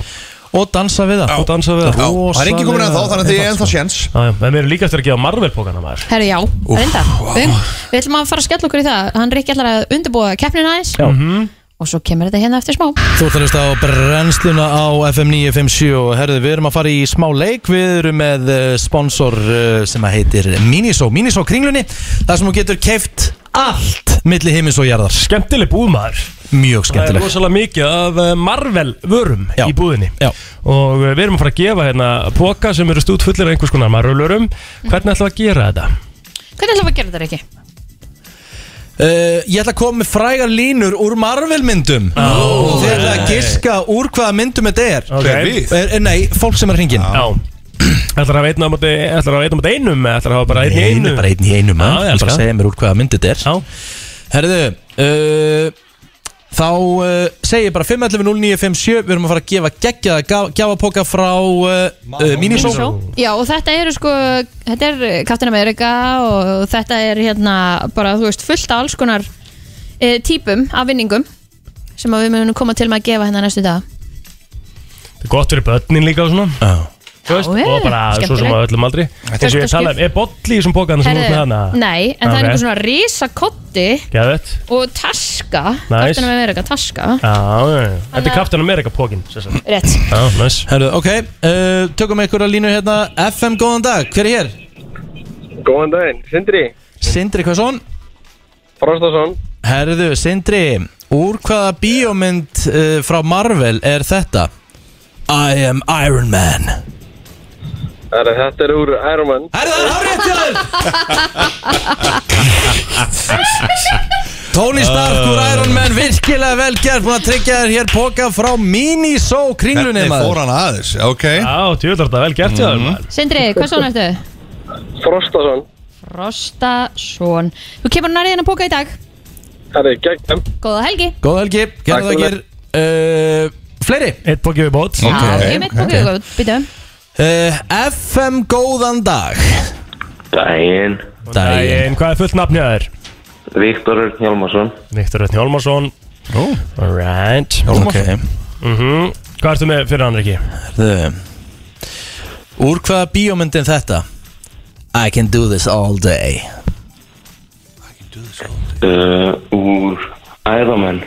Speaker 1: Og dansa við það
Speaker 2: Og dansa við það
Speaker 5: Það er enginn kominn ennþá, þannig að þið er ennþá séns.
Speaker 2: En við erum líka eftir að gefa Marvel-pókana maður
Speaker 3: Herri, já, reyndar við, við ætlum að fara að skella okkur í það Hann Rikki ætlar að undirbúa keppnina aðeins
Speaker 1: Mhm.
Speaker 3: Og svo kemur þetta hérna eftir smá
Speaker 1: Þú ert að hlusta á brennsluna á FM 957 og herðu, við erum að fara í smá leik við erum með eh, sponsor eh, sem að heitir Miniso, Miniso kringlunni þar sem þú getur keift allt milli heimins og jarðar
Speaker 2: Skemmtileg búð maður
Speaker 1: Mjög
Speaker 2: Það er
Speaker 1: skemmtileg
Speaker 2: rosalega mikið af eh, Marvel vörum í búðinni
Speaker 1: Já.
Speaker 2: Og eh, við erum að fara að gefa hérna póka sem eru stút fullir af einhvers konar marvölurum Hvernig ætlum við að gera þetta?
Speaker 3: Hvernig ætlum við að gera þetta, Rikki?
Speaker 1: Uh, ég ætla að koma með frægar línur úr Marvel myndum oh, Þeir ætla að
Speaker 2: nei.
Speaker 1: giska úr hvaða myndum þetta er
Speaker 2: Ok. Hver við?
Speaker 1: Er- er- Nei, fólk sem er hringin
Speaker 2: Já Ætlar að veitna á móti, ætlar að veitna á móti einum eða ætlar að hafa bara einn í
Speaker 1: Nei,
Speaker 2: einu
Speaker 1: bara einn í einu
Speaker 2: Já,
Speaker 1: maður Það
Speaker 2: ég
Speaker 1: er bara
Speaker 2: elska
Speaker 1: að segja mér úr hvaða mynd þetta er
Speaker 2: Já.
Speaker 1: Herðu uh, Þá uh, segi ég bara 511-0957 Við erum að fara að gefa geggjaða gjáapoka frá uh, uh, Miniso
Speaker 3: Já, og þetta eru sko Þetta er Captain America og þetta er hérna bara, þú veist, fullt af alls konar e, típum af vinningum sem að við munum koma til með að gefa hérna næstu dag
Speaker 2: Það er gott fyrir börnin líka og svona
Speaker 1: Já
Speaker 2: Veist,
Speaker 3: Já,
Speaker 2: og
Speaker 3: já,
Speaker 2: bara svo sem
Speaker 3: skemmtilegt.
Speaker 2: á öllum aldri
Speaker 3: Þetta er
Speaker 2: eins og ég
Speaker 3: skemmtilegt.
Speaker 2: talaði um, er bolli í þessum pókan sem þú ert með hana?
Speaker 3: nei, en það er
Speaker 2: Ok.
Speaker 3: einhver svona risakotti
Speaker 2: Geðvett
Speaker 3: og taska
Speaker 2: Nice.
Speaker 3: Captain America taska
Speaker 2: Já, já, já. þetta
Speaker 3: Þannig
Speaker 2: er
Speaker 3: að-
Speaker 2: Captain America pókin
Speaker 3: Rétt
Speaker 2: Já, næs
Speaker 1: Herðu, ok uh, Tökum einhverja línu hérna FM, góðan dag, hver er hér?
Speaker 7: Góðan daginn, Sindri
Speaker 1: Sindri Kvasson
Speaker 7: Frostason
Speaker 1: Herðu, Sindri Úr hvaða bíómynd uh, frá Marvel er þetta? I am Iron Man
Speaker 7: Það er þetta er úr Iron Man
Speaker 1: Er það hárið til Tony Stark úr
Speaker 5: Ah.
Speaker 1: Iron Man virkilega vel gert Búin að tryggja þér hér póka frá Miniso kringlunni
Speaker 5: Hvernig fór hann
Speaker 1: aðeins, ok
Speaker 2: Já, djúðlar þetta vel gert
Speaker 5: Mhm.
Speaker 2: mm.
Speaker 3: Sindri, hvað svona ertu?
Speaker 7: Frostason
Speaker 3: Frostason Þú kemur nærið hérna að póka í dag
Speaker 7: Það er gegn
Speaker 3: Góða helgi
Speaker 1: Góð helgi, gerðu það ekki uh, Fleiri
Speaker 2: Eitt póki við bót
Speaker 3: Já, ég mitt póka í dag, býtum
Speaker 1: FM Uh, góðan dag
Speaker 7: Daginn
Speaker 2: Dæin, hvað er fullt nafn hjá þér?
Speaker 7: Viktor Örn Hjálmarsson
Speaker 2: Viktor Rötni Hjálmarsson oh. Alright
Speaker 1: Hjálmarsson.
Speaker 2: mm Hvað ertu með fyrir hann, Riki?
Speaker 1: Herðu Úr hvaða bíómyndin þetta? I can do this all day
Speaker 7: uh, Úr Iron Man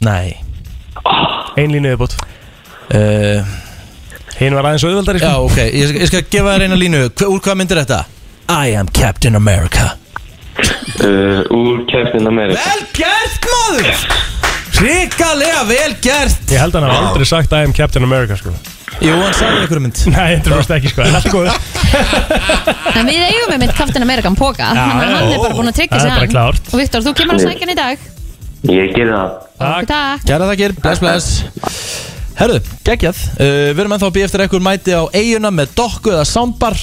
Speaker 1: Nei
Speaker 2: Ein línu viðbót
Speaker 1: uh,
Speaker 2: Hinn var aðeins auðveldari
Speaker 1: Já, ok, ég, skal- ég skal gefa þér eina línu Hva, Úr hvaða mynd er þetta? I am Captain America
Speaker 7: uh, Úr Captain America
Speaker 1: Vel gert maður Ríkalega vel gert
Speaker 2: Ég held að hann hafa aldrei sagt I am Captain America sko
Speaker 1: Jú, hann sagði einhverjum mynd
Speaker 2: Nei, þetta er ekki sko, en allt er góð
Speaker 3: En við eigum einmitt Captain America um póka
Speaker 2: Já,
Speaker 3: Þannig að
Speaker 2: já,
Speaker 3: hann er
Speaker 2: ó.
Speaker 3: bara búin að tryggja
Speaker 2: Það
Speaker 3: sig
Speaker 2: er bara
Speaker 3: hann.
Speaker 2: klárt.
Speaker 3: Og Viktor, þú kemur að sækja hann í dag
Speaker 7: Ég gerði það
Speaker 2: Takk
Speaker 3: Takk
Speaker 1: Kæra þakkir, bless bless Herðu, geggjað uh, Við erum ennþá að býja eftir að einhver mæti á eiguna með dokku eða sambar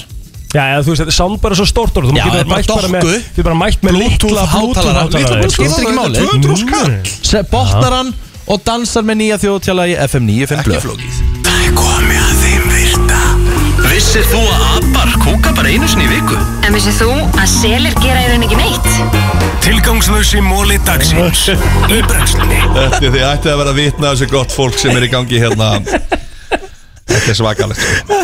Speaker 2: Já, eða, þú veist, þetta er sound bara svo stórt orð Þú
Speaker 1: Já,
Speaker 2: getur
Speaker 1: þetta er
Speaker 2: mætt
Speaker 1: bara
Speaker 2: með-
Speaker 1: dokku.
Speaker 2: Þú bara mætt með
Speaker 1: Bluetooth
Speaker 2: litla
Speaker 1: hátalara. Litla
Speaker 2: hátalara
Speaker 1: Bluetooth skiptir ekki
Speaker 2: Mm.
Speaker 1: máli. 200
Speaker 2: skall
Speaker 1: Se- Botnar hann og dansar með nýja þjóðtjala í FM 95 Blöð
Speaker 5: flókið
Speaker 12: Það er komið að þeim virta Vissir þú að abar kúka bara einu sinni í viku?
Speaker 4: En vissið þú að selir gera í raun ekki neitt?
Speaker 12: Tilgangslösi móli dagsins Í brennslunni
Speaker 5: Þetta er því ætti að vera að vitna þessu gott fólk sem er í gangi hérna Þetta er svakalegt sko.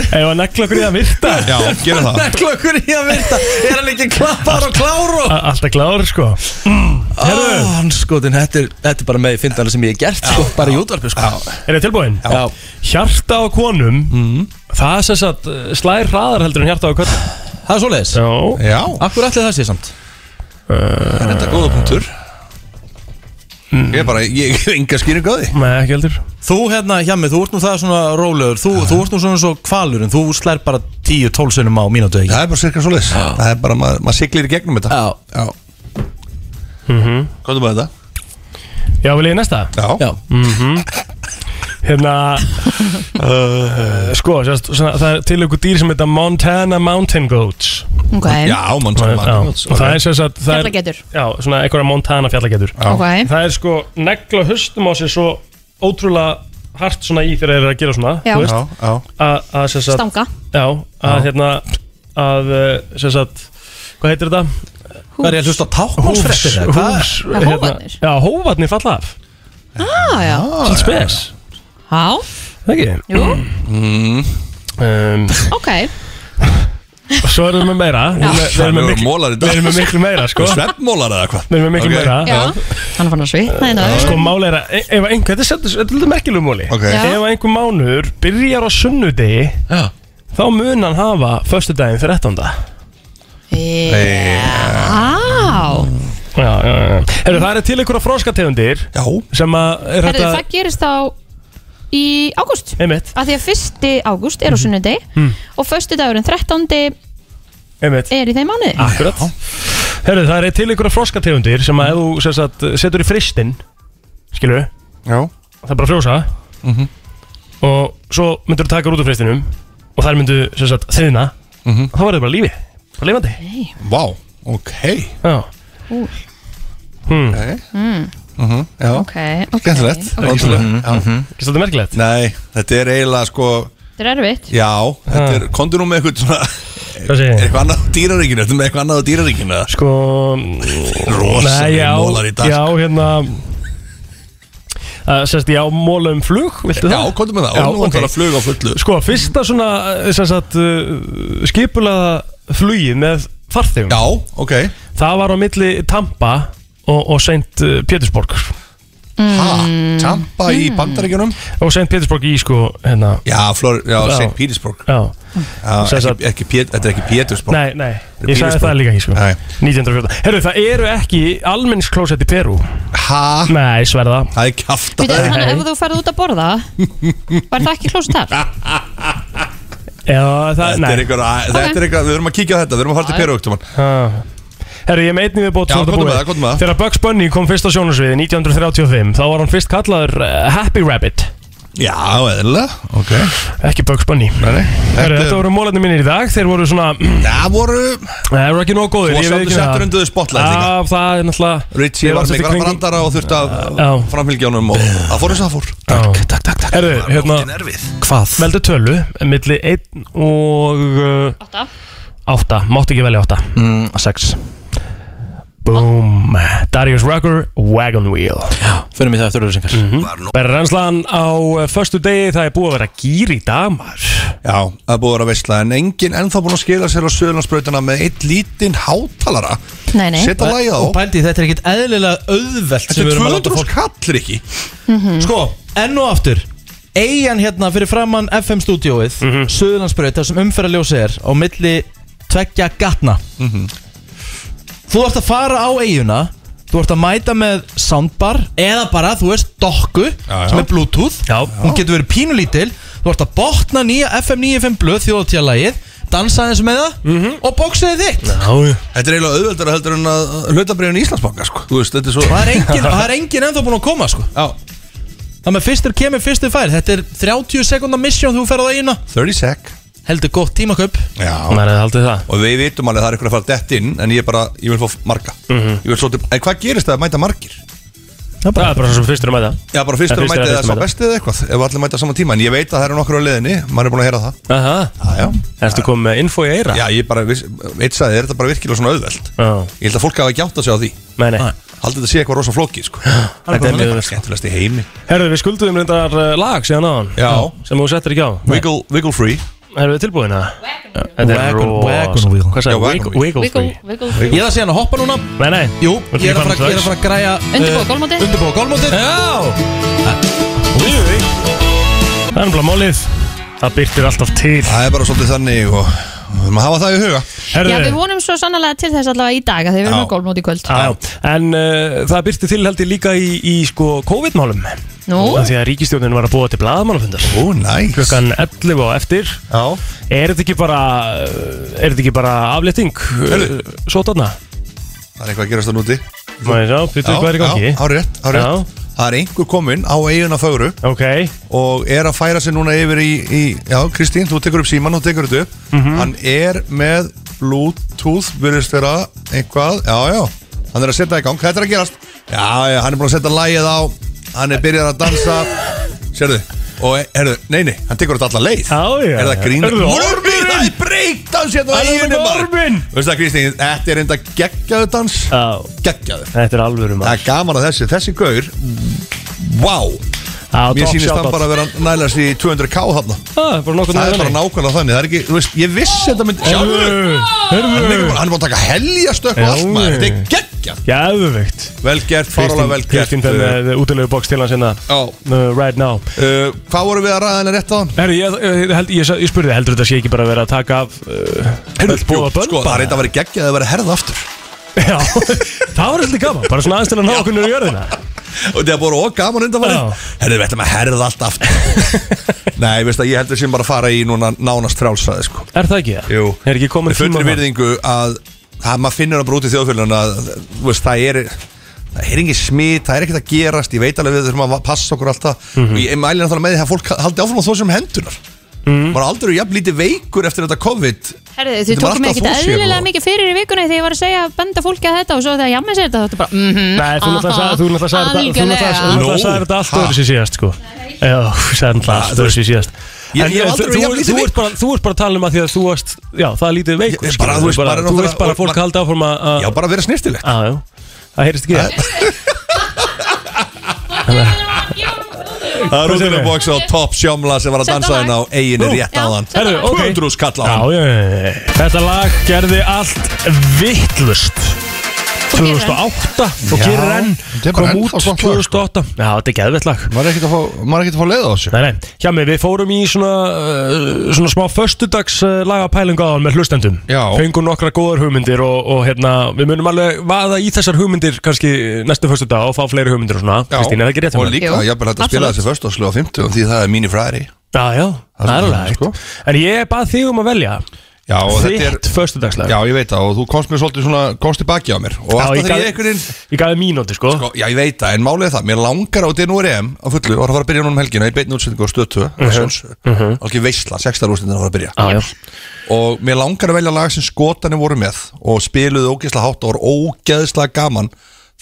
Speaker 2: Ef að negla okkur í að virta
Speaker 5: Já, gerum það
Speaker 1: Nekla okkur í að virta Er hann ekki klappar og kláru
Speaker 2: A- Alltaf kláður sko
Speaker 1: Hann skotin, þetta er, þetta er bara með fyndana sem ég hef gert sko, bara í útvarpi sko.
Speaker 2: Er þið tilbúin?
Speaker 1: Já. Mm.
Speaker 2: Hjarta á konum Það er sess að slær hraðar heldur en hjarta á köllum
Speaker 1: Það er svoleiðis
Speaker 2: Já
Speaker 5: Já,
Speaker 1: Akkur allir það sé samt
Speaker 5: þetta er góða punktur Ég er bara, ég hef enga skýringu á því
Speaker 2: Mm. Nei, ekki heldur
Speaker 1: Þú hérna, hjá mig, þú ert nú það svona rólegur Þú, þú ert nú svona svo kvalur en þú slær bara 10-12 sunum á mínútu ekki
Speaker 5: Það er bara cirka svo leis Það er bara, maður, maður siglir í gegnum þetta
Speaker 1: Já,
Speaker 5: Já
Speaker 2: ¿Mm?
Speaker 5: Hvað er með þetta?
Speaker 2: Já, vil ég í næsta?
Speaker 5: Já,
Speaker 1: já,
Speaker 2: Mhm. Hérna uh, Sko, sérst, svona, það er til ykkur dýr sem heita Montana Mountain Goats
Speaker 3: Ok. Já,
Speaker 5: Montana Mountain
Speaker 2: Já,
Speaker 5: Goats,
Speaker 2: og Það
Speaker 5: ok.
Speaker 2: er sérst að það er-
Speaker 3: Fjallagetur.
Speaker 2: Já, svona einhverja Montana fjallagetur
Speaker 3: Ok.
Speaker 2: Það er sko negla höstum á sér svo ótrúlega hart svona í þegar þeir eru að gera svona
Speaker 3: Já.
Speaker 2: þú veist,
Speaker 3: Já,
Speaker 5: já.
Speaker 2: Að- að sem sagt-
Speaker 3: Stanga.
Speaker 2: Já, að hérna að uh, sem sagt Hvað heitir þetta?
Speaker 9: Hvað er ég að hlusta á táknmálsfréttir, eða hvað?
Speaker 2: Hús hérna,
Speaker 3: Já, hófarnir.
Speaker 2: Já, hófarnir falla af
Speaker 3: Ah, já.
Speaker 2: Allt spes
Speaker 3: Já,
Speaker 2: Það ekki?
Speaker 3: Jú.
Speaker 2: mm. um,
Speaker 3: ok.
Speaker 2: Svo erum við með meira Við erum með- við erum með
Speaker 5: Við
Speaker 2: miklu-
Speaker 5: erum mólar í dag.
Speaker 2: Við erum með miklu meira sko
Speaker 5: Sveppmólar eða hvað
Speaker 2: Við erum með miklu meira
Speaker 3: Hann er fann að svitna hérna.
Speaker 2: Sko mál er að e- ef einhver, þetta er sendur- þetta er lítið merkilegu móli
Speaker 3: Ok. Já.
Speaker 2: Ef einhver mánuður byrjar á sunnudegi Já. Þá mun hann hafa Föstudaginn 13.
Speaker 3: Já.
Speaker 2: Já, já, já Heru, Það er til einhverja froskategundir
Speaker 5: Já
Speaker 2: Sem að er
Speaker 3: Herðu,
Speaker 2: þetta
Speaker 3: það gerist þá í ágúst.
Speaker 2: Einmitt.
Speaker 3: Af því að fyrsti ágúst er á sunnudegi
Speaker 2: Mm.
Speaker 3: og förstu dagurinn 13.
Speaker 2: Einmitt
Speaker 3: er í þeim mánuði.
Speaker 2: Akkurat Herru, það er til einhverja froskategundir sem að ef þú sem sagt, setur í fristinn skilur
Speaker 5: Já
Speaker 2: Það er bara að frjósa
Speaker 5: Mhm.
Speaker 2: og svo myndur þú taka þær út úr fristinum og þær myndu sem sagt þiðna mm -hmm. þá verður bara lífi, bara lifandi
Speaker 5: Mhm. Vá, ok
Speaker 2: Já
Speaker 3: Úl.
Speaker 2: hmm.
Speaker 3: Mm.
Speaker 5: Mhm, Já
Speaker 3: Ok, ok.
Speaker 5: Skemmtilegt
Speaker 3: ok.
Speaker 2: Ekki svolítið merkilegt
Speaker 5: Mhm, Nei, þetta er eiginlega sko
Speaker 3: Þetta er erfitt.
Speaker 5: Já, þetta er Kondu nú með eitthvað svona
Speaker 2: Hvað segir
Speaker 5: Er eitthvað annað á dýraríkinu? Þetta er með eitthvað annað á dýraríkinu eða?
Speaker 2: Sko Nei,
Speaker 5: Rosalega
Speaker 2: já,
Speaker 5: mólar í dag
Speaker 2: Já, hérna uh, Sérst, já, móla um flug, viltu
Speaker 5: sko. Já,
Speaker 2: það?
Speaker 5: komdu með það. Og nú ætlar að flug á fullu.
Speaker 2: Sko, fyrsta svona, eh, sem sagt, uh, skipulaða flugið með farþegum
Speaker 5: Já, ok
Speaker 2: Það var á milli Tampa og, og St. Petersburg Hmm.
Speaker 5: Ha, Tampa í bandaríkjunum?
Speaker 2: Og St. Petersburg í, sko, hérna
Speaker 5: Já, Flor, já, St. Petersburg
Speaker 2: Já, Sem
Speaker 5: já ekki, ekki, Pét- Þetta er ekki Pétursborg
Speaker 2: Nei, nei, ég sagði það líka ekki, sko 1914 Herru, það eru ekki almenningsklósett í Perú
Speaker 5: Ha?
Speaker 2: Nei, sverða
Speaker 5: Það er kæft
Speaker 3: Býtu, þannig að ef þú ferð út að borða, var það ekki klósið þar?
Speaker 2: Já, það,
Speaker 5: Þetta er einhver, að- þetta er einhver, við erum að kíkja á þetta, við erum að fara til
Speaker 2: Já, já.
Speaker 5: Perugtumann
Speaker 2: Herru, ég með einni viðbót
Speaker 5: Já,
Speaker 2: svo þetta
Speaker 5: komdu með
Speaker 2: búið.
Speaker 5: það, komdu með það.
Speaker 2: Þegar Bugs Bunny kom fyrst á sjónarsviði 1935 Þá var hann fyrst kallaður uh, Happy Rabbit
Speaker 5: Já, eðlilega, ok
Speaker 2: Ekki Bugs Bunny
Speaker 5: Nei, nei
Speaker 2: Herru, þetta voru mólarnir mínir í dag Þeir voru svona
Speaker 5: Það voru
Speaker 2: Það voru ekki nóg góðir
Speaker 5: Þú varst
Speaker 2: ég
Speaker 5: aldrei
Speaker 2: viðurkenni
Speaker 5: settur
Speaker 2: það.
Speaker 5: undir þau spotlight líka.
Speaker 2: Já, það er náttúrulega
Speaker 5: Richie
Speaker 2: Ég
Speaker 5: var
Speaker 2: svolítið
Speaker 5: mikla
Speaker 2: kring-
Speaker 5: brandara og þurfti að
Speaker 2: Já.
Speaker 5: framfylgja honum og það fór eins og það fór
Speaker 2: Takk, takk, takk, takk Herru, hérna
Speaker 9: Hvað?
Speaker 2: Meldu tölu Milli 1 og 8 8, mátt ekki velja 8
Speaker 9: Mm, sex
Speaker 2: Boom Darius Rucker, Wagon Wheel Já,
Speaker 9: förum við það eftir auðvisingar
Speaker 2: mm -hmm. Berranslan á uh, förstu degi Það er búið að vera gýr í dag maður
Speaker 5: Já, það er búið að vera veistla en enginn ennþá búin að skila sér á söðlandsbrautina með eitt lítinn hátalara
Speaker 3: Nei, nei.
Speaker 5: Setta lagið á
Speaker 9: Og pældi, þetta er ekkit eðlilega auðvelt
Speaker 5: Þetta
Speaker 9: sem við
Speaker 5: er
Speaker 9: erum að láta
Speaker 5: 200
Speaker 9: fólk
Speaker 5: kallir ekki
Speaker 3: Mhm.
Speaker 9: Sko, enn og aftur Eyjan hérna fyrir framann FM stúdíóið mm -hmm. Suðurlandsbraut, þar sem umferðarljósi er Á milli tveggja gatna Þú ert að fara á eyjuna Þú ert að mæta með soundbar Eða bara, þú veist, dokku
Speaker 5: já.
Speaker 9: Sem er bluetooth
Speaker 2: já.
Speaker 9: Hún getur verið pínulítil Þú ert að botna nýja FM 95 blöð Þjóðtíðalagið Dansa eins með það -hmm. Og bóksaði þitt
Speaker 2: Já,
Speaker 5: Þetta er eiginlega auðveldara heldur en að hlutabriðin í Íslandsbanka sko. Þú veist, þetta er svo
Speaker 9: Það er engin, það er engin ennþá búin að koma sko
Speaker 5: Já
Speaker 9: Það með fyrstur kemur fyrstur fær Þetta er 30 sekunda misjón þú ferð á eina
Speaker 5: 30 sec
Speaker 9: Heldur gott tímaköp
Speaker 5: Já
Speaker 2: Maður hefði haldið það
Speaker 5: Og við vitum alveg að það er ykkur að fara dett inn En ég er bara, ég vil fá marga
Speaker 2: Mhm.
Speaker 5: Ég vil svo til, en hvað gerist það að mæta margir?
Speaker 9: Það
Speaker 2: er bara svo sem fyrstur að mæta
Speaker 5: Já, bara fyrstur að mæta eða svo bestið eða eitthvað Ef allir mæta saman tíma En ég veit að það eru nokkur á leiðinni Maður er búin að heyra það
Speaker 2: Aha
Speaker 5: Já,
Speaker 2: Erstu komið með info í eira?
Speaker 5: Já, ég bara, viss- veit sagði, er þetta bara virkilega svona auðvelt
Speaker 2: Já
Speaker 5: Ég held að fólk hafa ekki átt að segja á því
Speaker 2: Nei, nei
Speaker 5: Haldið þetta sé eitthvað rosa flóki, sko
Speaker 2: Þetta er mjög sko.
Speaker 5: Skemmtilegast í heimi
Speaker 2: Herru, við skulduðum reyndar uh, lag síðan á hann
Speaker 5: Já.
Speaker 2: Sem þú settir ekki á
Speaker 5: Wiggle, wiggle free
Speaker 2: Erum við tilbúin að? Þetta er
Speaker 9: Wagon-
Speaker 2: rosa-
Speaker 9: wagon wheel.
Speaker 2: Hvað
Speaker 9: Já,
Speaker 2: sagði?
Speaker 9: wagon
Speaker 2: Wiggle,
Speaker 9: wheel.
Speaker 2: wiggle free
Speaker 3: Wiggle,
Speaker 9: Ég er að segja hann að hoppa núna
Speaker 2: Nei, nei
Speaker 9: Jú,
Speaker 2: Þú ert
Speaker 9: ég er
Speaker 2: ekki
Speaker 9: að fara,
Speaker 2: farin
Speaker 9: ég er að fara að græja
Speaker 3: Undirbúa
Speaker 2: Eh,
Speaker 3: gólfmótið.
Speaker 9: Undirbúa gólmótið
Speaker 2: Já Það er bara málið Það byrtir alltaf til
Speaker 5: Það er bara svolítið þannig og og við maður hafa það í huga
Speaker 3: Já, við vonum svo sannlega til þess allavega í dag að þið verðum
Speaker 2: Já.
Speaker 3: að gólmóti í kvöld.
Speaker 2: Já, en uh, það byrti til held ég líka í, í sko COVID-málum
Speaker 3: Nú?
Speaker 2: Af Því að ríkistjónin var að búa til blaðamannafundar
Speaker 5: Ó, næs
Speaker 2: Klukkan 11 og eftir Já Er þetta ekki bara, uh, er þetta ekki bara aflétting? uh,
Speaker 5: Heyrðu.
Speaker 2: Sótarna?
Speaker 5: Það er eitthvað að gerast það núti
Speaker 2: Má ég sjá, byrju, hvað er í gangi?
Speaker 5: Já, árið rétt, árið rétt Það er einhver kominn á eiguna fögru
Speaker 2: okay.
Speaker 5: Og er að færa sig núna yfir í, í Já, Kristín, þú tekur upp síman og tekur þetta upp
Speaker 2: Mhm.
Speaker 5: Hann er með Bluetooth, virðist vera Eitthvað, já, já Hann er að setja í gang, þetta er að gerast Já, já, hann er búin að setja lagið á Hann er byrjað að dansa Sérðu, og herðu, nei, nei, hann tekur þetta alla leið Já, já Er það grínur?
Speaker 13: Heyrðu,
Speaker 5: Orminn, það er breakdans hérna á
Speaker 13: Hann er
Speaker 5: eiginu
Speaker 13: með
Speaker 5: maður.
Speaker 13: orminn.
Speaker 5: Veistu það Kristín, þetta er enda geggjaðu dans Geggjaðu
Speaker 2: Þetta er alvöru maður
Speaker 5: Það er gaman að þessi, þessi gaur Vá
Speaker 2: Já,
Speaker 5: Mér
Speaker 2: topp
Speaker 5: sýnist
Speaker 2: shoutout.
Speaker 5: hann bara að vera nælast í 200k þarna
Speaker 2: Það er bara nákvæmlega
Speaker 5: Það er bara
Speaker 2: þannig.
Speaker 5: nákvæmlega þannig Það er ekki, þú veist, ég vissi þetta myndi
Speaker 2: Heyrðu, heyrðu.
Speaker 5: Hann er líka bara- hann er búin að taka heljastökk og allt maður Þetta er gegn
Speaker 2: Gæðuvikt
Speaker 5: Vel gert, fárlega vel gert
Speaker 2: Kristín fenn uh, útilegu box til hans hérna
Speaker 5: oh.
Speaker 2: Right now
Speaker 5: uh, Hvað voru við að ræða henni rétt á hann?
Speaker 2: Herri, ég, ég, held, ég, sa- ég spurði heldur þetta sé ekki bara að vera að taka af uh, Herri, bóða bönn
Speaker 5: Sko, það er eitthvað að vera geggjað að vera herða aftur
Speaker 2: Já, það var eitthvað gaman Bara svona aðeins til að ná okkur nýra jörðina
Speaker 5: Og það voru og gaman undanfæri Herðu, við ætlum að herða allt aftur Nei, veist að ég heldur sem bara að fara í núna nánast frálsræði sko.
Speaker 2: Er það ekki það?
Speaker 5: Jú
Speaker 2: Er ekki komin
Speaker 5: Með fullri
Speaker 2: tíma á það?
Speaker 5: virðingu að, að maður finnur að brúti þjóðfélagin að þú veist, það er það er engin smit, það er ekkert að gerast ég veit alveg við þurfum að passa okkur alltaf
Speaker 2: Mhm.
Speaker 5: og ég mæli náttúrulega með því að fólk haldi áfram á þó sem hendunar
Speaker 2: Mhm.
Speaker 5: mm. maður aldrei jafn lítið veikur eftir þetta COVID
Speaker 3: Herðu, þið
Speaker 5: Þetta var
Speaker 3: tókum mig
Speaker 5: alltaf
Speaker 3: ekkert
Speaker 5: þú, Sif,
Speaker 3: eðlilega
Speaker 5: og-
Speaker 3: mikið fyrir í vikunni þegar ég var að segja að benda fólki að þetta og svo þegar jamma sér þetta, þetta bara mm -hmm,
Speaker 2: Nei, þú náttúrulega sagði- þú náttúrulega sagði þetta- þú náttúrulega sagði- þú náttúrulega sagði þetta allt öðru sér síðast sko Já, þú sagði þetta allt öðru sér síðast
Speaker 5: Ég- ég
Speaker 2: En
Speaker 5: hef
Speaker 2: þú-
Speaker 5: aldrei verið
Speaker 2: þú-
Speaker 5: jafn lítið
Speaker 2: þú ert bara- Þú ert bara að tala um að því að þú varst Já, það er lítið
Speaker 5: Ég-
Speaker 2: veikur skilur
Speaker 5: bara, þú veist, bara
Speaker 2: Þú
Speaker 5: náttúrulega-
Speaker 2: veist bara að fólk haldi áfram að
Speaker 5: Já, bara að vera snirtilegt
Speaker 2: Já, já, það heyrist ekki
Speaker 5: Það er útilega bóks á Top Sjómla sem var að dansa henn á eiginu rétt áðan 200 skall á hann
Speaker 2: Já, já, já, já. Þetta lag gerði allt vittlust 2008 og
Speaker 5: Já,
Speaker 2: gerir enn
Speaker 5: þetta er bara
Speaker 2: kom út
Speaker 5: ennþá gott lag,
Speaker 2: 2008 Já, þetta er geðvett lag
Speaker 5: Maður er ekkert að fá, maður er ekkert að fá leið á þessu
Speaker 2: Nei, nei, hjá mig, við fórum í svona, uh, svona smá föstudags uh, lagapælingu áðan með hlustendum Já Fengum nokkra góðar hugmyndir og, og hérna, við munum alveg vaða í þessar hugmyndir kannski næstu föstudag og fá fleiri hugmyndir og svona Kristín, er það ekki rétt hjá
Speaker 5: Og
Speaker 2: mér?
Speaker 5: líka, ég er bara hægt að spila þessi först og slöga 50 Því það er mínu fræri
Speaker 2: Já, já, það er alveg hægt
Speaker 5: sko.
Speaker 2: En ég bað þig um að velja
Speaker 5: Já, og þetta er
Speaker 2: Þitt föstudagslega
Speaker 5: Já, ég veit það og þú komst mér svolítið svona komst tilbaki á mér og
Speaker 2: Já,
Speaker 5: alltaf
Speaker 2: ég
Speaker 5: þegar
Speaker 2: gaf-
Speaker 5: ég einhvern
Speaker 2: Ég gaf þið mínúti sko.
Speaker 5: Já, ég veit það, en málið er það, mér langar á DNR EM E á fullu og það var að byrja núna um helgina í beinni útsendingu á stötu uh
Speaker 2: Mhm.
Speaker 5: -huh. alveg veisla, sextarústindin að fara að byrja
Speaker 2: Já, já.
Speaker 5: og mér langar að velja lag sem skotanir voru með og spiluðu ógeðslega hátt og voru ógeðslega gaman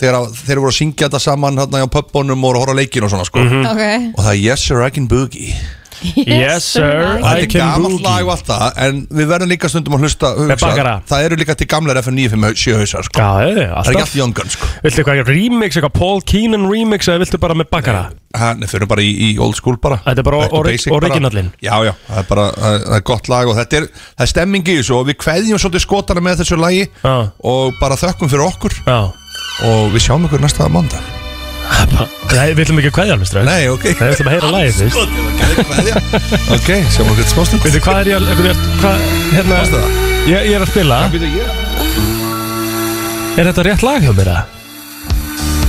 Speaker 5: þegar að- þeir voru að syngja þetta saman hérna á pöppunum og voru að horfa á leikin og svona sko
Speaker 3: Ok.
Speaker 5: og það er Yes Sir I Can Boogie
Speaker 2: Mhm. Yes, sir,
Speaker 5: Þetta
Speaker 2: I
Speaker 5: er
Speaker 2: can
Speaker 5: gamalt
Speaker 2: boogie
Speaker 5: lag og allt það En við verðum líka stundum að hlusta
Speaker 2: Með bakara.
Speaker 5: hugsa, Það eru líka til gamlar FN95 sjöhausar sko.
Speaker 2: Já, já,
Speaker 5: Það er ekki
Speaker 2: alltaf.
Speaker 5: allt Young Guns sko.
Speaker 2: Viltu eitthvað remix, eitthvað Paul Keenan remix eða viltu bara með bakara?
Speaker 5: Ha, Nei, fyrir bara í, í old school bara
Speaker 2: Þetta er bara
Speaker 5: Back to
Speaker 2: ori-
Speaker 5: basic bara.
Speaker 2: originallinn.
Speaker 5: Já, já, það er bara það er- það er gott lag og þetta er, það er stemming í þessu og við kveðjum svolítið skotana með þessu lagi já. og bara þökkum fyrir okkur
Speaker 2: já.
Speaker 5: og við sjáum ykkur næsta mándag
Speaker 2: Nei, við ætlum ekki að kveðja alveg strax
Speaker 5: Nei, ok
Speaker 2: Nei, við ætlum að heyra lagið fyrst
Speaker 5: Ok, sjáum við hvernig smástund
Speaker 2: Veitu, hvað er ég að, veitu, hvað, hérna ég, ég er að spila Er þetta rétt lag hjá mér að?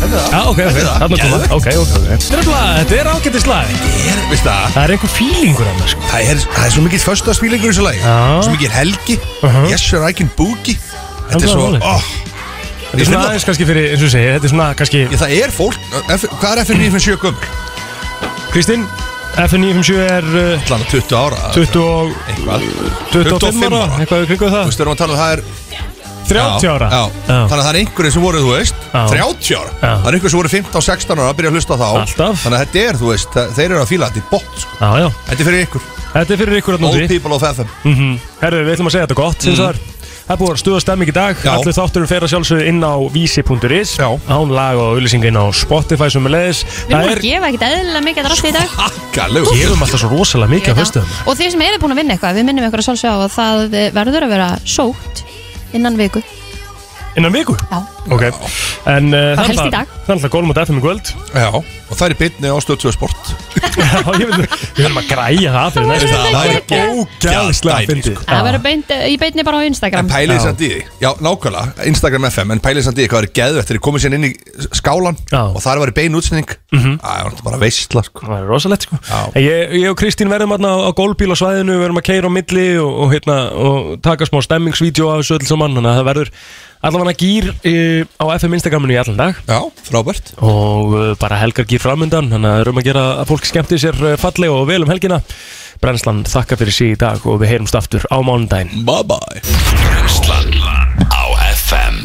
Speaker 2: Já, ok, ok, þarna kom það Ok, ok, ok Þetta er lag, þetta er ágættis lag
Speaker 5: er, veist það
Speaker 2: Það er einhver fílingur annars sko.
Speaker 5: það, er, það er svo mikið föstaspílingur í þessu lagi Svo mikið helgi Yes, sir, I can boogie Þetta er
Speaker 2: Alveg
Speaker 5: svo
Speaker 2: Uh-huh. málið.
Speaker 5: oh,
Speaker 2: Þetta er svona aðeins kannski fyrir, eins og segja, þetta er svona kannski
Speaker 5: Ég, það er fólk, F, hvað er FN957 gömul?
Speaker 2: Kristinn, FN957 er uh,
Speaker 5: Allan 20 ára
Speaker 2: 20 og
Speaker 5: Eitthvað
Speaker 2: 25 ára,
Speaker 5: eitthvað
Speaker 2: við kringum það
Speaker 5: Þú veist, erum að tala um það er
Speaker 2: 30
Speaker 5: Já,
Speaker 2: ára.
Speaker 5: Já,
Speaker 2: Já.
Speaker 5: þannig að það er einhverjir sem voru, þú veist
Speaker 2: Já.
Speaker 5: 30 ára Það er einhverjir sem voru 15 og 16 ára að byrja að hlusta á þá Alltaf Þannig að þetta er, þú veist, það- þeir eru að fíla þetta í bótt sko.
Speaker 2: Já, já
Speaker 5: Þetta er fyrir ykkur
Speaker 2: Þetta er fyrir ykkur að
Speaker 5: Old people of FM
Speaker 2: mm Herðu, við ætlum að segja þetta gott mm -hmm. Það er búið að vera stuða stemming í dag
Speaker 5: Já.
Speaker 2: Allir þátturum fer að sjálfsögðu inn á vísi.is Án lag og auðlýsing inn á Spotify sem er leiðis
Speaker 3: Við erum að gefa ekkert eðlilega mikið að drastið í dag
Speaker 5: Gælu
Speaker 2: Gefum alltaf svo rosalega mikið að föstuðum
Speaker 3: Og þeir sem eru búin að vinna eitthvað, við minnum ykkur að sjálfsögja og það eh, verður að vera sótt innan viku
Speaker 2: Innan viku?
Speaker 3: Já
Speaker 2: Ok En uh,
Speaker 3: Bara helst í dag.
Speaker 2: Það er alltaf gólum á FM í kvöld
Speaker 5: Já, og það er í bytni á stöðtöðu sport
Speaker 2: Já, ég vil Við verðum að græja það fyrir næst
Speaker 5: Það væri
Speaker 2: ógæðslega fyndið
Speaker 3: Það verður beint, í beinni bara á Instagram
Speaker 5: En pælið samt í því, já nákvæmlega, Instagram FM En pælið samt í því hvað er geðvett Þeir komið sér inn í skálan já. Og þar var í bein útsending Það mm var bara veistla sko.
Speaker 2: Mhm. Það er rosalegt sko En Ég, ég og Kristín verðum aðna á gólbíl á svæðinu Við verðum að keira á milli og, og, hérna, og taka smá stemmingsvídeó af þessu öll saman Þannig að það verður, allavega gýr uh, á FM Instagraminu í allan dag
Speaker 5: Já, frábært
Speaker 2: Og uh, bara helgar gýr framundan Þannig að það er um að gera að fólk skemmti sér uh, fallega og vel um helgina Brennslan þakka fyrir sig í dag og við heyrumst aftur á mánudaginn
Speaker 5: Bye bye
Speaker 13: Brennslan á FM